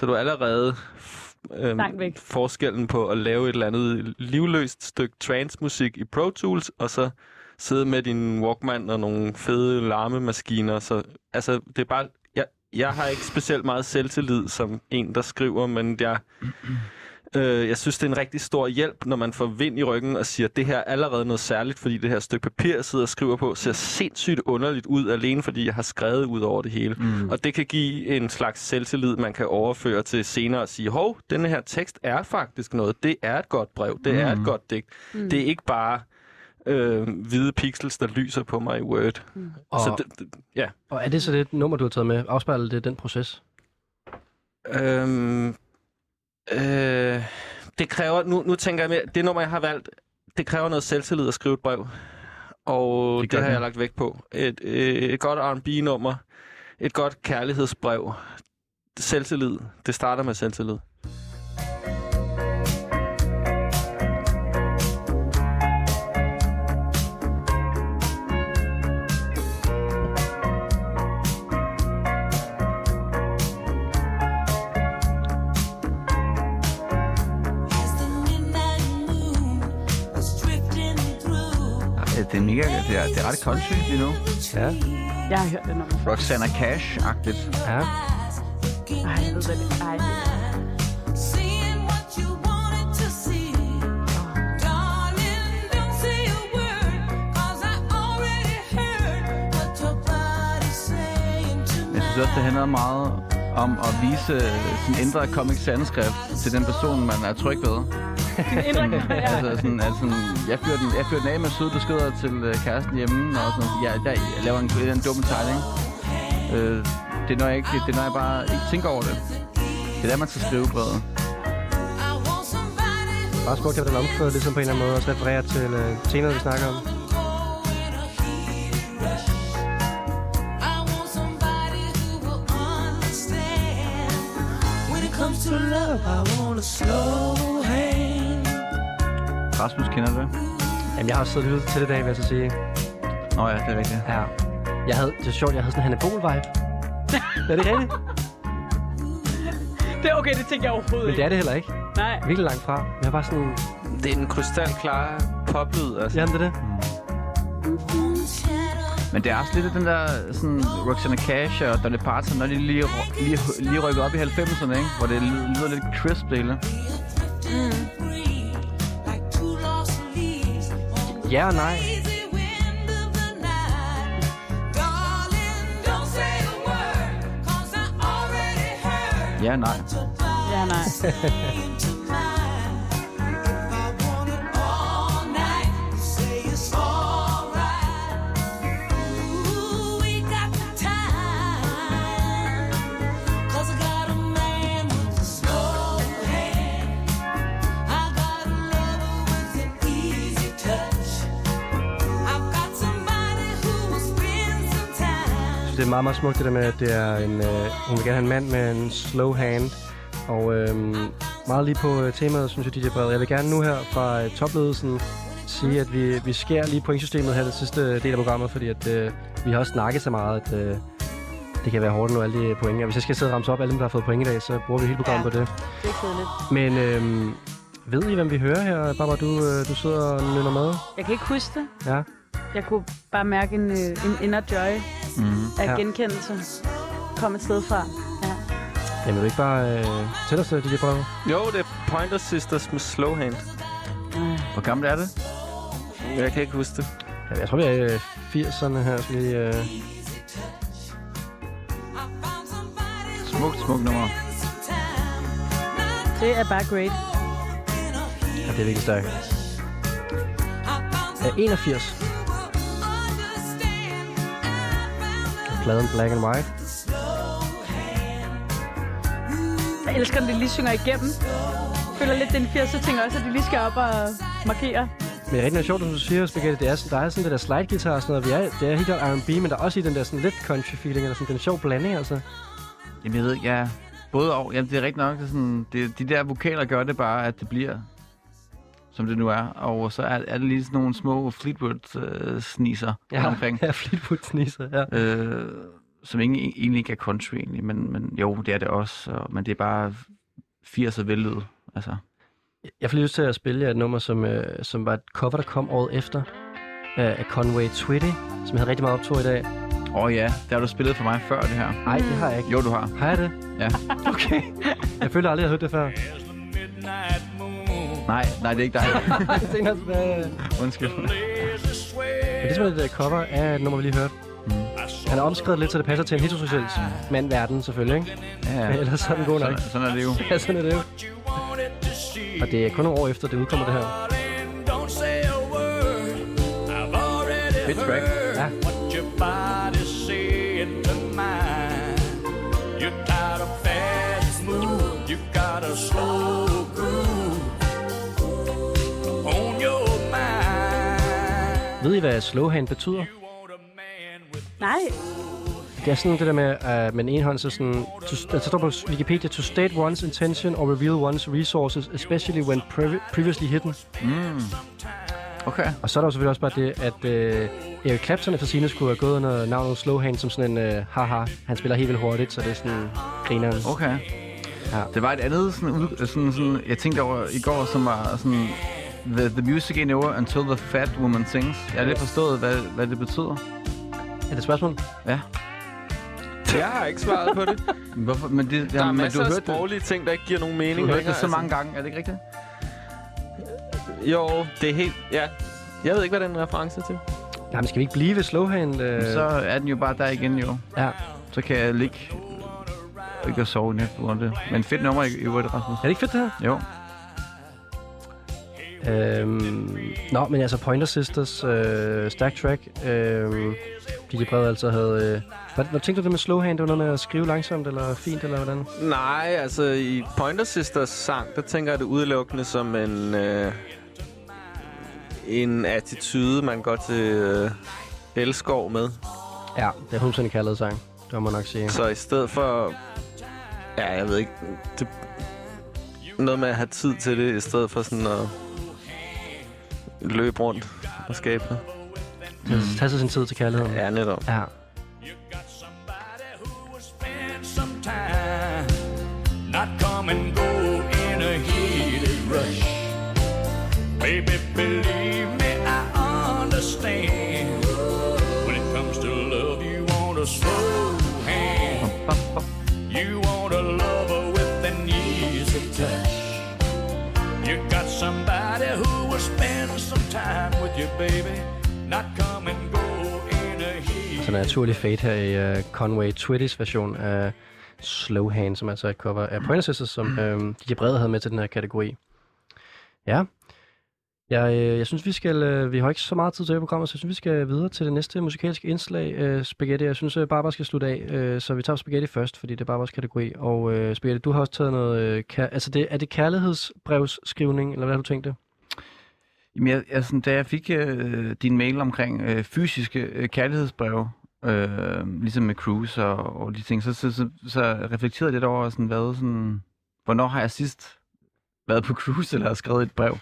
S3: Så du er allerede f- øhm,
S5: Langt væk.
S3: forskellen på at lave et eller andet livløst stykke transmusik i Pro Tools, og så sidde med din Walkman og nogle fede larmemaskiner. Så, altså, det er bare... Jeg, jeg har ikke specielt meget selvtillid som en, der skriver, men jeg... Øh, jeg synes, det er en rigtig stor hjælp, når man får vind i ryggen og siger, at det her er allerede noget særligt, fordi det her stykke papir, jeg sidder og skriver på, ser sindssygt underligt ud, alene fordi jeg har skrevet ud over det hele.
S4: Mm.
S3: Og det kan give en slags selvtillid, man kan overføre til senere og sige, hov, den her tekst er faktisk noget. Det er et godt brev. Det mm. er et
S4: Mm.
S3: godt digt.
S4: Mm.
S3: Mm. Det er ikke bare øh, hvide pixels, der lyser på mig i Word. Mm.
S2: Og-
S3: Så det, det, ja.
S2: Og er det så det nummer, du har taget med? Afspejler det den proces?
S3: Øhm, øh, det kræver, nu, nu tænker jeg mere, det nummer, jeg har valgt, det kræver noget selvtillid at skrive et brev. Og det,
S4: gør
S3: det har
S4: det.
S3: jeg lagt vægt på. Et, øh, et, et godt R&B-nummer, et godt kærlighedsbrev, selvtillid, det starter med selvtillid.
S4: Ja, det er mega, det er, det er ret country lige nu. Ja.
S5: Jeg har hørt det nummer.
S4: Roxana Cash-agtigt. Ja.
S5: Ej, jeg ved, hvad det er. Ej, det er.
S4: Jeg synes også, det handler meget om at vise øh, sin indre Comic Sans-skrift til den person, man er tryg ved. altså sådan, altså sådan, jeg fyrer den, jeg fyrer den af med søde beskeder til øh, kæresten hjemme, og sådan, jeg, jeg, jeg laver en, en eller anden dum tegning. Øh, det er, når jeg ikke, det er, når jeg bare ikke tænker over det. Det er der, man skal skrive brevet.
S2: Bare smukt, at den
S4: er
S2: omkød, ligesom på en eller anden måde, også refererer til øh, temaet, vi snakker om.
S6: To love, I want a slow hand.
S4: Rasmus kender det.
S2: Jamen, jeg har også siddet og lyttet til det i dag, vil jeg så sige.
S4: Nå ja, det er rigtigt.
S2: Ja. Jeg havde, det er sjovt, jeg havde sådan en Hanna Bol-vibe. er det rigtigt?
S5: Det er okay, det tænker jeg overhovedet
S2: Men det er det heller ikke.
S5: Nej.
S2: Virkelig langt fra. Men jeg var sådan...
S3: Det er en krystalklar poplyd, altså.
S2: Jamen, det er det.
S4: Men det er også lidt af den der sådan, Roxana Cash og Dolly Parton, når de lige, lige, lige rykker op i 90'erne, ikke? hvor det lyder lyder lidt crisp det hele.
S2: Ja og nej.
S4: Ja, nej.
S5: Ja, nej.
S2: Jeg synes, det er meget, meget smukt det der med, at det er en, øh, hun vil gerne have en mand med en slow hand. Og øhm, meget lige på øh, temaet, synes jeg, DJ Brede. Jeg vil gerne nu her fra øh, topledelsen sige, at vi, vi skærer lige pointsystemet her det sidste del af programmet, fordi at, øh, vi har også snakket så meget, at øh, det kan være hårdt nu, alle de point. Og hvis jeg skal sidde og ramse op alle dem, der har fået point i dag, så bruger vi hele programmet ja. på det.
S5: Det er kedeligt.
S2: Men øhm, ved I, hvem vi hører her? Barbara, du, øh, du sidder og nynner med.
S5: Jeg kan ikke huske det.
S2: Ja.
S5: Jeg kunne bare mærke en, øh, en inner joy
S2: Mhm.
S5: af
S2: Ja.
S5: genkendelse. Kom et sted fra. Ja.
S2: Jamen, vil du ikke bare øh, fortælle os, det, DJ Brede?
S3: Jo, det er Pointer Sisters med Slow Hand.
S4: Hvor gammelt er det?
S3: Jeg kan ikke huske det.
S2: Jamen, Jeg tror, vi er i øh, 80'erne her. Skal vi, øh...
S4: Smukt, smukt nummer.
S5: Det er bare great.
S2: Ja, det er virkelig stærkt. Er 81. Pladen Black and White.
S5: Jeg elsker, når de lige synger igennem. Jeg føler lidt, den 80'er ting også, at de lige skal op og markere.
S2: Men det er rigtig noget sjovt, som du siger, Spaghetti. Det er, sådan- der er sådan det der slide guitar og sådan noget. Vi er, det er helt klart R&B, men der er også i den der sådan lidt country feeling, eller sådan den sjov blanding, altså.
S4: Jamen, jeg ved ikke, ja. Både og. Jamen, det er rigtigt nok. Det er sådan, det, de der vokaler gør det bare, at det bliver, som det nu er. Og så er, er det lige sådan nogle små Fleetwood-sniser
S2: Ja,
S4: omkring.
S2: ja Fleetwood-sniser, ja.
S4: Øh, som ikke, egentlig ikke er country, egentlig. Men, men jo, det er det også. Og, men det er bare 80'er vellyd. Altså,
S2: Jeg får lige lyst til at spille jer et nummer, som, øh, som var et cover, der kom året efter. Øh, af Conway Twitty, som jeg havde rigtig meget optog i dag.
S4: Åh oh, ja, der har du spillet for mig før det her.
S2: Nej, det har jeg ikke.
S4: Jo, du har.
S2: Har jeg det?
S4: Ja.
S2: Okay. Jeg føler aldrig, jeg har hørt det før.
S4: Nej, nej, det er ikke dig.
S2: Jeg tænker også, hvad...
S4: Undskyld.
S2: Men det er simpelthen et øh, cover af et nummer, vi lige hørte. Mm. Han er omskrevet lidt, så det passer til en heteroseksuel mandverden, selvfølgelig, ikke?
S4: Ah. Ja, ja.
S2: Men ellers er den god nok.
S4: Sådan, sådan er det jo.
S2: Ja, sådan er det jo. Og det er kun nogle år efter, det udkommer det her.
S13: Don't say a word. I've already
S2: Fedt track.
S13: heard
S2: Ja.
S13: what your body's saying to mine. You're tired of fast moves. You got a slow groove on your mind.
S2: Ved I, hvad slowhand betyder?
S5: Nej.
S2: Det er sådan det der med, at med den ene hånd, så sådan, to, der står på Wikipedia, to state one's intention or reveal one's resources, especially when previ- previously hidden.
S4: Mm. Okay.
S2: Og så er der jo selvfølgelig også bare det, at øh, Eric Clapton efter sine skulle have gået under navnet Slowhand som sådan en øh, haha. Han spiller helt vildt hurtigt, så det er sådan grineren.
S4: Okay.
S2: Ja.
S4: Det var et andet sådan, ud, øh, sådan, sådan jeg tænkte over i går, som var sådan... The, the music ain't over until the fat woman sings. Jeg har lidt forstået, hvad, hvad det betyder.
S2: Er det et spørgsmål?
S4: Ja.
S3: Jeg har ikke svaret på det.
S4: Men Hvorfor? Men det,
S3: Der er
S4: jamen, men
S3: masser
S4: du
S3: af
S4: har hørt det.
S3: sproglige ting, der ikke giver nogen mening.
S4: Du har hørt
S3: længere,
S4: det så
S3: altså.
S4: mange gange, er det ikke rigtigt?
S3: Jo, det er helt... Ja. Jeg ved ikke, hvad den reference er til.
S2: Jamen, skal vi ikke blive ved Slowhand? Øh...
S4: Så er den jo bare der igen, jo.
S2: Ja.
S4: Så kan jeg ligge og ikke at sove i nat på grund af det. Men fedt nummer i i øvrigt, Rasmus. Er
S2: det ikke fedt, det her?
S4: Jo.
S2: Øhm, nå, men altså Pointer Sisters, øh, Stack Track, øh, DJ Brede altså havde... Øh, hvad, hvad tænkte du det med slowhand? Det var noget med at skrive langsomt eller fint, eller hvordan?
S3: Nej, altså i Pointer Sisters sang, der tænker jeg det udelukkende som en... Øh, en attitude, man går til øh, elskov med.
S2: Ja, det er 100% en kaldet sang. Det må jeg nok sige.
S3: Så i stedet for... Ja, jeg ved ikke... Det, noget med at have tid til det, i stedet for sådan at løbe rundt og skabe det.
S2: Mm. Tag sig sin tid til kærligheden.
S3: Ja, netop.
S2: Ja.
S13: time. Not come and go in a heated rush. Baby, believe me, I understand. When it comes to love, you want a slow hand. You want a lover with an easy touch. You got somebody who will spend some time with you, baby. Not come and go in a heated
S2: Så naturlig fade her i uh, Conway Twitties øh, version af Slow Hand, som altså er et cover af Pointer Sisters, som øhm, DJ Brede havde med til den her kategori. Ja. Jeg, øh, jeg synes, vi skal... Øh, vi har ikke så meget tid til det programmet, så jeg synes, vi skal videre til det næste musikalske indslag, øh, Spaghetti. Jeg synes, øh, Barbara skal slutte af, øh, så vi tager Spaghetti først, fordi det er Barbaras kategori. Og øh, Spaghetti, du har også taget noget... Øh, kær- altså, det, er det kærlighedsbrevsskrivning, eller hvad har du tænkt det?
S4: Jamen, jeg, jeg, sådan, da jeg fik øh, din mail omkring øh, fysiske øh, kærlighedsbreve, øh, ligesom med cruise og, og de ting, så, så, så, så reflekterede jeg lidt over, sådan, hvad, sådan, hvornår har jeg sidst været på cruise eller har skrevet et brev?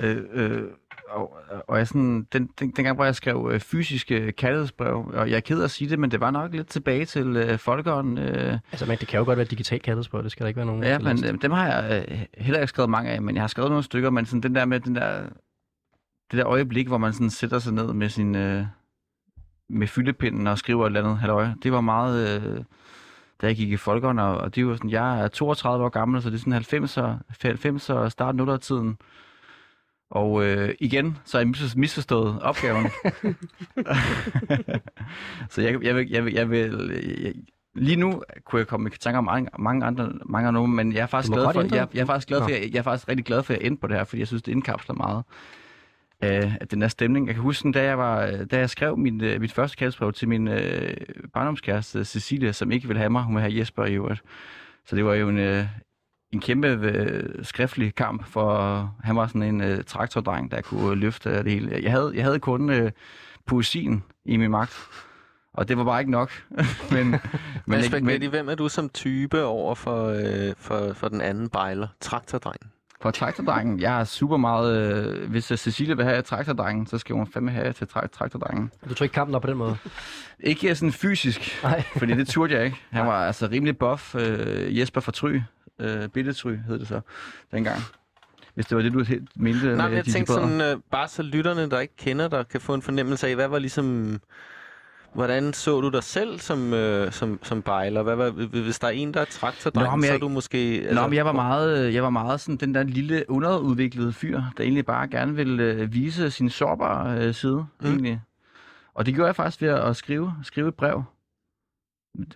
S4: Øh, øh, og, og jeg sådan, den, den, dengang, hvor jeg skrev øh, fysiske kærlighedsbrev, og jeg er ked af at sige det, men det var nok lidt tilbage til øh, folkeånden. Øh,
S2: Altså, men det kan jo godt være digitalt kærlighedsbrød, det skal der ikke være nogen...
S4: Ja,
S2: der
S4: men
S2: læser.
S4: øh, dem har jeg øh, heller ikke skrevet mange af, men jeg har skrevet nogle stykker, men sådan den der med den der, det der øjeblik, hvor man sådan sætter sig ned med sin, øh, med fyldepinden og skriver et eller andet, halløj, det var meget, øh, da jeg gik i folkeånd, og, og det var sådan, jeg er 32 år gammel, så det er sådan 90'er, 90'er og start tiden og øh, igen, så har jeg misfor- misforstået opgaven. så jeg, jeg, vil, jeg, vil, jeg vil... Jeg, lige nu kunne jeg komme i tanke om mange, mange andre, mange andre men jeg er faktisk
S2: Du må
S4: glad
S2: godt
S4: for,
S2: ændre
S4: jeg,
S2: den.
S4: jeg, er faktisk glad for,
S2: Nå.
S4: jeg, jeg er faktisk rigtig glad for, at jeg endte på det her, fordi jeg synes, det indkapsler meget øh, af den her stemning. Jeg kan huske, da jeg, var, øh, da jeg skrev min, øh, mit første kærlighedsbrev til min øh, barndomskæreste Cecilia, som ikke ville have mig, hun ville have Jesper i øvrigt. Så det var jo en, øh, en kæmpe øh, skriftlig kamp, for han var sådan en øh, traktordreng, der kunne øh, løfte det hele. Jeg havde, jeg havde kun øh, poesien i min magt, og det var bare ikke nok. men,
S3: Men, Spaghetti, hvem er du som type over for, øh, for, for den anden bejler, traktordrengen?
S4: For traktordrengen, jeg er super meget... Øh, hvis øh, Cecilie vil have traktordrengen, så skal hun fandme have til tra- traktordrengen.
S2: Du tror ikke kampen op på den måde?
S4: Ikke øh, sådan fysisk,
S2: Nej.
S4: fordi det turde jeg ikke. Han var altså rimelig buff. Øh, Jesper fra Try, øh, Billetry hed det så dengang. Hvis det var det, du he- mente
S3: Nej, men
S4: med
S3: jeg
S4: de
S3: tænkte
S4: bedre.
S3: sådan, øh, bare så lytterne, der ikke kender dig, kan få en fornemmelse af, hvad var ligesom... Hvordan så du dig selv som, øh, som, som bejler? Hvad var, hvis der er en, der er traktordreng,
S4: Nå, men
S3: så er
S4: jeg-
S3: du måske...
S4: Nå, men jeg var meget, øh, jeg var meget sådan den der lille underudviklede fyr, der egentlig bare gerne ville øh, vise sin sårbare øh, side, mm. egentlig. Og det gjorde jeg faktisk ved at skrive, skrive et brev.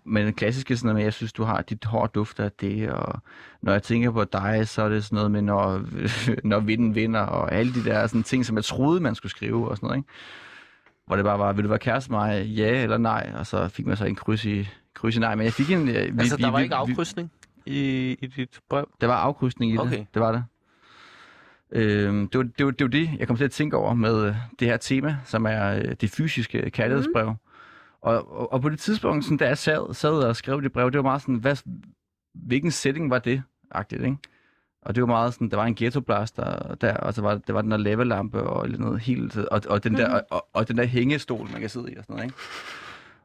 S4: Men det klassiske sådan noget med, jeg synes, du har dit hår dufter af det, og når jeg tænker på dig, så er det sådan noget med, når, når vinden vinder, og alle de der sådan ting, som jeg troede, man skulle skrive og sådan noget, ikke? Hvor det bare var, vil du være kæreste med mig, ja eller nej? Og så fik man så en kryds i, kryds i nej, men jeg fik en... øh, Vi,
S3: altså, der var ikke afkrydsning i, i dit brev?
S4: der var afkrydsning i det.
S3: Okay.
S4: Det var der. Øhm, det, var, det, var, det var det, jeg kom til at tænke over med øh, det her tema, som er øh, det fysiske kærlighedsbrev. Mm. Og, og, og på det tidspunkt, sådan, da jeg sad, sad og skrev det brev, det var meget sådan, hvad, hvilken setting var det? Agtigt, ikke? Og det var meget sådan, der var en ghettoblaster der, og så var der var den der lavalampe og lidt noget helt, og, og, den der, og, og, og den der hængestol, man kan sidde i og sådan noget, ikke?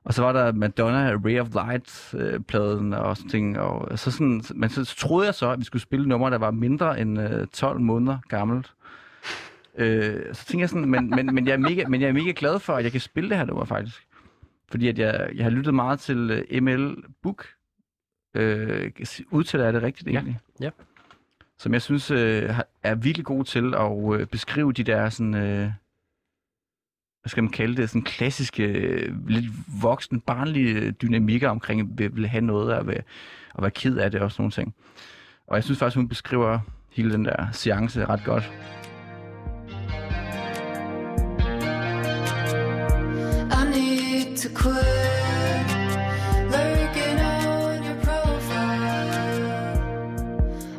S4: Og så var der Madonna Ray of Light-pladen og sådan ting. Og så sådan, men så troede jeg så, at vi skulle spille numre, der var mindre end øh, 12 måneder gammelt. Øh, så tænkte jeg sådan, men, men, men, jeg er mega, men jeg er mega glad for, at jeg kan spille det her nummer faktisk. Fordi at jeg, jeg har lyttet meget til øh, ML Book. Øh, udtaler jeg det rigtigt egentlig?
S2: Ja.
S4: Som jeg synes øh, har- er virkelig god til at øh, beskrive de der sådan... Øh, hvad skal man kalde det, sådan klassiske, øh, lidt voksen, barnlige øh, dynamikker omkring, at vil- vil have noget og være, og være ked af det og sådan nogle ting. Og jeg synes faktisk, hun beskriver hele den der seance ret godt.
S6: I need to quit lurking on your profile.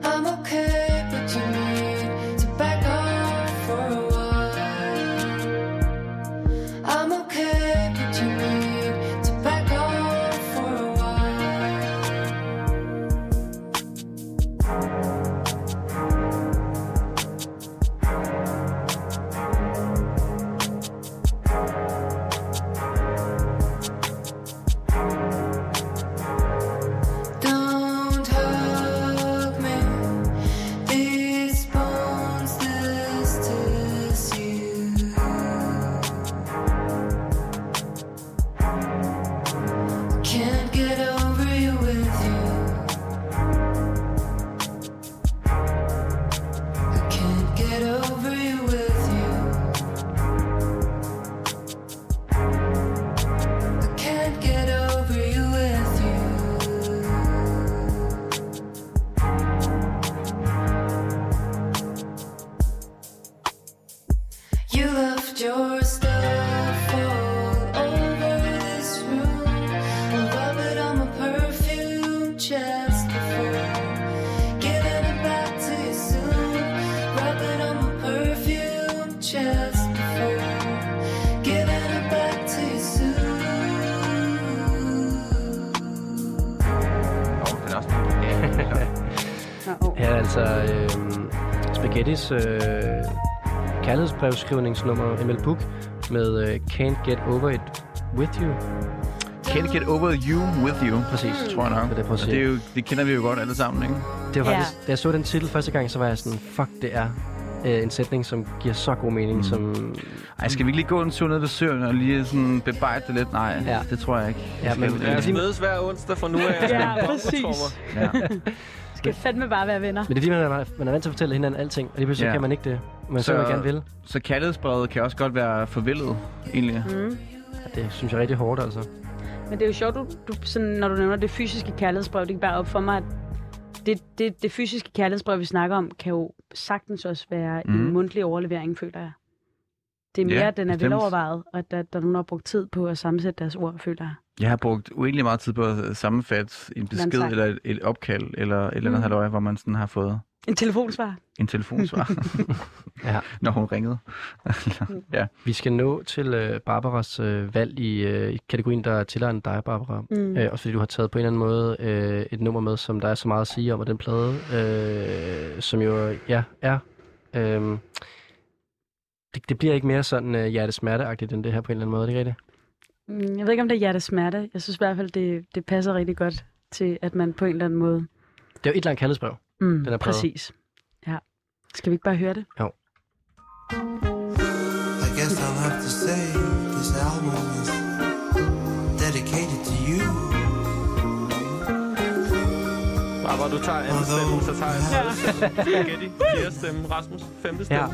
S6: I'm okay, but you need to back off for a while. I'm okay, but you need to back off for a while.
S2: Ja, altså øh, Spaghettis øh, kærlighedsbrevskrivningsnummer ML Book med øh, Can't Get Over It With You.
S4: Can't Get Over You With You. Præcis. Tror jeg nok.
S2: Det, er det, prøver at
S4: Og
S2: sige.
S4: det, er jo, det kender vi jo godt alle sammen, ikke?
S2: Det var faktisk, da jeg så den titel første gang, så var jeg sådan, fuck, det er øh, en sætning, som giver så god mening, mm. som...
S4: Ej, skal vi ikke lige gå en tur ned ved søen og lige sådan bebejde det lidt? Nej,
S2: Ja.
S4: ja. det tror jeg ikke.
S2: Ja,
S4: Jeg skal
S2: men-
S4: ud.
S3: Lad os mødes hver onsdag fra nu af.
S5: Ja, præcis.
S4: Ja.
S5: Skal fandme bare være venner.
S2: Men det er fordi, man er, man er vant til at fortælle hinanden alting, og lige pludselig
S4: Ja.
S2: ja. kan man ikke det, man så, man gerne vil.
S4: Så kærlighedsbrevet kan også godt være forvildet, egentlig.
S5: Mm.
S2: Ja, det synes jeg er rigtig hårdt, altså.
S5: Men det er jo sjovt, du, du, sådan, når du nævner det fysiske kærlighedsbrev, det gik bare op for mig, at det, det, det fysiske kærlighedsbrev, vi snakker om, kan jo sagtens også være mm.
S14: Mm.
S5: en mundtlig overlevering, føler jeg. Det er
S4: Ja,
S5: mere, at den er
S4: bestemt.
S5: velovervejet, og at der, der er nogen, der har brugt tid på at sammensætte deres ord, føler jeg.
S4: Jeg har brugt uendelig meget tid på at sammenfatte en besked
S5: tak.
S4: eller et, et opkald eller et eller andet
S5: Mm.
S4: mm. halvøje, hvor man sådan har fået
S5: En telefonsvar.
S4: en telefonsvar,
S2: Ja.
S4: når hun ringede. ja.
S2: Vi skal nå til øh, Barbaras øh, valg i, øh, i kategorien, der er tilregnet dig, Barbara.
S4: Mm.
S2: Øh, også fordi du har taget på en eller anden måde øh, et nummer med, som der er så meget at sige om, og den plade, øh, som jo ja, er... Øh, det, det bliver ikke mere sådan øh, hjertesmerteagtigt end det her på en eller anden måde, er det ikke rigtigt?
S5: Mm, Jeg ved ikke, om det er hjertesmerte. Jeg synes i hvert fald, det, det passer rigtig godt til, at man på en eller anden måde...
S2: Det er jo et langt kaldesbrev.
S5: Mm,
S2: den er præget.
S5: præcis. Ja. Skal vi ikke bare høre det?
S12: I guess I'll have to say this album is dedicated to you.
S3: Bare hvor du tager anden stemme, så tager jeg tredje stemme. Spaghetti, fjerde stemme, Rasmus, femte stemme.
S2: Ja.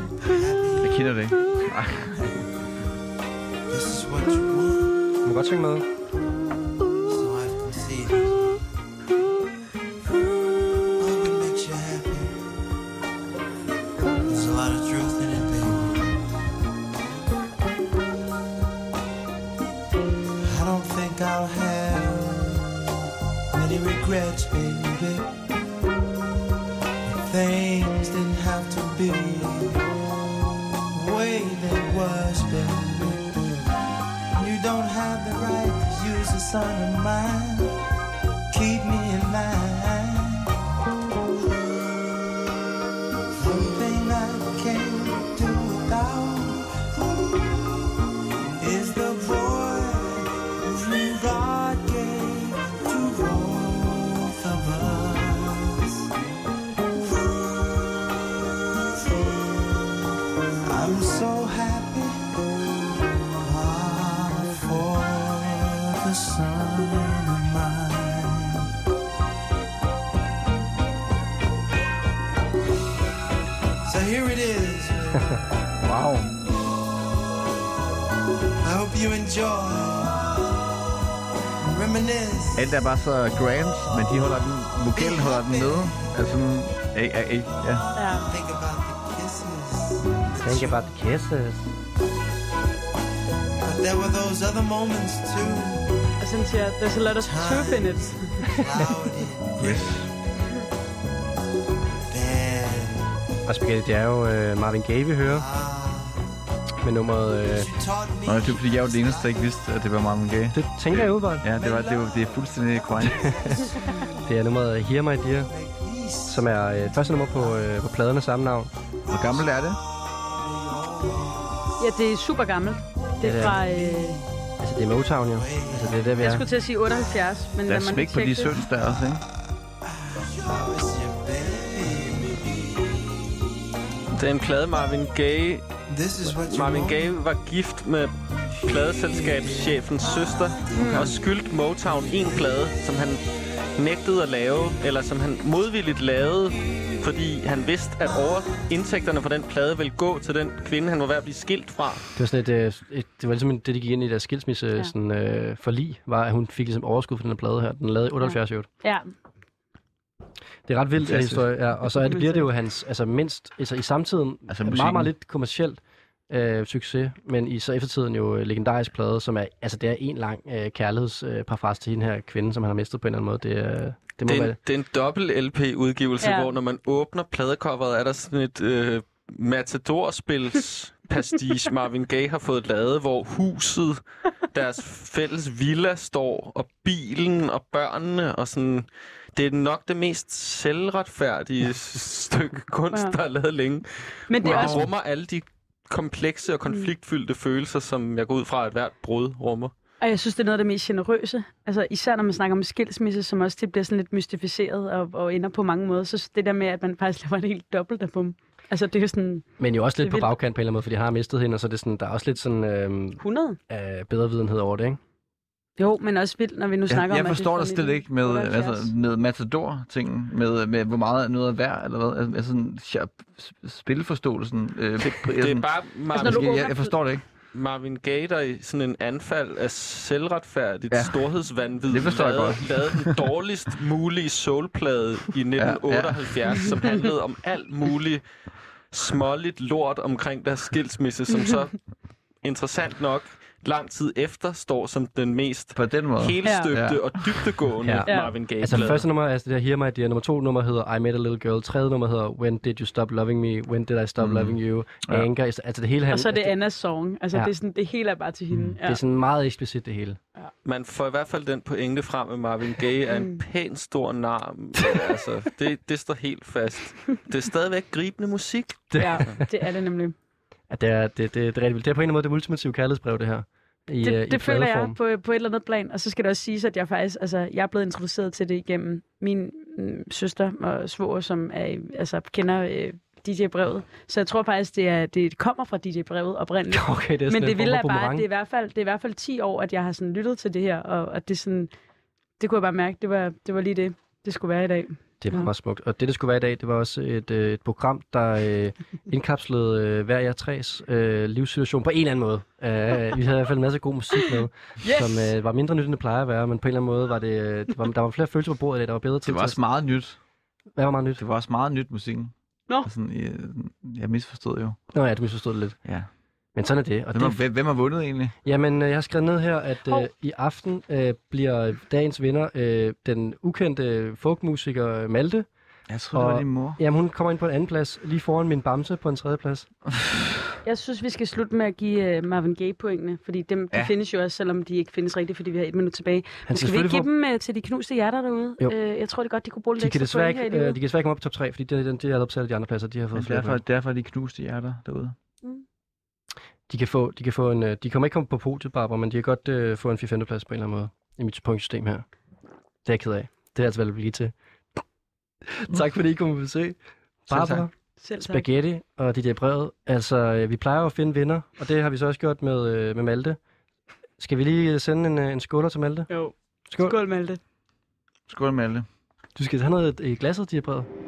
S4: Jeg kender det ikke. Ej.
S2: Du må godt synge med.
S12: Makes you happy. There's a lot of truth in it, baby. I don't think I'll have many regrets, baby. But things didn't have to be the way they was, baby. You don't have the right to use a son of mine. Keep me in line. Something I can't do without is the voice you God gave to both of us. I'm so happy ah, for the son of mine. So here it is.
S4: wow.
S12: I hope you enjoy. Reminisce.
S4: Alt er bare så grand, men de holder den, vokalen holder den nede. Altså, æg, æg, æg, ja.
S12: Think about the kisses.
S2: Think about the kisses.
S12: But there were those other moments too.
S5: Og sådan siger, jeg, there's a lot of truth in it.
S4: Yes.
S2: Og Spaghetti, det er jo øh, Marvin Gaye, vi hører.
S12: Uh,
S2: Med nummeret... Øh,
S4: Nå, det er fordi, jeg var den eneste, der ikke vidste, at det var Marvin Gaye.
S2: Det tænker jeg udvalgt.
S4: Ja, det, var, det, var, det er fuldstændig korrekt.
S2: det er nummeret Hear My Dear, som er øh, første nummer på, øh, på pladerne samme navn.
S4: Hvor gammel er det?
S5: Ja, det er super gammelt.
S2: Ja,
S5: Det
S2: det
S5: er
S2: er
S5: fra... Øh,
S2: Altså, det er Motown jo. Altså, det er der, vi
S5: jeg
S2: er.
S5: skulle til at sige 78, men
S4: Der
S5: lad
S4: er
S5: mig
S4: smæk på
S5: tjekke
S4: de
S5: det.
S4: søns der også, ikke?
S3: Det er en plade, Marvin Gaye.
S12: This is what you
S3: Marvin
S12: want.
S3: Gaye var gift med pladeselskabschefens søster
S12: Mm.
S3: mm. og skyldte Motown en plade, som han nægtede at lave, eller som han modvilligt lavede, fordi han vidste, at over indtægterne fra den plade ville gå til den kvinde, han var ved at blive skilt fra.
S2: Det var sådan et, øh, et, det var ligesom det, de gik ind i deres skilsmisse ja. sådan, øh, forlig, var, at hun fik ligesom overskud for den her plade her. Den lavede i 78 ja.
S5: Ja,
S2: Det er ret vildt, den
S4: Fantastisk.
S2: historie. Ja, og så er det, bliver det jo hans, altså mindst, altså i samtiden, altså meget,
S4: musikken.
S2: meget lidt kommercielt øh, succes, men i så eftertiden jo øh, legendarisk plade, som er, altså det er en lang øh, kærlighedsparafras til den her kvinde, som han har mistet på en eller anden måde. Det, øh, det må
S3: Det er,
S2: være
S3: en, det er en dobbelt LP-udgivelse,
S5: Ja.
S3: ja. hvor når man åbner pladecoveret, er der sådan et øh, matadorspils pastiche, Marvin Gaye har fået lavet, hvor huset, deres fælles villa står, og bilen og børnene, og sådan... Det er nok det mest selvretfærdige stykke kunst,
S5: Ja.
S3: der er lavet længe.
S5: Men det er
S3: Hvor
S5: også- Mm.
S3: rummer alle de komplekse og konfliktfyldte følelser, som jeg går ud fra, at hvert brud rummer.
S5: Og jeg synes, det er noget af det mest generøse. Altså, især når man snakker om skilsmisse, som også det bliver sådan lidt mystificeret og, og ender på mange måder. Så det der med, at man faktisk laver en helt dobbelt af bum. Altså, det er jo sådan
S2: Men jo også
S5: Det
S2: lidt
S5: er
S2: på
S5: vildt.
S2: bagkant på en eller anden måde, fordi han har mistet hende, og så er det sådan, der er også lidt sådan øhm,
S5: 100.
S2: øh, bedrevidenhed over det, ikke?
S5: Jo, men også vildt, når vi nu
S4: Jeg,
S5: snakker
S4: jeg
S5: om... at det er
S4: forstår dig
S5: fra
S4: slet ikke med,
S5: 1978.
S4: altså, med matador-tingen, med, med hvor meget noget er værd, eller hvad, altså, sådan, ja, s- spilforståelsen. Øh, det,
S3: Det er bare Marvin,
S4: jeg, jeg forstår det ikke.
S3: Marvin Gaye, der i sådan en anfald af selvretfærdigt ja.
S4: Ja.
S3: storhedsvanvid,
S4: Det forstår jeg
S3: lavede,
S4: godt.
S3: lavede den dårligst mulige soulplade i 1978, ja, ja. som handlede om alt muligt småligt lort omkring deres skilsmisse, som så interessant nok lang tid efter står som den mest
S4: På den måde.
S3: helstøbte
S4: Ja.
S3: og dybtegående ja. Marvin Gaye.
S2: Altså første nummer er det der Hear My Dear, nummer to nummer hedder I Met A Little Girl, tredje nummer hedder When Did You Stop Loving Me, When Did I Stop
S4: Mhm.
S2: Loving You,
S4: Ja.
S2: Anger, altså det hele han,
S5: Og så er det
S2: altså,
S5: Annas song. Altså,
S2: Ja.
S5: det, er sådan, det hele er bare til
S4: Mm,
S5: hende.
S2: det er sådan meget eksplicit det hele.
S3: Man får i hvert fald den pointe frem, at Marvin Gaye er en pæn stor nar. altså, det, det står helt fast. Det er stadigvæk gribende musik.
S5: Ja, det er det nemlig.
S2: At det, er, det, det, det er rigtig vildt. Det er på en eller anden måde det ultimative kærlighedsbrev, det her. I, øh, i
S5: det, det føler jeg
S2: pladeform.
S5: på, på et eller andet plan. Og så skal det også siges, at jeg faktisk, altså, jeg er blevet introduceret til det igennem min mm, søster og svoger, som er, altså, kender øh, DJ-brevet. Så jeg tror faktisk, det, er, det kommer fra DJ-brevet oprindeligt.
S2: Okay, det er sådan
S5: Men
S2: en
S5: det
S2: form
S5: vilde
S2: for
S5: er bare, at
S2: boomerang.
S5: det er, i hvert fald, det er i hvert fald 10 år, at jeg har sådan lyttet til det her, og at det sådan, det kunne jeg bare mærke, det var, det var lige det, det skulle være i dag.
S2: Det var
S5: Ja.
S2: meget smukt. Og det, det skulle være i dag, det var også et, øh, et program, der øh, indkapslede øh, hver jer træs øh, livssituation på en eller anden måde. Uh, vi havde i hvert fald en masse god musik med,
S4: Yes!
S2: som øh, var mindre nyt, end det plejer at være, men på en eller anden måde var det, øh, det var, der var flere følelser på bordet i dag, der var bedre til.
S4: Det var også meget nyt.
S2: Hvad var meget nyt?
S4: Det var også meget nyt, musikken.
S5: Nå.
S4: Altså, jeg, jeg misforstod jo.
S2: Nå ja, du misforstod det lidt.
S4: Ja.
S2: Men sådan er det. Og
S4: Hvem,
S2: det
S4: har, hvem, hvem har vundet egentlig?
S2: Jamen, øh, jeg har skrevet ned her, at øh,
S4: Hov.
S2: i aften øh, bliver dagens vinder øh, den ukendte folkmusiker Malte.
S4: Jeg troede, det var din mor.
S2: Jamen, hun kommer ind på en anden plads, lige foran min bamse på en tredje plads.
S5: Jeg synes, vi skal slutte med at give uh, Marvin Gaye pointene, fordi dem ja.
S2: Ja.
S5: de findes jo også, selvom de ikke findes rigtigt, fordi vi har et minut tilbage.
S2: skal
S5: Men skal vi ikke
S2: selvfølgelig
S5: give
S2: få-
S5: dem uh, til de knuste hjerter derude?
S2: Jo.
S5: Uh, jeg tror det godt, de kunne bruge lidt
S2: De kan,
S5: ekstra
S2: desværre
S5: point
S2: ikke, øh,
S5: her i
S2: de
S5: livet.
S2: kan desværre ikke komme op på top 3, fordi det, det, det er opsat af de andre pladser. De har fået
S4: Men
S2: flere
S4: derfor,
S2: point.
S4: derfor er de knuste hjerter derude.
S2: de kan få, de kan få en, øh, de kommer ikke komme på podiet, Barbara, men de kan godt øh, få en 4-5. plads på en eller anden måde i mit pointsystem her. Det er jeg ked af. Det er altså, hvad det bliver til. tak fordi I kom på besøg. Barbara,
S5: Selv tak.
S2: Spaghetti og det der brevet. Altså, øh, vi plejer jo at finde vinder, og det har vi så også gjort med, øh, med Malte. Skal vi lige øh, sende en, øh, en skåler til Malte?
S5: Jo.
S2: Skål.
S5: Skål, Malte.
S4: Skål, Malte.
S2: Du skal have noget i glasset, de her brevet.